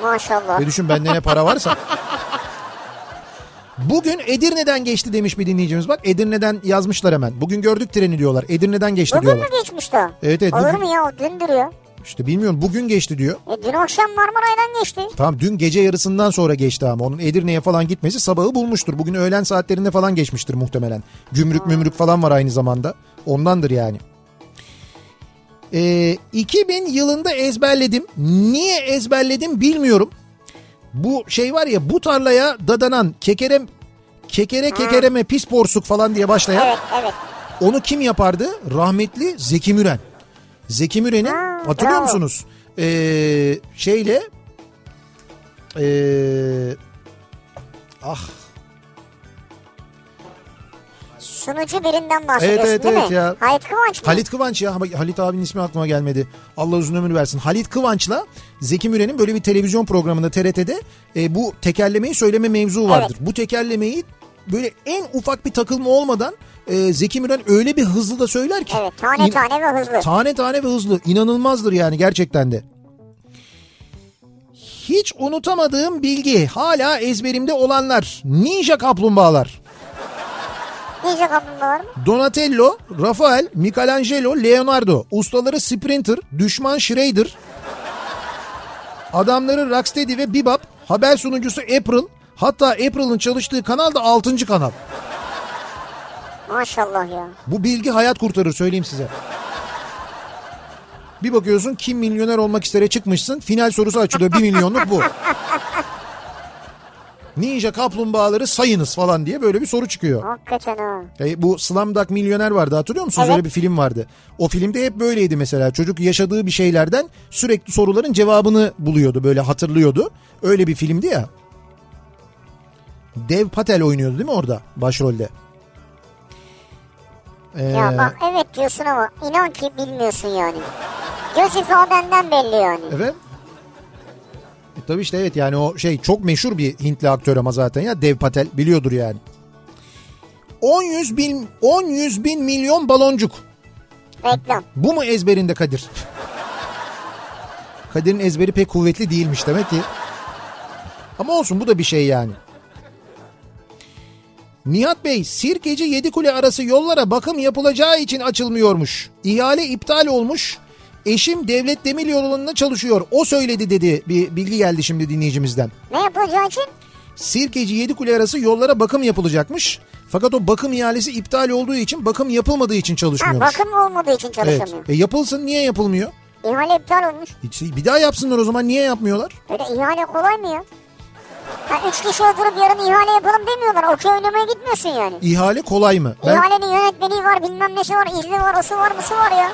Speaker 2: Maşallah.
Speaker 1: Ve düşün bende ne para varsa. Bugün Edirne'den geçti demiş bir dinleyicimiz. Bak Edirne'den yazmışlar hemen. Bugün gördük treni diyorlar. Edirne'den geçti
Speaker 2: Bugün
Speaker 1: diyorlar.
Speaker 2: mü geçmişti o?
Speaker 1: Evet, evet,
Speaker 2: Olur
Speaker 1: bugün.
Speaker 2: mu ya o dün duruyor.
Speaker 1: İşte bilmiyorum bugün geçti diyor.
Speaker 2: E, dün akşam Marmaray'dan geçti.
Speaker 1: Tamam dün gece yarısından sonra geçti ama onun Edirne'ye falan gitmesi sabahı bulmuştur. Bugün öğlen saatlerinde falan geçmiştir muhtemelen. Gümrük mümrük falan var aynı zamanda. Ondandır yani. Ee, 2000 yılında ezberledim. Niye ezberledim bilmiyorum. Bu şey var ya bu tarlaya dadanan kekerem kekere kekereme pis porsuk falan diye başlayan
Speaker 2: Evet evet.
Speaker 1: onu kim yapardı? Rahmetli Zeki Müren. Zeki Müren'in
Speaker 2: Ha,
Speaker 1: hatırlıyor
Speaker 2: bravo.
Speaker 1: musunuz? Ee, şeyle ee, ah
Speaker 2: Sunucu birinden bahsediyorsun
Speaker 1: Evet, evet,
Speaker 2: değil
Speaker 1: evet
Speaker 2: mi?
Speaker 1: ya.
Speaker 2: Halit Kıvanç mı?
Speaker 1: Halit Kıvanç ya Ama Halit abinin ismi aklıma gelmedi. Allah uzun ömür versin. Halit Kıvanç'la Zeki Müren'in böyle bir televizyon programında TRT'de e, bu tekerlemeyi söyleme mevzu vardır. Bu tekerlemeyi böyle en ufak bir takılma olmadan e, Zeki Müren öyle bir hızlı da söyler ki.
Speaker 2: Evet tane
Speaker 1: İn-
Speaker 2: tane ve hızlı.
Speaker 1: Tane tane ve hızlı. İnanılmazdır yani gerçekten de. Hiç unutamadığım bilgi hala ezberimde olanlar. Ninja kaplumbağalar.
Speaker 2: Ninja kaplumbağa var mı?
Speaker 1: Donatello, Rafael, Michelangelo, Leonardo. Ustaları Sprinter, düşman Schrader. Adamları Rocksteady ve Bebop. Haber sunucusu April. Hatta April'ın çalıştığı kanal da 6. kanal.
Speaker 2: Maşallah ya.
Speaker 1: Bu bilgi hayat kurtarır söyleyeyim size. Bir bakıyorsun kim milyoner olmak istere çıkmışsın. Final sorusu açılıyor. 1 milyonluk bu. Ninja kaplumbağaları sayınız falan diye böyle bir soru çıkıyor.
Speaker 2: Hakikaten ha.
Speaker 1: E, bu Slumdog Milyoner vardı hatırlıyor musunuz?
Speaker 2: Evet.
Speaker 1: Öyle bir film vardı. O filmde hep böyleydi mesela. Çocuk yaşadığı bir şeylerden sürekli soruların cevabını buluyordu. Böyle hatırlıyordu. Öyle bir filmdi ya. Dev Patel oynuyordu değil mi orada başrolde?
Speaker 2: Ya
Speaker 1: Ee,
Speaker 2: bak evet diyorsun ama inan ki bilmiyorsun yani. Göz ifadenden belli yani.
Speaker 1: Evet. E, tabii işte evet yani o şey çok meşhur bir Hintli aktör ama zaten ya Dev Patel biliyordur yani. 10 yüz bin 10 yüz bin milyon baloncuk.
Speaker 2: Reklam.
Speaker 1: Bu mu ezberinde Kadir? Kadir'in ezberi pek kuvvetli değilmiş demek ki. Ama olsun bu da bir şey yani. Nihat Bey, Sirkeci Yedikule arası yollara bakım yapılacağı için açılmıyormuş. İhale iptal olmuş. Eşim Devlet Demir Yolu'nda çalışıyor. O söyledi dedi. Bir bilgi geldi şimdi dinleyicimizden.
Speaker 2: Ne yapılacağı için?
Speaker 1: Sirkeci Yedikule arası yollara bakım yapılacakmış. Fakat o bakım ihalesi iptal olduğu için bakım yapılmadığı için
Speaker 2: Ha,
Speaker 1: çalışmıyormuş.
Speaker 2: bakım olmadığı için
Speaker 1: evet.
Speaker 2: çalışamıyor.
Speaker 1: E, yapılsın niye yapılmıyor?
Speaker 2: İhale iptal olmuş.
Speaker 1: Hiç- Bir daha yapsınlar o zaman niye yapmıyorlar?
Speaker 2: Öyle ihale kolay mı ya? Ha, üç kişi oturup yarın ihale yapalım demiyorlar. Okey oynamaya gitmiyorsun yani.
Speaker 1: İhale kolay mı? Ben
Speaker 2: İhalenin yönetmeni var, bilmem nesi var, izni var, osu var, busu var ya.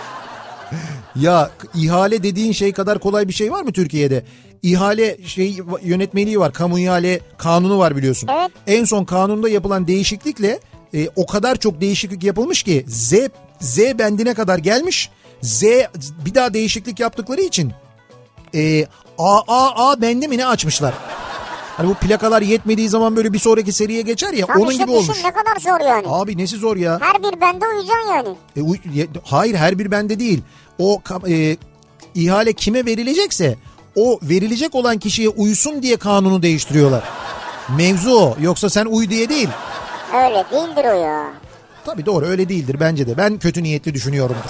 Speaker 1: ya k- ihale dediğin şey kadar kolay bir şey var mı Türkiye'de? İhale şey yönetmeliği var. Kamu ihale kanunu var biliyorsun.
Speaker 2: Evet.
Speaker 1: En son kanunda yapılan değişiklikle e, o kadar çok değişiklik yapılmış ki Z Z bendine kadar gelmiş. Z bir daha değişiklik yaptıkları için e, AAA bendi mi ne açmışlar? Hani bu plakalar yetmediği zaman böyle bir sonraki seriye geçer ya
Speaker 2: Tabii
Speaker 1: onun
Speaker 2: işte
Speaker 1: gibi
Speaker 2: düşün
Speaker 1: olmuş.
Speaker 2: ne kadar zor yani.
Speaker 1: Abi nesi zor ya?
Speaker 2: Her bir bende uyuyacaksın yani.
Speaker 1: E, uy- ye- hayır her bir bende değil. O ka- e, ihale kime verilecekse o verilecek olan kişiye uysun diye kanunu değiştiriyorlar. Mevzu o. Yoksa sen uy diye değil.
Speaker 2: Öyle değildir o ya.
Speaker 1: Tabii doğru öyle değildir bence de. Ben kötü niyetli düşünüyorumdur.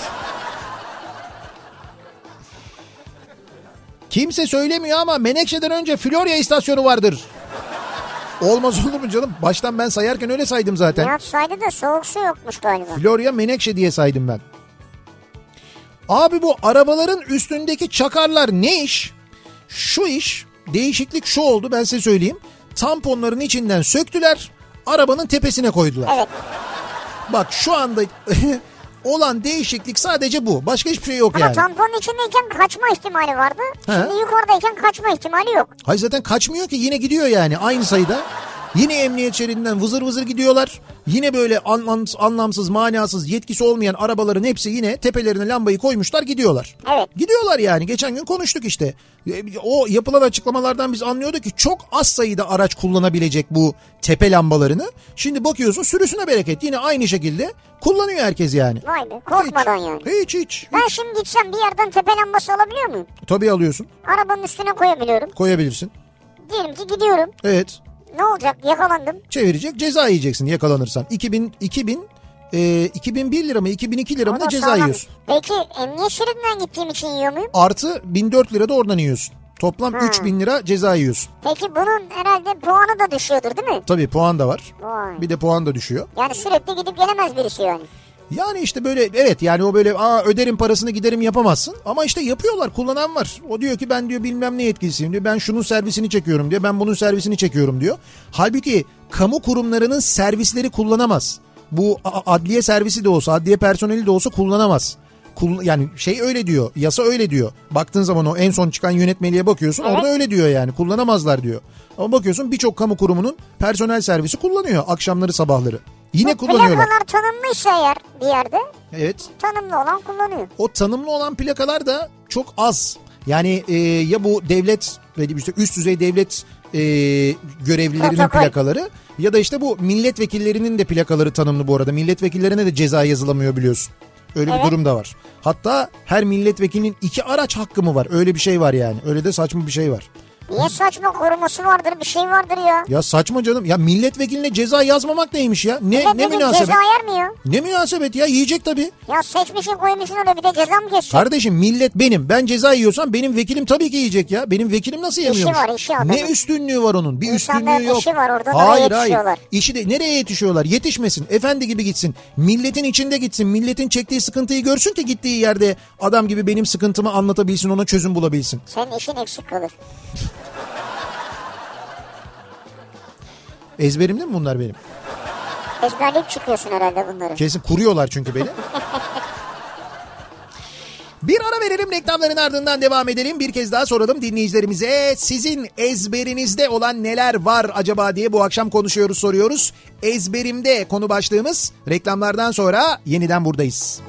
Speaker 1: Kimse söylemiyor ama Menekşe'den önce Florya istasyonu vardır. Olmaz olur mu canım? Baştan ben sayarken öyle saydım zaten.
Speaker 2: Nihat saydı da soğuk su yokmuş galiba.
Speaker 1: Florya Menekşe diye saydım ben. Abi bu arabaların üstündeki çakarlar ne iş? Şu iş değişiklik şu oldu ben size söyleyeyim. Tamponların içinden söktüler arabanın tepesine koydular.
Speaker 2: Evet.
Speaker 1: Bak şu anda [laughs] olan değişiklik sadece bu. Başka hiçbir şey yok
Speaker 2: Ama
Speaker 1: yani.
Speaker 2: tamponun içindeyken kaçma ihtimali vardı.
Speaker 1: He.
Speaker 2: Şimdi yukarıdayken kaçma ihtimali yok.
Speaker 1: Hayır zaten kaçmıyor ki yine gidiyor yani aynı sayıda. Yine emniyet şeridinden vızır vızır gidiyorlar. Yine böyle anlamsız, anlamsız, manasız, yetkisi olmayan arabaların hepsi yine tepelerine lambayı koymuşlar gidiyorlar.
Speaker 2: Evet.
Speaker 1: Gidiyorlar yani. Geçen gün konuştuk işte. E, O yapılan açıklamalardan biz anlıyorduk ki çok az sayıda araç kullanabilecek bu tepe lambalarını. Şimdi bakıyorsun sürüsüne bereket. Yine aynı şekilde kullanıyor herkes yani.
Speaker 2: Vay be korkmadan
Speaker 1: hiç,
Speaker 2: yani.
Speaker 1: Hiç hiç.
Speaker 2: Ben şimdi gitsem bir yerden tepe lambası alabiliyor muyum?
Speaker 1: Tabii alıyorsun.
Speaker 2: Arabanın üstüne koyabiliyorum.
Speaker 1: Koyabilirsin.
Speaker 2: Diyelim ki gidiyorum.
Speaker 1: Evet.
Speaker 2: Ne olacak yakalandım.
Speaker 1: çevirecek ceza yiyeceksin yakalanırsan. 2000 2000 e, 2001 lira mı 2002 lira mı
Speaker 2: O
Speaker 1: da
Speaker 2: da
Speaker 1: ceza
Speaker 2: sağlam.
Speaker 1: yiyorsun.
Speaker 2: Peki emniyet şeridinden gittiğim için yiyor muyum?
Speaker 1: Artı 1004 lira da oradan yiyorsun. Toplam
Speaker 2: Ha.
Speaker 1: 3000 lira ceza yiyorsun.
Speaker 2: Peki bunun herhalde puanı da düşüyordur değil mi?
Speaker 1: Tabii puan da var.
Speaker 2: Vay.
Speaker 1: Bir de puan da düşüyor.
Speaker 2: Yani sürekli gidip gelemez birisi yani.
Speaker 1: Yani işte böyle evet yani o böyle aa öderim parasını giderim yapamazsın. Ama işte yapıyorlar kullanan var. O diyor ki ben diyor bilmem ne yetkilisiyim diyor. Ben şunun servisini çekiyorum diyor. Ben bunun servisini çekiyorum diyor. Halbuki kamu kurumlarının servisleri kullanamaz. Bu a- a- adliye servisi de olsa adliye personeli de olsa kullanamaz. Kul- yani şey öyle diyor yasa öyle diyor. Baktığın zaman o en son çıkan yönetmeliğe bakıyorsun orada öyle diyor yani kullanamazlar diyor. Ama bakıyorsun birçok kamu kurumunun personel servisi kullanıyor akşamları sabahları. Yine
Speaker 2: Bu
Speaker 1: kullanıyorlar.
Speaker 2: Plakalar tanınmışsa eğer bir yerde
Speaker 1: Evet.
Speaker 2: tanımlı olan kullanıyor.
Speaker 1: o tanımlı olan plakalar da çok az. Yani e, ya bu devlet böyle bir işte üst düzey devlet e, görevlilerinin
Speaker 2: Protokol.
Speaker 1: plakaları ya da işte bu milletvekillerinin de plakaları tanımlı bu arada. Milletvekillerine de ceza yazılamıyor biliyorsun. Öyle bir
Speaker 2: Evet.
Speaker 1: durum da var. Hatta her milletvekilinin iki araç hakkı mı var? Öyle bir şey var yani. Öyle de saçma bir şey var.
Speaker 2: Niye saçma koruması vardır bir şey vardır ya.
Speaker 1: Ya saçma canım. Ya milletvekiline ceza yazmamak neymiş ya? Ne ne
Speaker 2: Milletvekili
Speaker 1: münasebet?
Speaker 2: Ceza yer mi ya?
Speaker 1: Ne münasebet ya? Yiyecek tabii.
Speaker 2: Ya seçmişin koymuşsun öyle bir de ceza mı geçsin?
Speaker 1: Kardeşim millet benim. Ben ceza yiyorsam benim vekilim tabii ki yiyecek ya. Benim vekilim nasıl yemiyormuş?
Speaker 2: var, işi adamın.
Speaker 1: ne üstünlüğü var onun? Bir
Speaker 2: İnsanların
Speaker 1: üstünlüğü yok.
Speaker 2: işi var, oradan oraya
Speaker 1: hayır hayır.
Speaker 2: yetişiyorlar.
Speaker 1: İşi de nereye yetişiyorlar? Yetişmesin. Efendi gibi gitsin. Milletin içinde gitsin. Milletin çektiği sıkıntıyı görsün ki gittiği yerde adam gibi benim sıkıntımı anlatabilsin, ona çözüm bulabilsin.
Speaker 2: Senin işin eksik kalır.
Speaker 1: Ezberimde mi bunlar benim?
Speaker 2: Ezberleyip çıkıyorsun herhalde bunları.
Speaker 1: Kesin kuruyorlar çünkü beni. Bir ara verelim reklamların ardından devam edelim. Bir kez daha soralım dinleyicilerimize. Sizin ezberinizde olan neler var acaba diye bu akşam konuşuyoruz soruyoruz. Ezberimde konu başlığımız reklamlardan sonra yeniden buradayız.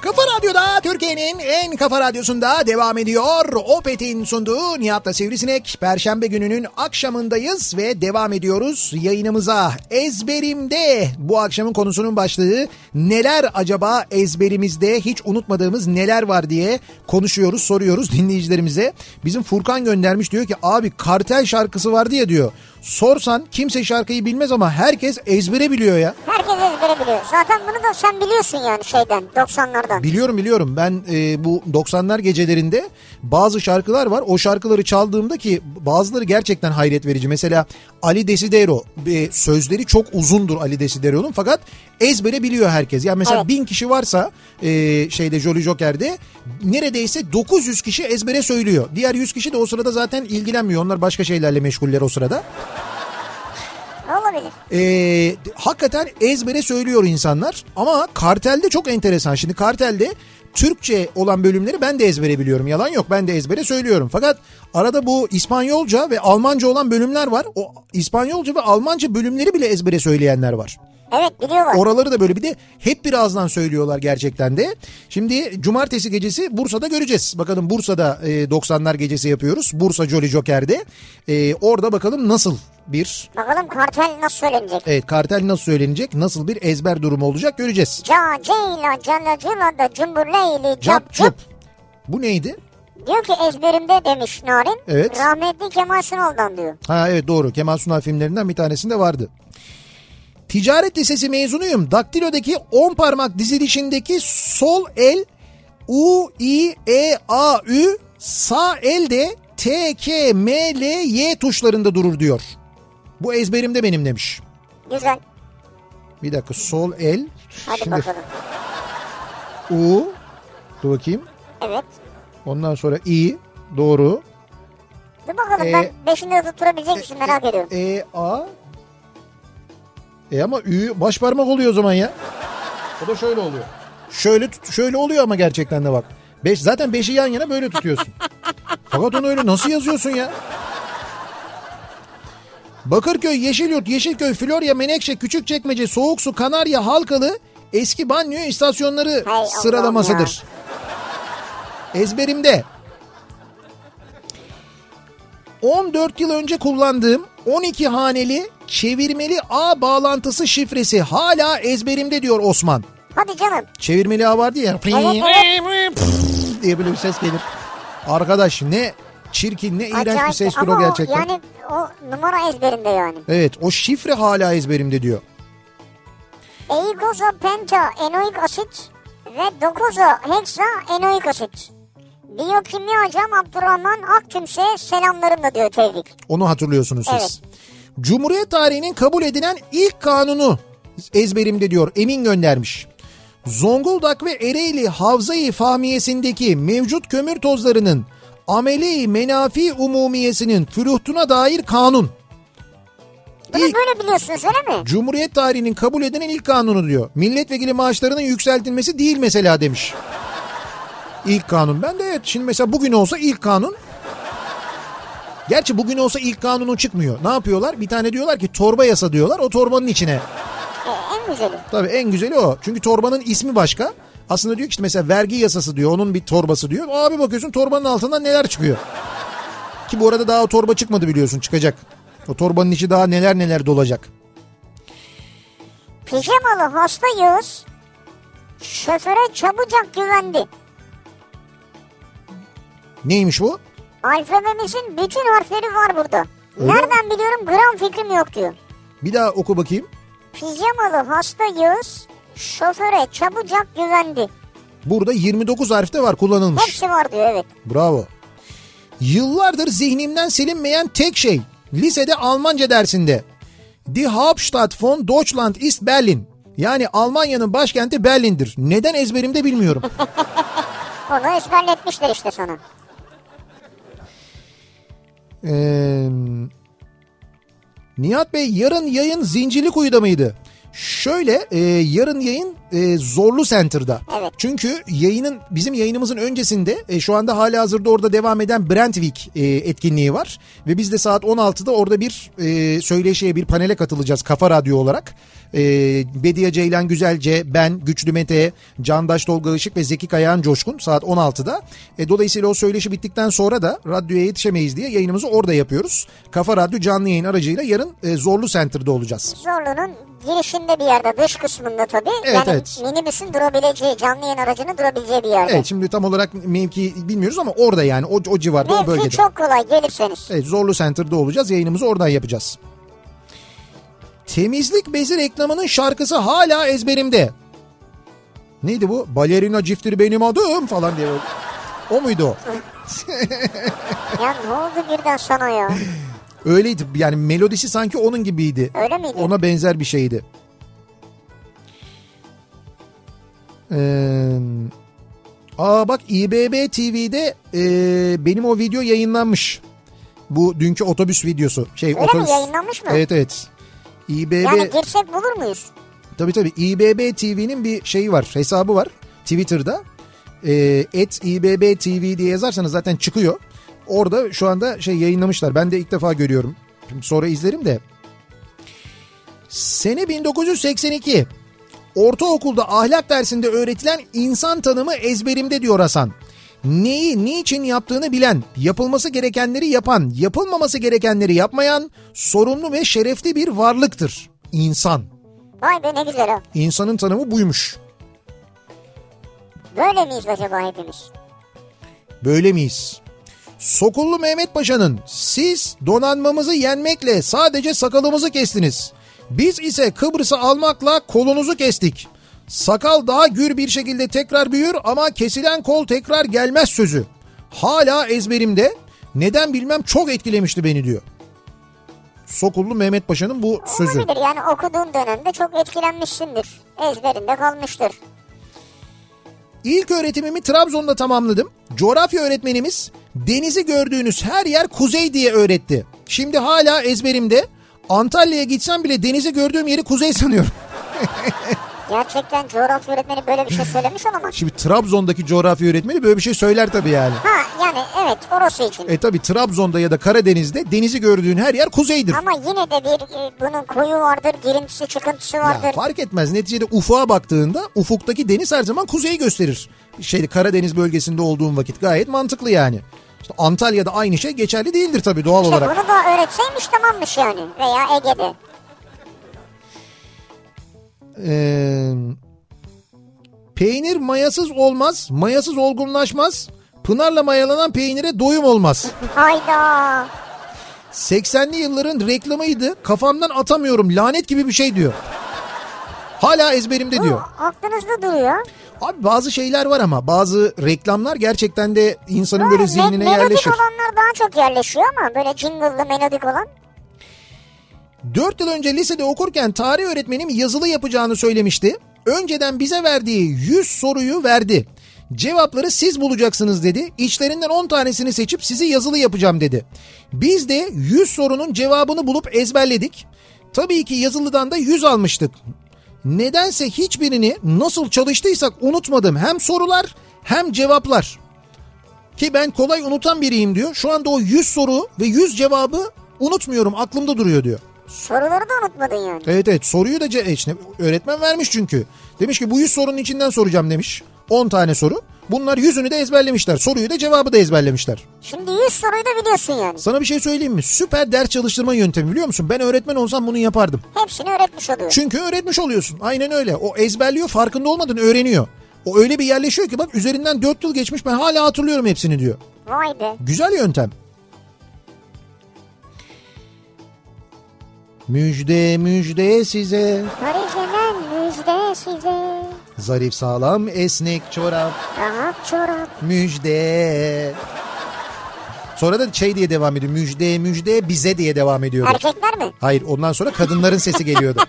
Speaker 1: Kafa Radyo'da Türkiye'nin en kafa radyosunda devam ediyor. Opet'in sunduğu Nihat'la Sivrisinek. Perşembe gününün akşamındayız ve devam ediyoruz yayınımıza. Ezberimde bu akşamın konusunun başlığı neler acaba ezberimizde hiç unutmadığımız neler var diye konuşuyoruz, soruyoruz dinleyicilerimize. Bizim Furkan göndermiş diyor ki abi kartel şarkısı vardı ya diyor. Sorsan kimse şarkıyı bilmez ama herkes ezbere biliyor ya.
Speaker 2: Herkes ezbere biliyor. Zaten bunu da sen biliyorsun yani şeyden 90'lardan.
Speaker 1: Biliyorum biliyorum ben e, bu 90'lar gecelerinde bazı şarkılar var. O şarkıları çaldığımda ki bazıları gerçekten hayret verici. Mesela Ali Desidero e, sözleri çok uzundur Ali Desidero'nun fakat ezbere biliyor herkes. Yani mesela
Speaker 2: Evet.
Speaker 1: bin kişi varsa e, şeyde Jolly Joker'de neredeyse 900 kişi ezbere söylüyor. Diğer 100 kişi de o sırada zaten ilgilenmiyor. Onlar başka şeylerle meşguller o sırada.
Speaker 2: Allah olabilir.
Speaker 1: Ee, hakikaten ezbere söylüyor insanlar ama kartelde çok enteresan. Şimdi kartelde Türkçe olan bölümleri ben de ezbere biliyorum. Yalan yok ben de ezbere söylüyorum. Fakat arada bu İspanyolca ve Almanca olan bölümler var. O İspanyolca ve Almanca bölümleri bile ezbere söyleyenler var.
Speaker 2: Evet biliyorlar.
Speaker 1: Oraları da böyle bir de hep bir ağızdan söylüyorlar gerçekten de. Şimdi cumartesi gecesi Bursa'da göreceğiz. Bakalım Bursa'da e, 90'lar gecesi yapıyoruz. Bursa Jolly Joker'de. E, orada bakalım nasıl bir
Speaker 2: Bakalım kartel nasıl söylenecek?
Speaker 1: evet, kartel nasıl söylenecek, nasıl bir ezber durumu olacak göreceğiz.
Speaker 2: Ca ceyla cala cila da cumburleyli
Speaker 1: Cap
Speaker 2: cap cup.
Speaker 1: cup. Bu neydi?
Speaker 2: Diyor ki ezberimde demiş Narin.
Speaker 1: Evet.
Speaker 2: Rahmetli Kemal Sunal'dan diyor.
Speaker 1: Ha evet doğru. Kemal Sunal filmlerinden bir tanesinde vardı. Ticaret lisesi mezunuyum. Daktilodaki 10 parmak dizilişindeki sol el U, I, E, A, Ü sağ el de T, K, M, L, Y tuşlarında durur diyor. Bu ezberimde benim demiş.
Speaker 2: Güzel.
Speaker 1: Bir dakika sol el.
Speaker 2: Hadi
Speaker 1: Şimdi
Speaker 2: bakalım.
Speaker 1: U. Dur bakayım.
Speaker 2: Evet.
Speaker 1: Ondan sonra I. Doğru.
Speaker 2: Dur bakalım
Speaker 1: Ee,
Speaker 2: ben beşinde de tutturabilecek misin merak ediyorum.
Speaker 1: E, A. E ama Ü baş parmak oluyor o zaman ya. O da şöyle oluyor. Şöyle tut, şöyle oluyor ama gerçekten de bak. Beş, zaten beşi yan yana böyle tutuyorsun. Fakat onu öyle nasıl yazıyorsun ya? Bakırköy, Yeşilyurt, Yeşilköy, Florya, Menekşe, Küçükçekmece, Soğuksu, Kanarya, Halkalı eski banyo istasyonları
Speaker 2: Allah'ım ya.
Speaker 1: sıralamasıdır. Ezberimde. 14 yıl önce kullandığım 12 haneli çevirmeli ağ bağlantısı şifresi hala ezberimde diyor Osman.
Speaker 2: Hadi canım.
Speaker 1: Çevirmeli ağ vardı ya
Speaker 2: Evet,
Speaker 1: diye böyle bir ses gelir. Arkadaş ne çirkin ne iğrenç bir
Speaker 2: Acayip.
Speaker 1: ses türü
Speaker 2: Ama o
Speaker 1: gerçekten.
Speaker 2: yani o numara ezberinde yani.
Speaker 1: Evet o şifre hala ezberimde diyor.
Speaker 2: Eigozo penta enoik asit ve dokuzo heksa enoik asit. Biyokimya hocam Abdurrahman Aktümse selamlarımla diyor Tevfik.
Speaker 1: Onu hatırlıyorsunuz siz.
Speaker 2: Evet.
Speaker 1: Cumhuriyet tarihinin kabul edilen ilk kanunu ezberimde diyor Emin göndermiş. Zonguldak ve Ereğli Havzayı Fahmiyesi'ndeki mevcut kömür tozlarının ameli menafi umumiyesinin füruhtuna dair kanun.
Speaker 2: Bunu
Speaker 1: İlk
Speaker 2: böyle biliyorsunuz öyle mi?
Speaker 1: Cumhuriyet tarihinin kabul edilen ilk kanunu diyor. Milletvekili maaşlarının yükseltilmesi değil mesela demiş. İlk kanun. Ben de evet şimdi mesela bugün olsa ilk kanun. Gerçi bugün olsa ilk kanunu çıkmıyor. Ne yapıyorlar? Bir tane diyorlar ki torba yasa diyorlar. O torbanın içine.
Speaker 2: E, en güzeli.
Speaker 1: Tabii en güzeli o. Çünkü torbanın ismi başka. Aslında diyor ki işte mesela vergi yasası diyor. Onun bir torbası diyor. Abi bakıyorsun torbanın altından neler çıkıyor. Ki bu arada daha o torba çıkmadı biliyorsun. Çıkacak. O torbanın içi daha neler neler dolacak.
Speaker 2: Pijamalı hasta Yağız şoföre çabucak güvendi.
Speaker 1: Neymiş bu?
Speaker 2: Alfabemizin bütün harfleri var burada.
Speaker 1: Öyle
Speaker 2: Nereden biliyorum gram fikrim yok diyor.
Speaker 1: Bir daha oku bakayım.
Speaker 2: Pijamalı hasta Yağız şoföre çabucak güvendi.
Speaker 1: Burada 29 harf de var kullanılmış.
Speaker 2: Hepsi var diyor evet.
Speaker 1: Bravo. Yıllardır zihnimden silinmeyen tek şey. Lisede Almanca dersinde. Die Hauptstadt von Deutschland ist Berlin. Yani Almanya'nın başkenti Berlin'dir. Neden ezberimde bilmiyorum.
Speaker 2: Onu ezberletmişler işte sana.
Speaker 1: Ee, Nihat Bey yarın yayın Zincirli Kuyu'da mıydı? Şöyle e, yarın yayın e, Zorlu Center'da.
Speaker 2: Evet.
Speaker 1: Çünkü yayının bizim yayınımızın öncesinde e, şu anda hala hazırda orada devam eden Brent Week e, etkinliği var. Ve biz de saat 16'da orada bir e, söyleşiye bir panele katılacağız Kafa Radyo olarak. E, Bediye Ceylan Güzelce, ben, Güçlü Mete, Candaş Tolga Işık ve Zeki Kayan Coşkun saat 16'da. E, dolayısıyla o söyleşi bittikten sonra da radyoya yetişemeyiz diye yayınımızı orada yapıyoruz. Kafa Radyo canlı yayın aracıyla yarın e, Zorlu Center'da olacağız.
Speaker 2: Zorlu'nun girişinde bir yerde dış kısmında tabii.
Speaker 1: Evet,
Speaker 2: yani
Speaker 1: evet.
Speaker 2: minibüsün durabileceği canlı yayın aracının durabileceği bir yerde.
Speaker 1: Evet şimdi tam olarak mevki bilmiyoruz ama orada yani o, o civarda o
Speaker 2: Mevki
Speaker 1: bölgede.
Speaker 2: çok kolay gelirseniz.
Speaker 1: Evet Zorlu Center'da olacağız. Yayınımızı oradan yapacağız. Temizlik bezi reklamının şarkısı hala ezberimde. Neydi bu? Balerina çiftir benim adım falan diye. böyle. O muydu o?
Speaker 2: ya ne oldu birden
Speaker 1: [laughs]
Speaker 2: sana ya?
Speaker 1: Öyleydi yani melodisi sanki onun gibiydi.
Speaker 2: Öyle miydi?
Speaker 1: Ona benzer bir şeydi. Ee, aa bak İBB TV'de e, benim o video yayınlanmış. Bu dünkü otobüs videosu. Şey
Speaker 2: Öyle mi?
Speaker 1: otobüs.
Speaker 2: Yayınlanmış mı?
Speaker 1: Evet evet. İBB
Speaker 2: Yani girsek bulur muyuz?
Speaker 1: Tabii tabii İBB TV'nin bir şeyi var hesabı var Twitter'da. Ee, Et İBB TV diye yazarsanız zaten çıkıyor. Orada şu anda şey yayınlamışlar. Ben de ilk defa görüyorum. Şimdi sonra izlerim de. Sene 1982. Ortaokulda ahlak dersinde öğretilen insan tanımı ezberimde diyor Hasan. Neyi niçin yaptığını bilen, yapılması gerekenleri yapan, yapılmaması gerekenleri yapmayan sorumlu ve şerefli bir varlıktır insan.
Speaker 2: Vay be ne güzel o.
Speaker 1: İnsanın tanımı buymuş.
Speaker 2: Böyle miyiz acaba hepimiz?
Speaker 1: Böyle miyiz? Sokullu Mehmet Paşa'nın siz donanmamızı yenmekle sadece sakalımızı kestiniz. Biz ise Kıbrıs'ı almakla kolunuzu kestik. Sakal daha gür bir şekilde tekrar büyür ama kesilen kol tekrar gelmez sözü. Hala ezberimde neden bilmem çok etkilemişti beni diyor. Sokullu Mehmet Paşa'nın bu sözü.
Speaker 2: Olabilir yani okuduğun dönemde çok etkilenmişsindir. Ezberinde kalmıştır.
Speaker 1: İlk öğretimimi Trabzon'da tamamladım. Coğrafya öğretmenimiz denizi gördüğünüz her yer kuzey diye öğretti. Şimdi hala ezberimde. Antalya'ya gitsem bile denizi gördüğüm yeri kuzey sanıyorum. [laughs]
Speaker 2: Gerçekten coğrafya öğretmeni böyle bir şey söylemiş olamaz.
Speaker 1: Şimdi Trabzon'daki coğrafya öğretmeni böyle bir şey söyler tabii yani.
Speaker 2: Ha yani evet orası için.
Speaker 1: E tabii Trabzon'da ya da Karadeniz'de denizi gördüğün her yer kuzeydir.
Speaker 2: Ama yine de bir e, bunun koyu vardır, girintisi çıkıntısı
Speaker 1: Ya
Speaker 2: vardır.
Speaker 1: fark etmez neticede ufuğa baktığında ufuktaki deniz her zaman kuzeyi gösterir. Şey Karadeniz bölgesinde olduğun vakit gayet mantıklı yani. İşte Antalya'da aynı şey geçerli değildir tabii doğal
Speaker 2: İşte
Speaker 1: olarak.
Speaker 2: bunu da öğretseymiş tamammış yani. Veya Ege'de.
Speaker 1: Ee, peynir mayasız olmaz, mayasız olgunlaşmaz. Pınarla mayalanan peynire doyum olmaz.
Speaker 2: Hayda.
Speaker 1: 80'li yılların reklamıydı. Kafamdan atamıyorum. Lanet gibi bir şey diyor. Hala ezberimde diyor.
Speaker 2: Bu aklınızda duruyor.
Speaker 1: Abi bazı şeyler var ama bazı reklamlar gerçekten de insanın böyle
Speaker 2: Me-
Speaker 1: zihnine
Speaker 2: melodik
Speaker 1: yerleşir.
Speaker 2: olanlar daha çok yerleşiyor ama böyle jingle'lı melodik olan.
Speaker 1: 4 yıl önce lisede okurken tarih öğretmenim yazılı yapacağını söylemişti. Önceden bize verdiği 100 soruyu verdi. Cevapları siz bulacaksınız dedi. İçlerinden 10 tanesini seçip sizi yazılı yapacağım dedi. Biz de 100 sorunun cevabını bulup ezberledik. Tabii ki yazılıdan da 100 almıştık. Nedense hiçbirini nasıl çalıştıysak unutmadım. Hem sorular hem cevaplar. Ki ben kolay unutan biriyim diyor. Şu anda o 100 soru ve 100 cevabı unutmuyorum aklımda duruyor diyor.
Speaker 2: Soruları da unutmadın yani.
Speaker 1: Evet evet soruyu da ce- e, işte öğretmen vermiş çünkü. Demiş ki bu 100 sorunun içinden soracağım demiş. 10 tane soru. Bunlar yüzünü de ezberlemişler. Soruyu da cevabı da ezberlemişler.
Speaker 2: Şimdi 100 soruyu da biliyorsun yani.
Speaker 1: Sana bir şey söyleyeyim mi? Süper ders çalıştırma yöntemi biliyor musun? Ben öğretmen olsam bunu yapardım.
Speaker 2: Hepsini öğretmiş oluyor.
Speaker 1: Çünkü öğretmiş oluyorsun. Aynen öyle. O ezberliyor farkında olmadan öğreniyor. O öyle bir yerleşiyor ki bak üzerinden 4 yıl geçmiş ben hala hatırlıyorum hepsini diyor.
Speaker 2: Vay be.
Speaker 1: Güzel yöntem. Müjde müjde size
Speaker 2: Paris'ten müjde size.
Speaker 1: Zarif sağlam esnek çorap
Speaker 2: Rahat çorap.
Speaker 1: müjde. Sonra da şey diye devam ediyor. Müjde müjde bize diye devam ediyordu.
Speaker 2: Erkekler mi?
Speaker 1: Hayır ondan sonra kadınların sesi geliyordu.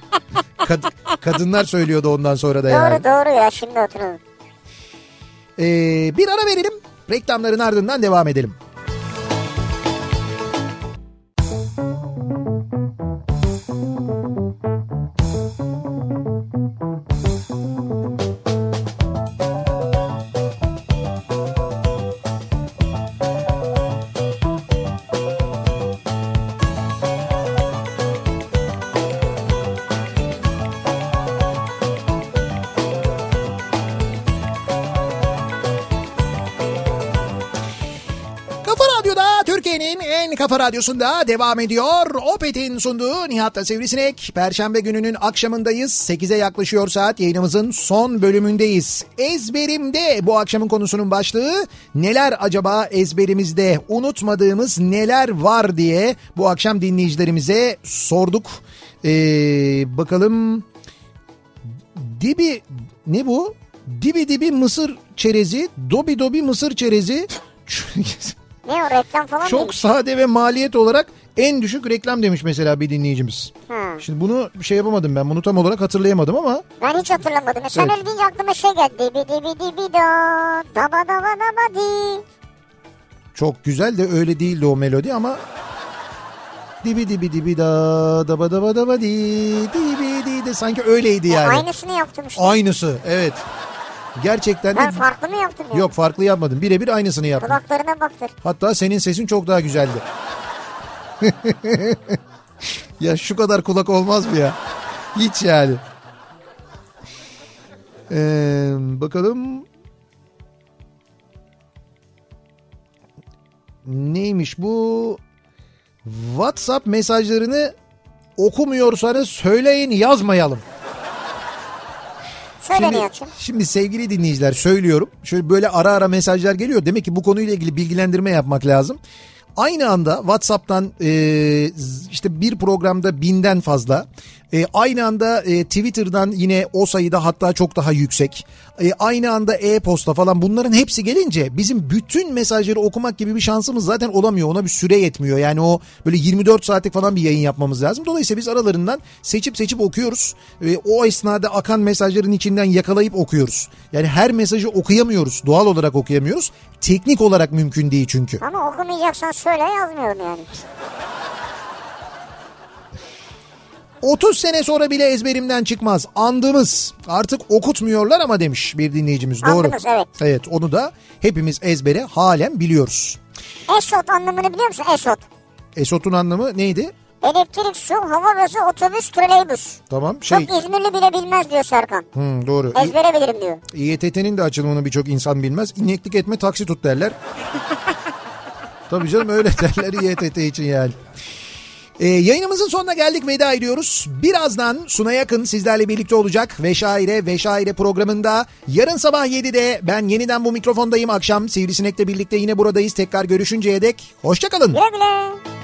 Speaker 1: Kad- kadınlar söylüyordu ondan sonra da yani.
Speaker 2: Doğru doğru ya şimdi hatırladım.
Speaker 1: Ee, bir ara verelim. Reklamların ardından devam edelim. Kafa Radyo'da Türkiye'nin en kafa radyosunda devam ediyor. Opet'in sunduğu Nihat'la Sivrisinek. Perşembe gününün akşamındayız. 8'e yaklaşıyor saat yayınımızın son bölümündeyiz. Ezberimde bu akşamın konusunun başlığı neler acaba ezberimizde unutmadığımız neler var diye bu akşam dinleyicilerimize sorduk. Ee, bakalım dibi ne bu? Dibi dibi mısır çerezi, dobi dobi mısır çerezi.
Speaker 2: Ne o reklam falan
Speaker 1: Çok
Speaker 2: değil.
Speaker 1: sade ve maliyet olarak en düşük reklam demiş mesela bir dinleyicimiz.
Speaker 2: Ha.
Speaker 1: Şimdi bunu şey yapamadım ben bunu tam olarak hatırlayamadım ama
Speaker 2: Ben hiç hatırlamadım. E, Sen
Speaker 1: Evet.
Speaker 2: öyle deyince aklıma şey geldi. Dibi dibi dibi do. Daba daba daba di.
Speaker 1: çok güzel de öyle değildi o melodi ama Dibi dibi dibi da daba daba daba di dibi di de sanki
Speaker 2: E,
Speaker 1: öyleydi yani.
Speaker 2: Aynısını yaptım işte.
Speaker 1: Aynısı evet. Gerçekten de
Speaker 2: Ben farklı mı yaptım ya?
Speaker 1: yok farklı yapmadım. Birebir aynısını yaptım.
Speaker 2: Kulaklarına baktır.
Speaker 1: Hatta senin sesin çok daha güzeldi. [laughs] ya şu kadar kulak olmaz mı ya? Hiç yani. Ee, bakalım. Neymiş bu? WhatsApp mesajlarını okumuyorsanız söyleyin yazmayalım.
Speaker 2: Söyle ne yapayım?
Speaker 1: şimdi sevgili dinleyiciler söylüyorum. Şöyle böyle ara ara mesajlar geliyor. Demek ki bu konuyla ilgili bilgilendirme yapmak lazım. Aynı anda WhatsApp'tan e, z- işte bir programda binden fazla, e, aynı anda e, Twitter'dan yine o sayıda hatta çok daha yüksek, e, aynı anda e-posta falan bunların hepsi gelince bizim bütün mesajları okumak gibi bir şansımız zaten olamıyor. Ona bir süre yetmiyor. Yani o böyle 24 saatlik falan bir yayın yapmamız lazım. Dolayısıyla biz aralarından seçip seçip okuyoruz. E, o esnada akan mesajların içinden yakalayıp okuyoruz. Yani her mesajı okuyamıyoruz. Doğal olarak okuyamıyoruz. Teknik olarak mümkün değil çünkü.
Speaker 2: Ama okumayacaksan söyle yazmıyorum yani.
Speaker 1: 30 sene sonra bile ezberimden çıkmaz. Andımız. Artık okutmuyorlar ama demiş bir dinleyicimiz. Doğru.
Speaker 2: Andımız, evet.
Speaker 1: Evet onu da hepimiz ezbere halen biliyoruz.
Speaker 2: Esot anlamını biliyor musun? Esot.
Speaker 1: Esot'un anlamı neydi?
Speaker 2: Elektrik, su, hava gazı, otobüs, troleybüs.
Speaker 1: Tamam şey
Speaker 2: Çok İzmirli bile bilmez diyor Serkan.
Speaker 1: Hmm, doğru. İ-
Speaker 2: Ezbere bilirim diyor.
Speaker 1: İETT'nin de açılımını birçok insan bilmez. İneklik etme taksi tut derler. Tabii canım öyle derler İETT için yani. Ee, yayınımızın sonuna geldik veda ediyoruz. Birazdan Suna Yakın sizlerle birlikte olacak. Veşaire Veşaire programında yarın sabah 7'de ben yeniden bu mikrofondayım. Akşam Sivrisinek'le birlikte yine buradayız. Tekrar görüşünceye dek hoşçakalın.
Speaker 2: Güle güle.